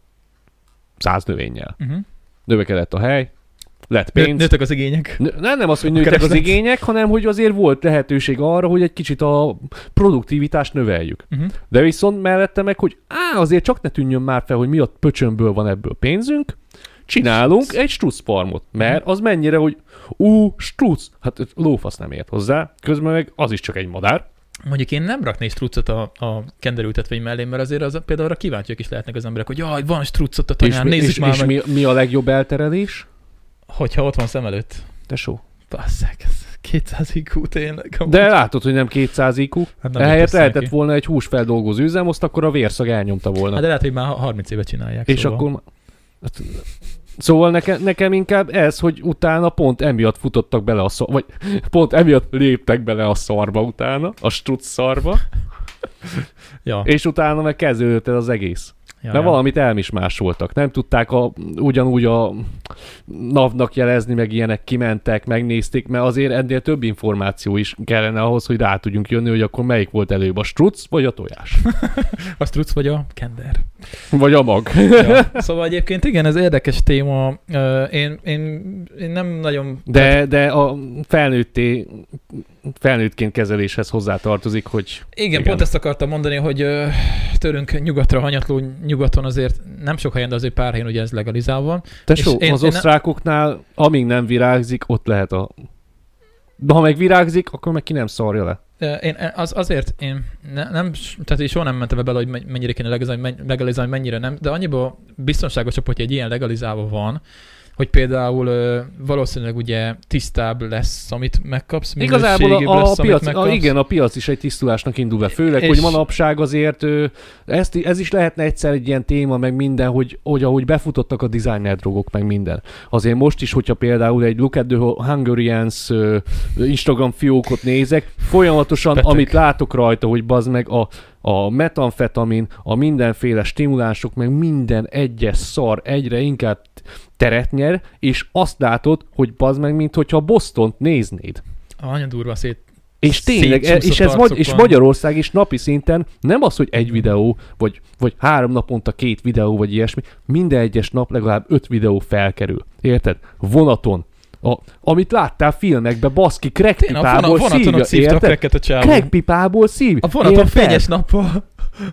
Speaker 2: száz növényel.
Speaker 1: Uh-huh.
Speaker 2: Növekedett a hely, lett pénz.
Speaker 1: Nőttek az igények.
Speaker 2: Nő- Nem, nem az, hogy nőttek az
Speaker 1: kereslet.
Speaker 2: igények, hanem hogy azért volt lehetőség arra, hogy egy kicsit a produktivitást növeljük.
Speaker 1: Uh-huh.
Speaker 2: De viszont mellette meg, hogy á, azért csak ne tűnjön már fel, hogy mi a pöcsömből van ebből pénzünk, csinálunk egy strusz farmot, mert az mennyire, hogy ú, strusz, hát lófasz nem ért hozzá, közben meg az is csak egy madár,
Speaker 1: Mondjuk én nem raknék struccot a, a kenderültetvény mellé, mert azért az, például arra kíváncsiak is lehetnek az emberek, hogy jaj, van struccot a tanyán,
Speaker 2: mi-
Speaker 1: nézzük
Speaker 2: és,
Speaker 1: már
Speaker 2: és
Speaker 1: meg,
Speaker 2: mi, mi a legjobb elterelés?
Speaker 1: hogyha ott van szem előtt.
Speaker 2: Tesó.
Speaker 1: Basszák, ez 200 IQ tényleg. amúgy.
Speaker 2: De látod, hogy nem 200 IQ.
Speaker 1: Hát nem jött
Speaker 2: Ehelyett
Speaker 1: össze
Speaker 2: lehetett
Speaker 1: neki.
Speaker 2: volna egy húsfeldolgozó üzem, azt akkor a vérszag elnyomta volna.
Speaker 1: Hát de lehet, hogy már 30 éve csinálják. szóval.
Speaker 2: és akkor... ma- Hát, Szóval nekem, nekem inkább ez, hogy utána pont emiatt futottak bele a szarba, vagy pont emiatt léptek bele a szarba utána, a struc szarba,
Speaker 1: Ja,
Speaker 2: és utána meg kezdődött ez az egész.
Speaker 1: ja,
Speaker 2: Mert
Speaker 1: ja.
Speaker 2: valamit elmismásoltak. Nem tudták a, ugyanúgy a NAV-nak jelezni, meg ilyenek kimentek, megnézték, mert azért ennél több információ is kellene ahhoz, hogy rá tudjunk jönni, hogy akkor melyik volt előbb, a struc vagy a tojás.
Speaker 1: A struc vagy a kender.
Speaker 2: Vagy a mag.
Speaker 1: Ja. Szóval egyébként igen, ez érdekes téma. Ö, Én, én, én nem nagyon...
Speaker 2: De, de a felnőtté, felnőttként kezeléshez hozzátartozik, hogy
Speaker 1: Igen,
Speaker 2: Igen.
Speaker 1: pont ezt akartam mondani, hogy ö, törünk nyugatra, hanyatló nyugaton azért nem sok helyen, de azért pár helyen ugye ez legalizálva van.
Speaker 2: tesó,
Speaker 1: És én-
Speaker 2: az
Speaker 1: én-
Speaker 2: osztrákoknál amíg nem virágzik, ott lehet a... De ha meg virágzik, akkor meg ki nem szarja le.
Speaker 1: Ö, Én az, azért, én ne, nem, tehát én soha nem mentem bele, hogy men- mennyire kéne legalizálni, men- legalizálni, mennyire nem, de annyiból biztonságosabb, hogyha egy ilyen legalizálva van, hogy például ö, valószínűleg ugye tisztább lesz, amit megkapsz,
Speaker 2: Igazából
Speaker 1: minőségibb
Speaker 2: a, a,
Speaker 1: lesz, amit
Speaker 2: piac, a,
Speaker 1: megkapsz.
Speaker 2: igen, a piac is egy tisztulásnak indul be, főleg,
Speaker 1: És-
Speaker 2: hogy manapság azért ö, ezt, i- ez is lehetne egyszer egy ilyen téma, meg minden, hogy, hogy ahogy befutottak a designer drogok, meg minden. Azért most is, hogyha például egy Look at the Hungarians ö, Instagram fiókot nézek, folyamatosan,
Speaker 1: Beteg.
Speaker 2: Beteg. amit látok rajta, hogy bazd meg a, a metamfetamin, a mindenféle stimulánsok, meg minden egyes szar egyre inkább teret nyer, és azt látod, hogy bazd meg, mint hogyha Bostont néznéd.
Speaker 1: Nagyon durva szét.
Speaker 2: És tényleg, e-
Speaker 1: Szétcsúszott
Speaker 2: és, ez magy- és
Speaker 1: arcokon.
Speaker 2: Magyarország is napi szinten nem az, hogy egy videó, vagy, vagy három naponta két videó, vagy ilyesmi, minden egyes nap legalább öt videó felkerül. Érted? Vonaton. A, amit láttál filmekbe, baszki,
Speaker 1: Tényleg, a
Speaker 2: krekpipából
Speaker 1: vona- vonaton
Speaker 2: szívja,
Speaker 1: ott szívtak
Speaker 2: érted?
Speaker 1: reket a csávon.
Speaker 2: Krekpipából szív.
Speaker 1: A vonaton
Speaker 2: érted?
Speaker 1: fényes nappal.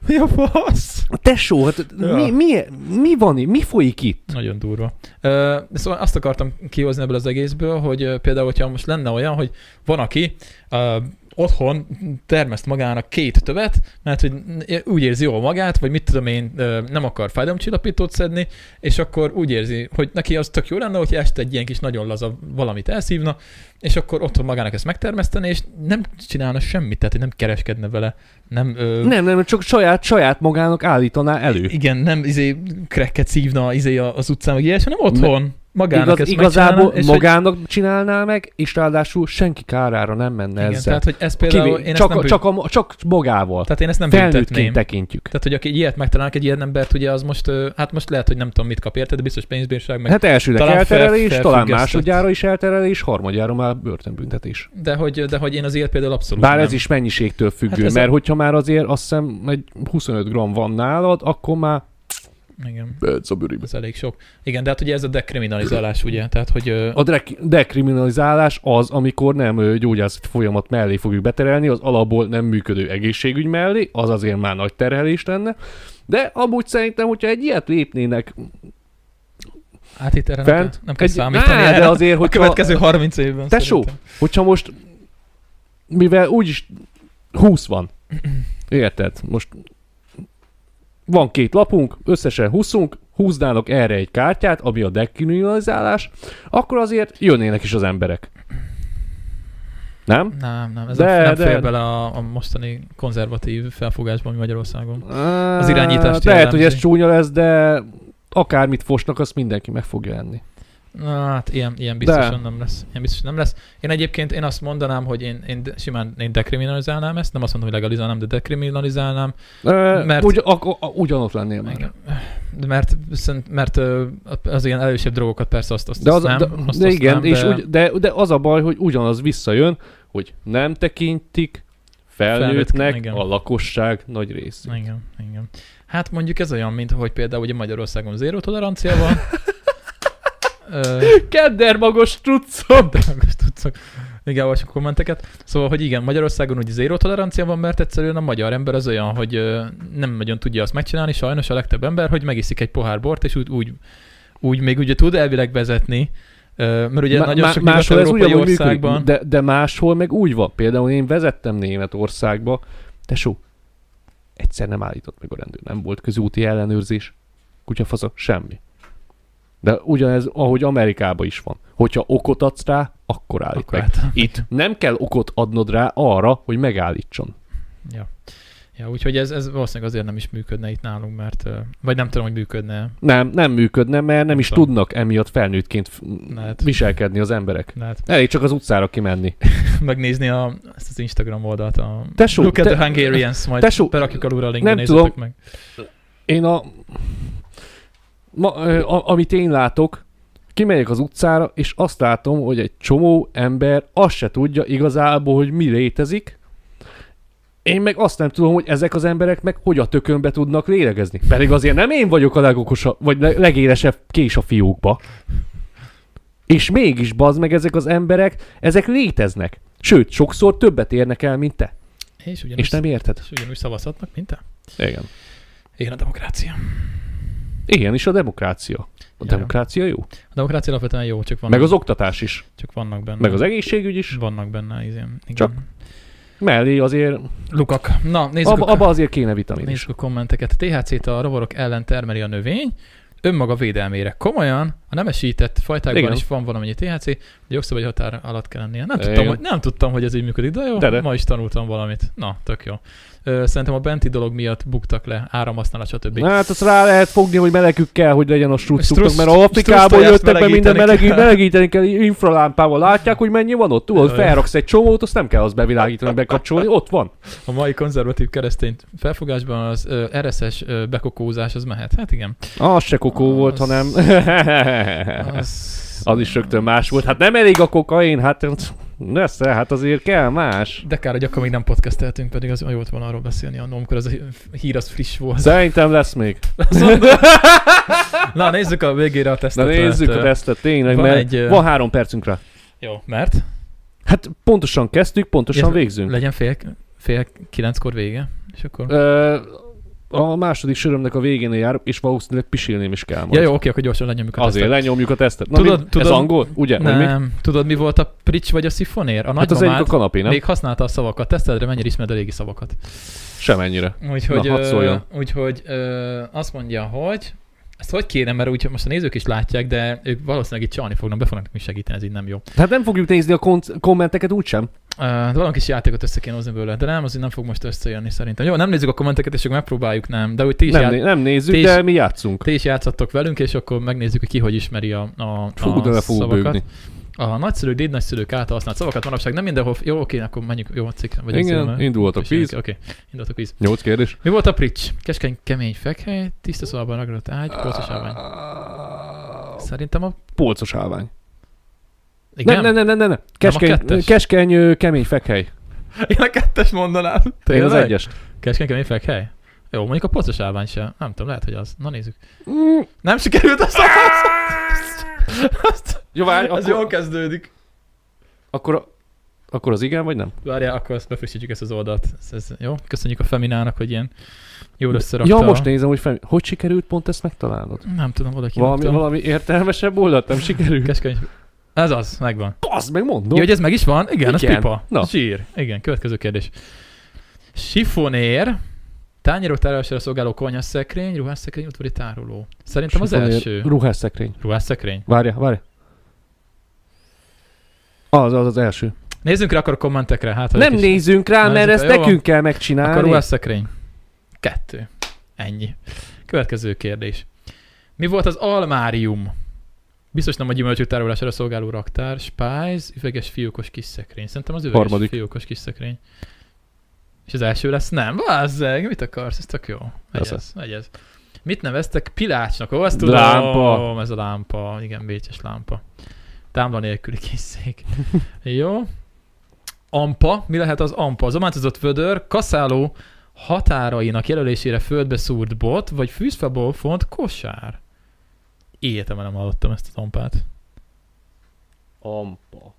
Speaker 1: Mi a fasz?
Speaker 2: Tesó, hát
Speaker 1: Ja.
Speaker 2: mi, mi, mi van itt? Mi folyik itt?
Speaker 1: Nagyon durva. Ö, Szóval azt akartam kihozni ebből az egészből, hogy ö, például, hogyha most lenne olyan, hogy van, aki ö, otthon termeszt magának két tövet, mert hogy n- úgy érzi jól magát, vagy mit tudom én, ö, nem akar fájdalomcsillapítót szedni, és akkor úgy érzi, hogy neki az tök jó lenne, hogy este egy ilyen kis nagyon laza valamit elszívna, és akkor otthon magának ezt megtermeszteni, és nem csinálna semmit, tehát hogy nem kereskedne vele, nem ö,
Speaker 2: Nem, nem, csak saját, saját magának állítaná elő.
Speaker 1: igen, nem izé krekket szívna izé a- az utcán, meg ilyesmi, hanem otthon. magának
Speaker 2: Igaz,
Speaker 1: ezt
Speaker 2: igazából
Speaker 1: megcsinálnám, és hogy-
Speaker 2: magának csinálná meg, és ráadásul senki kárára nem menne
Speaker 1: Igen,
Speaker 2: ezzel.
Speaker 1: tehát, hogy ez például,
Speaker 2: Kivé,
Speaker 1: Kivé, én
Speaker 2: csak,
Speaker 1: ezt nem
Speaker 2: csak, a, csak magával.
Speaker 1: Tehát én ezt nem
Speaker 2: Felnőttként
Speaker 1: büntetném.
Speaker 2: tekintjük.
Speaker 1: Tehát, hogy aki ilyet megtalálnak, egy ilyen embert, ugye az most, ö, hát most lehet, hogy nem tudom, mit kap érted, de biztos pénzbírság, meg,
Speaker 2: Hát elsőnek
Speaker 1: talán fel-
Speaker 2: elterelés, talán
Speaker 1: felfüggesztett.
Speaker 2: másodjára is elterelés, harmadjára már börtönbüntetés.
Speaker 1: de, hogy, de hogy én az ilyet például abszolút
Speaker 2: Bár
Speaker 1: nem. Hát
Speaker 2: ez is mennyiségtől függő,
Speaker 1: ez a-
Speaker 2: mert hogyha már azért azt hiszem egy 25 gram van nálad, akkor már
Speaker 1: Igen,
Speaker 2: behetsz a bőribe.
Speaker 1: ez elég sok. Igen, de hát ugye ez a dekriminalizálás, ugye, tehát, hogy ö,
Speaker 2: A de- dekriminalizálás az, amikor nem ö, gyógyászati folyamat mellé fogjuk beterelni, az alapból nem működő egészségügy mellé, az azért már nagy terhelés lenne. De amúgy szerintem, hogyha egy ilyet lépnének,
Speaker 1: hát itt erre nem
Speaker 2: Fent-
Speaker 1: kell, nem kell
Speaker 2: egy-
Speaker 1: számítani.
Speaker 2: Á, de
Speaker 1: erre.
Speaker 2: azért,
Speaker 1: a
Speaker 2: hogyha-
Speaker 1: következő 30 évben
Speaker 2: tesó,
Speaker 1: szerintem.
Speaker 2: hogyha most, mivel úgyis 20 van, érted, most van két lapunk, összesen 20 húznának erre egy kártyát, ami a dekriminalizálás, akkor azért jönnének is az emberek. Nem?
Speaker 1: Nem, nem, ez
Speaker 2: De-
Speaker 1: de, nem de.
Speaker 2: de-
Speaker 1: fér bele a, a mostani konzervatív felfogásban, ami Magyarországon. Az irányítást
Speaker 2: Lehet,
Speaker 1: jellemzi.
Speaker 2: hogy ez csúnya lesz, de akármit fosnak, azt mindenki meg fogja enni.
Speaker 1: Na, hát ilyen, ilyen
Speaker 2: De.
Speaker 1: biztosan nem lesz. Ilyen biztos nem lesz. Én egyébként én azt mondanám, hogy én, én de- simán én dekriminalizálnám ezt, nem azt mondom, hogy legalizálnám, de dekriminalizálnám.
Speaker 2: Mert...
Speaker 1: Mert-
Speaker 2: Ugy, ak- a- ugyanott lennél már.
Speaker 1: Igen. De Mert, szerint- mert ö, az ilyen elősebb drogokat persze azt, azt,
Speaker 2: De, az,
Speaker 1: nem,
Speaker 2: de,
Speaker 1: azt,
Speaker 2: de
Speaker 1: azt
Speaker 2: igen,
Speaker 1: nem,
Speaker 2: és ugy, de, de az a baj, hogy ugyanaz visszajön, hogy nem tekintik
Speaker 1: Felnőttnek,
Speaker 2: felnőttnek
Speaker 1: igen.
Speaker 2: a lakosság nagy részét.
Speaker 1: Igen, igen. Hát mondjuk ez olyan, mint hogy például ugye Magyarországon zéró tolerancia van. Ö,
Speaker 2: Kedder magos truccom!
Speaker 1: Drágos tudszok. Igen, olvasok kommenteket. Szóval, hogy igen, Magyarországon úgy zéró tolerancia van, mert egyszerűen a magyar ember az olyan, hogy ö, nem nagyon tudja azt megcsinálni, sajnos a legtöbb ember, hogy megiszik egy pohár bort, és úgy, úgy, úgy még ugye tud elvileg vezetni, ö, mert ugye
Speaker 2: Ma-
Speaker 1: nagyon
Speaker 2: ma-
Speaker 1: sok
Speaker 2: máshol ez
Speaker 1: nyugat-európai
Speaker 2: ugyanúgy működik,
Speaker 1: országban...
Speaker 2: de, de máshol meg úgy van. Például én vezettem Németországba, tesó, egyszer nem állított meg a rendőr, nem volt közúti ellenőrzés, kutyafasza, semmi. De ugyanez, ahogy Amerikában is van. Hogyha okot adsz rá, akkor állít
Speaker 1: Akkor
Speaker 2: meg.
Speaker 1: hát,
Speaker 2: Itt nem kell okot adnod rá arra, hogy megállítson.
Speaker 1: ja. Ja, úgyhogy ez, ez valószínűleg azért nem is működne itt nálunk, mert... ö, Vagy nem tudom, hogy működne.
Speaker 2: Nem, nem működne, mert nem is
Speaker 1: Tudom.
Speaker 2: tudnak emiatt felnőttként f-
Speaker 1: Lehet.
Speaker 2: viselkedni az emberek.
Speaker 1: Lehet
Speaker 2: Elég csak az utcára kimenni.
Speaker 1: megnézni a, ezt az Instagram oldalt, a
Speaker 2: Tesó,
Speaker 1: Look at
Speaker 2: te-
Speaker 1: the Hungarians, majd
Speaker 2: tesó,
Speaker 1: berakjuk alulra a linkbe,
Speaker 2: nem
Speaker 1: nézzetek
Speaker 2: tudom.
Speaker 1: meg.
Speaker 2: Én a... Ma, ö, a amit én látok, kimegyek az utcára, és azt látom, hogy egy csomó ember azt se tudja igazából, hogy mi létezik, én meg azt nem tudom, hogy ezek az emberek meg hogy a tökönbe tudnak lélegezni. Pedig azért nem én vagyok a legokosabb, vagy le- legélesebb kés a fiókba. És mégis bazd meg ezek az emberek, ezek léteznek. Sőt, sokszor többet érnek el, mint te.
Speaker 1: És ugyanúgy,
Speaker 2: És nem érted?
Speaker 1: és ugyanúgy szavazhatnak, mint te?
Speaker 2: Igen.
Speaker 1: Én a demokrácia.
Speaker 2: Ilyen is a demokrácia. A
Speaker 1: Ja.
Speaker 2: demokrácia jó.
Speaker 1: A demokrácia alapvetően jó, csak vannak,
Speaker 2: Meg az oktatás is.
Speaker 1: csak vannak benne.
Speaker 2: Meg az egészségügy is.
Speaker 1: Vannak benne, igen. igen.
Speaker 2: Csak- Mellé azért,
Speaker 1: Lukak. Na, nézzük,
Speaker 2: abba,
Speaker 1: a,
Speaker 2: abba azért kéne vitamin is.
Speaker 1: nézzük a kommenteket. THC-t a rovarok ellen termeli a növény, önmaga védelmére. Komolyan, a nemesített fajtákban
Speaker 2: Igen.
Speaker 1: igen. is van valamennyi THC, de jogszabály határ alatt kell lennie. Nem tudtam,
Speaker 2: Igen.
Speaker 1: hogy, nem tudtam, hogy ez így működik, de jó,
Speaker 2: De, de.
Speaker 1: ma is tanultam valamit. Na, tök jó. Ö, Szerintem a benti dolog miatt buktak le, áramhasználat, stb.
Speaker 2: Na, Hát azt rá lehet fogni, hogy melegük kell, hogy legyen a struccuknak,
Speaker 1: Strusz-
Speaker 2: mert Afrikából
Speaker 1: strusztojást
Speaker 2: jöttek be minden
Speaker 1: melegíteni
Speaker 2: melegít,
Speaker 1: kell.
Speaker 2: melegíteni kell, infralámpával látják, hogy mennyi van ott. Tudod,
Speaker 1: Jaj.
Speaker 2: felraksz egy csomót, azt nem kell azt bevilágítani, bekapcsolni, ott van.
Speaker 1: A mai konzervatív keresztény felfogásban az ö, RSS ö, bekokózás az mehet. Hát igen.
Speaker 2: Ah, Az se kokó
Speaker 1: Az-
Speaker 2: volt, hanem...
Speaker 1: Az...
Speaker 2: Az is rögtön más volt. Hát nem elég a kokain, hát nesze, hát azért kell más.
Speaker 1: De kár, hogy akkor még nem podcasteltünk, pedig az jó volt volna arról beszélni annó, amikor ez a hír az friss volt.
Speaker 2: Szerintem lesz még.
Speaker 1: Na, nézzük a végére a
Speaker 2: Na
Speaker 1: tesztet.
Speaker 2: nézzük
Speaker 1: mert,
Speaker 2: a
Speaker 1: ö,
Speaker 2: tesztet tényleg,
Speaker 1: van
Speaker 2: mert
Speaker 1: egy, ö,
Speaker 2: van három percünkre.
Speaker 1: Jó, mert
Speaker 2: Hát pontosan kezdtük, pontosan
Speaker 1: Ja,
Speaker 2: végzünk.
Speaker 1: legyen fél, fél kilenckor vége, és akkor...
Speaker 2: Ö, a második sörömnek a végén jár, és valószínűleg pisilném is kell majd.
Speaker 1: Ja, jó, oké, akkor gyorsan lenyomjuk a
Speaker 2: Azért
Speaker 1: tesztet.
Speaker 2: lenyomjuk a tesztet. Na,
Speaker 1: Tudod-
Speaker 2: mi?
Speaker 1: tudod-
Speaker 2: ez angol, ugye? Vagy mi?
Speaker 1: Nem. Tudod, mi volt a prics vagy a szifonér? A
Speaker 2: Hát az
Speaker 1: nagymamád
Speaker 2: egyik a kanapé, nem?
Speaker 1: még használta a szavakat. Teszteledre mennyire ismered a régi szavakat.
Speaker 2: Semennyire.
Speaker 1: Úgyhogy,
Speaker 2: Na, hadd
Speaker 1: ö,
Speaker 2: szóljon.
Speaker 1: úgyhogy ö, azt mondja, hogy Ezt hogy kéne, mert úgy most a nézők is látják, de ők valószínűleg itt csalni fognak, be fognak nekünk segíteni, ez így nem jó.
Speaker 2: Hát nem fogjuk nézni a kon- kommenteket úgysem.
Speaker 1: Uh, de valami kis játékot össze kéne hozni belőle, de nem, az így nem fog most összejönni szerintem. Jó, nem nézzük a kommenteket, és akkor megpróbáljuk, nem. De úgy ti is,
Speaker 2: Nem,
Speaker 1: já-
Speaker 2: né- nem nézzük,
Speaker 1: ti is-
Speaker 2: de mi játszunk.
Speaker 1: ti is játszhattok velünk, és akkor megnézzük, hogy ki hogy ismeri a, a,
Speaker 2: Fú, de
Speaker 1: a
Speaker 2: le fogunk
Speaker 1: Ah, szavakat.
Speaker 2: bőgni.
Speaker 1: A nagyszülők, dédnagyszülők által használt szavakat manapság nem mindenhol. Jó, oké, akkor menjünk jó a cikkre. Vagy
Speaker 2: Igen,
Speaker 1: a
Speaker 2: indult a
Speaker 1: Oké,
Speaker 2: quiz.
Speaker 1: okay. indult a quiz.
Speaker 2: Nyolc kérdés.
Speaker 1: Mi volt a prics? Keskeny, kemény fekhely, tiszta szobában ragradott ágy, polcos állvány. Szerintem a...
Speaker 2: Polcos állvány.
Speaker 1: Igen?
Speaker 2: Nem, nem, nem, nem, nem. Keskeny,
Speaker 1: kettes?
Speaker 2: keskeny ö, kemény fekhely.
Speaker 1: Én a kettes mondanám.
Speaker 2: Én az
Speaker 1: Tényleg?
Speaker 2: egyes.
Speaker 1: Keskeny, kemény fekhely? Jó, mondjuk a polcos állvány sem. Nem tudom, lehet, hogy az. Na nézzük.
Speaker 2: Mm.
Speaker 1: Nem sikerült a szavazat!
Speaker 2: Jó, várj,
Speaker 1: Ez
Speaker 2: akkor,
Speaker 1: jól kezdődik.
Speaker 2: akkor, a- akkor az igen, vagy nem?
Speaker 1: Várjál, akkor ezt befrissítjük ezt az oldalt. Ez, ez, jó, köszönjük a Feminának, hogy ilyen jól összerakta.
Speaker 2: Ja,
Speaker 1: a-
Speaker 2: most nézem, hogy fel, hogy sikerült pont ezt megtalálnod?
Speaker 1: Nem tudom, oda
Speaker 2: Valami,
Speaker 1: kirúgtam.
Speaker 2: valami értelmesebb oldalt nem sikerült?
Speaker 1: Keskeny. Ez az, megvan.
Speaker 2: Azt megmondom.
Speaker 1: Ja, hogy ez meg is van? Igen, ez
Speaker 2: Igen.
Speaker 1: pipa.
Speaker 2: Na.
Speaker 1: Zsír. Igen, következő kérdés. Sifonér, tányérok tárolására szolgáló konyhasszekrény, ruhásszekrény, udvari tároló. Szerintem az
Speaker 2: Sifonér,
Speaker 1: első.
Speaker 2: Ruhásszekrény.
Speaker 1: Ruhásszekrény.
Speaker 2: Várja, várja. Az, az az első.
Speaker 1: Nézzünk rá akkor a kommentekre. Hát, ha
Speaker 2: nem
Speaker 1: ők is-
Speaker 2: nézzünk rá,
Speaker 1: Na,
Speaker 2: mert
Speaker 1: ez-
Speaker 2: ezt
Speaker 1: jó van.
Speaker 2: nekünk kell
Speaker 1: Akkor
Speaker 2: megcsinálni.
Speaker 1: ruhásszekrény. Kettő. Ennyi. Következő kérdés. Mi volt az almárium? Biztos nem a gyümölcsök tárolására szolgáló raktár, spájz, üveges fiókos kis szekrény. Szerintem az üveges
Speaker 2: Harmadik.
Speaker 1: fiókos kis szekrény. És az első lesz? Nem, vázzeg, mit akarsz? Ez tök jó. Megy
Speaker 2: Persze.
Speaker 1: ez, megy ez. Mit neveztek pilácsnak? Ó, azt tudom.
Speaker 2: Lámpa.
Speaker 1: Ez a lámpa. Igen, bécses lámpa. Támla nélküli kis szék. jó. Ampa. Mi lehet az ampa? Zománcozott vödör, kaszáló határainak jelölésére földbe szúrt bot, vagy fűzfából font kosár. Életemben nem hallottam ezt a ampát.
Speaker 2: Ampa.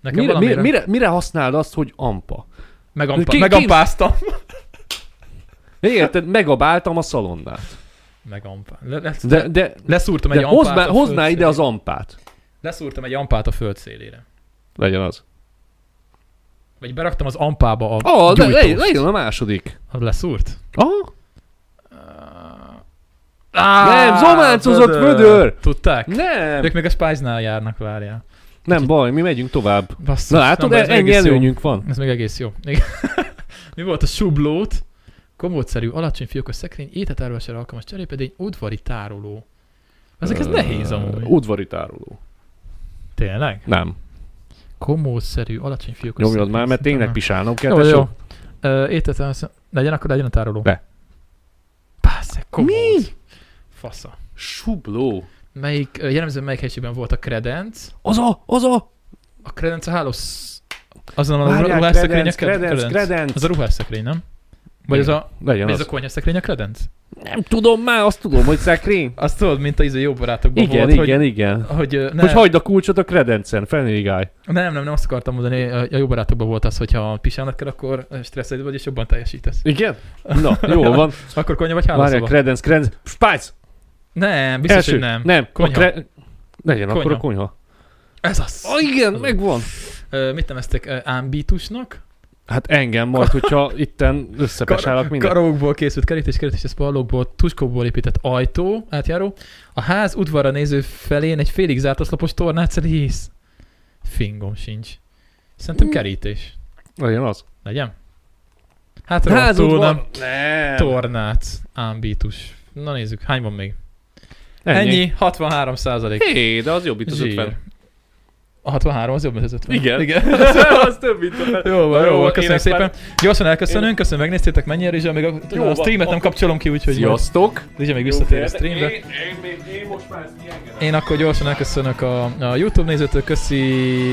Speaker 1: Nekem
Speaker 2: Mire, mire,
Speaker 1: valamire...
Speaker 2: mire, mire használod azt, hogy ampa?
Speaker 1: Megampa,
Speaker 2: Ki- ki-
Speaker 1: megampáztam.
Speaker 2: Érted? Megabáltam a szalonnál.
Speaker 1: Megampa. Le, le,
Speaker 2: De, de,
Speaker 1: leszúrtam egy
Speaker 2: de
Speaker 1: ampát
Speaker 2: hozd már,
Speaker 1: a
Speaker 2: hozd már
Speaker 1: föld
Speaker 2: ide az
Speaker 1: szélére.
Speaker 2: ampát.
Speaker 1: Leszúrtam egy ampát a föld szélére.
Speaker 2: Legyen az.
Speaker 1: Vagy beraktam az ampába a
Speaker 2: Ó, Ah, de
Speaker 1: gyújtóst.
Speaker 2: legyen, legyen a második.
Speaker 1: Az leszúrt?
Speaker 2: Aha.
Speaker 1: Ah,
Speaker 2: Nem, zománcozott vödör!
Speaker 1: Tudták?
Speaker 2: Nem,
Speaker 1: Ők még a Spice-nál járnak, várjál.
Speaker 2: nem baj, mi megyünk tovább.
Speaker 1: Basszus,
Speaker 2: Na látod, e-
Speaker 1: nem, Szóval ez még
Speaker 2: ennyi
Speaker 1: egész jó.
Speaker 2: előnyünk van.
Speaker 1: Ez még egész jó. Igen. Mi volt a sublót? Komódszerű, alacsony fiókos szekrény, étetárolására alkalmas cserépedény, udvari tároló. Ezek ez
Speaker 2: Ö,
Speaker 1: nehéz amúgy.
Speaker 2: Udvari tároló.
Speaker 1: Tényleg?
Speaker 2: Nem,
Speaker 1: Komódszerű, alacsony fiókos
Speaker 2: nyomjad
Speaker 1: szekrény,
Speaker 2: már, mert tényleg
Speaker 1: szerintem
Speaker 2: pisálnom kell.
Speaker 1: nem. Jó,
Speaker 2: tesó.
Speaker 1: jó. Ö, Étetárolására... Legyen, akkor legyen a tároló.
Speaker 2: Ne.
Speaker 1: Pászek, komód.
Speaker 2: Mi?
Speaker 1: Fasza.
Speaker 2: Subló.
Speaker 1: Melyik, ö, jellemző melyik helységben volt a kredenc?
Speaker 2: Az a, az a.
Speaker 1: A kredenc a hálós... Azon a
Speaker 2: Várjál,
Speaker 1: ruhás szekrény a
Speaker 2: kredenc, kredenc, kredenc.
Speaker 1: Az a ruhás szekrény, nem? Vagy az
Speaker 2: Igen.
Speaker 1: a,
Speaker 2: Legyen
Speaker 1: vagy az a
Speaker 2: az.
Speaker 1: konyha szekrény a kredenc?
Speaker 2: Nem tudom már, azt tudom, hogy szekrény.
Speaker 1: Azt tudod, mint az jó barátokban
Speaker 2: Igen,
Speaker 1: volt,
Speaker 2: igen, igen.
Speaker 1: hogy, hogy, ö, nem,
Speaker 2: Hogy hagyd a kulcsot a kredencen, felnégáj.
Speaker 1: nem, nem, nem azt akartam mondani, a jó barátokban volt az, hogyha pisálnod kell, akkor stresszeled vagy, és jobban teljesítesz.
Speaker 2: Igen? Na, jó van.
Speaker 1: Akkor konyha vagy
Speaker 2: Várjál,
Speaker 1: hálószoba?
Speaker 2: kredenc, kredenc. Spice!
Speaker 1: Nem, biztos,
Speaker 2: Első.
Speaker 1: hogy nem.
Speaker 2: Nem.
Speaker 1: Konyha.
Speaker 2: A kre... Legyen akkor
Speaker 1: Konyha.
Speaker 2: a konyha.
Speaker 1: Ez az.
Speaker 2: Ah, igen, megvan.
Speaker 1: Ö, mit neveztek? Ö, Ámbitusnak?
Speaker 2: Hát engem majd, hogyha itten összepesálak minden.
Speaker 1: Karokból készült kerítés, kerítés, ez pallókból, tuskókból épített ajtó, átjáró. A ház udvarra néző felén egy félig zárt oszlopos tornác rész. Fingom sincs. Szerintem
Speaker 2: Hmm.
Speaker 1: kerítés.
Speaker 2: Legyen az.
Speaker 1: Legyen? Hát rohadtul nem.
Speaker 2: Nem.
Speaker 1: Tornác, ámbitus. Na nézzük, hány van még? Ennyi,
Speaker 2: Ennyi.
Speaker 1: 63 százalék.
Speaker 2: Hé, de az jobb, mint az
Speaker 1: Zsír.
Speaker 2: 50.
Speaker 1: A 63 az jobb, mint az 50.
Speaker 2: Igen.
Speaker 1: Igen.
Speaker 2: az több, mint a
Speaker 1: Jó van,
Speaker 2: Na,
Speaker 1: jó
Speaker 2: jó
Speaker 1: van,
Speaker 2: van,
Speaker 1: köszönjük
Speaker 2: én ezt
Speaker 1: szépen. Gyorsan elköszönünk, köszönöm, megnéztétek mennyire, Rizsa, még a,
Speaker 2: Jó
Speaker 1: a
Speaker 2: van,
Speaker 1: streamet nem
Speaker 2: akkor-
Speaker 1: kapcsolom ki, úgyhogy majd
Speaker 2: Sziasztok!
Speaker 1: Rizsa még visszatér a streambe.
Speaker 2: én, még, én most már ezt kiengedem.
Speaker 1: Én akkor gyorsan elköszönök a, a YouTube nézőtől, köszi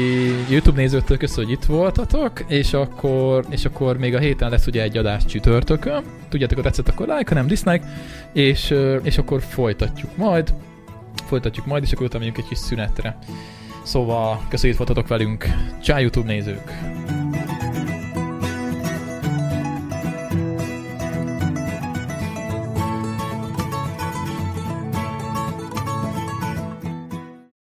Speaker 1: YouTube nézőtől, köszi, hogy itt voltatok, és akkor, és akkor még a héten lesz ugye egy adás csütörtökön. Tudjátok, ha tetszett, akkor like, ha nem dislike, és, ö, és akkor folytatjuk majd, folytatjuk majd, és akkor utána megyünk egy kis szünetre. Szóval, köszi, hogy itt voltatok velünk. Csá, YouTube nézők!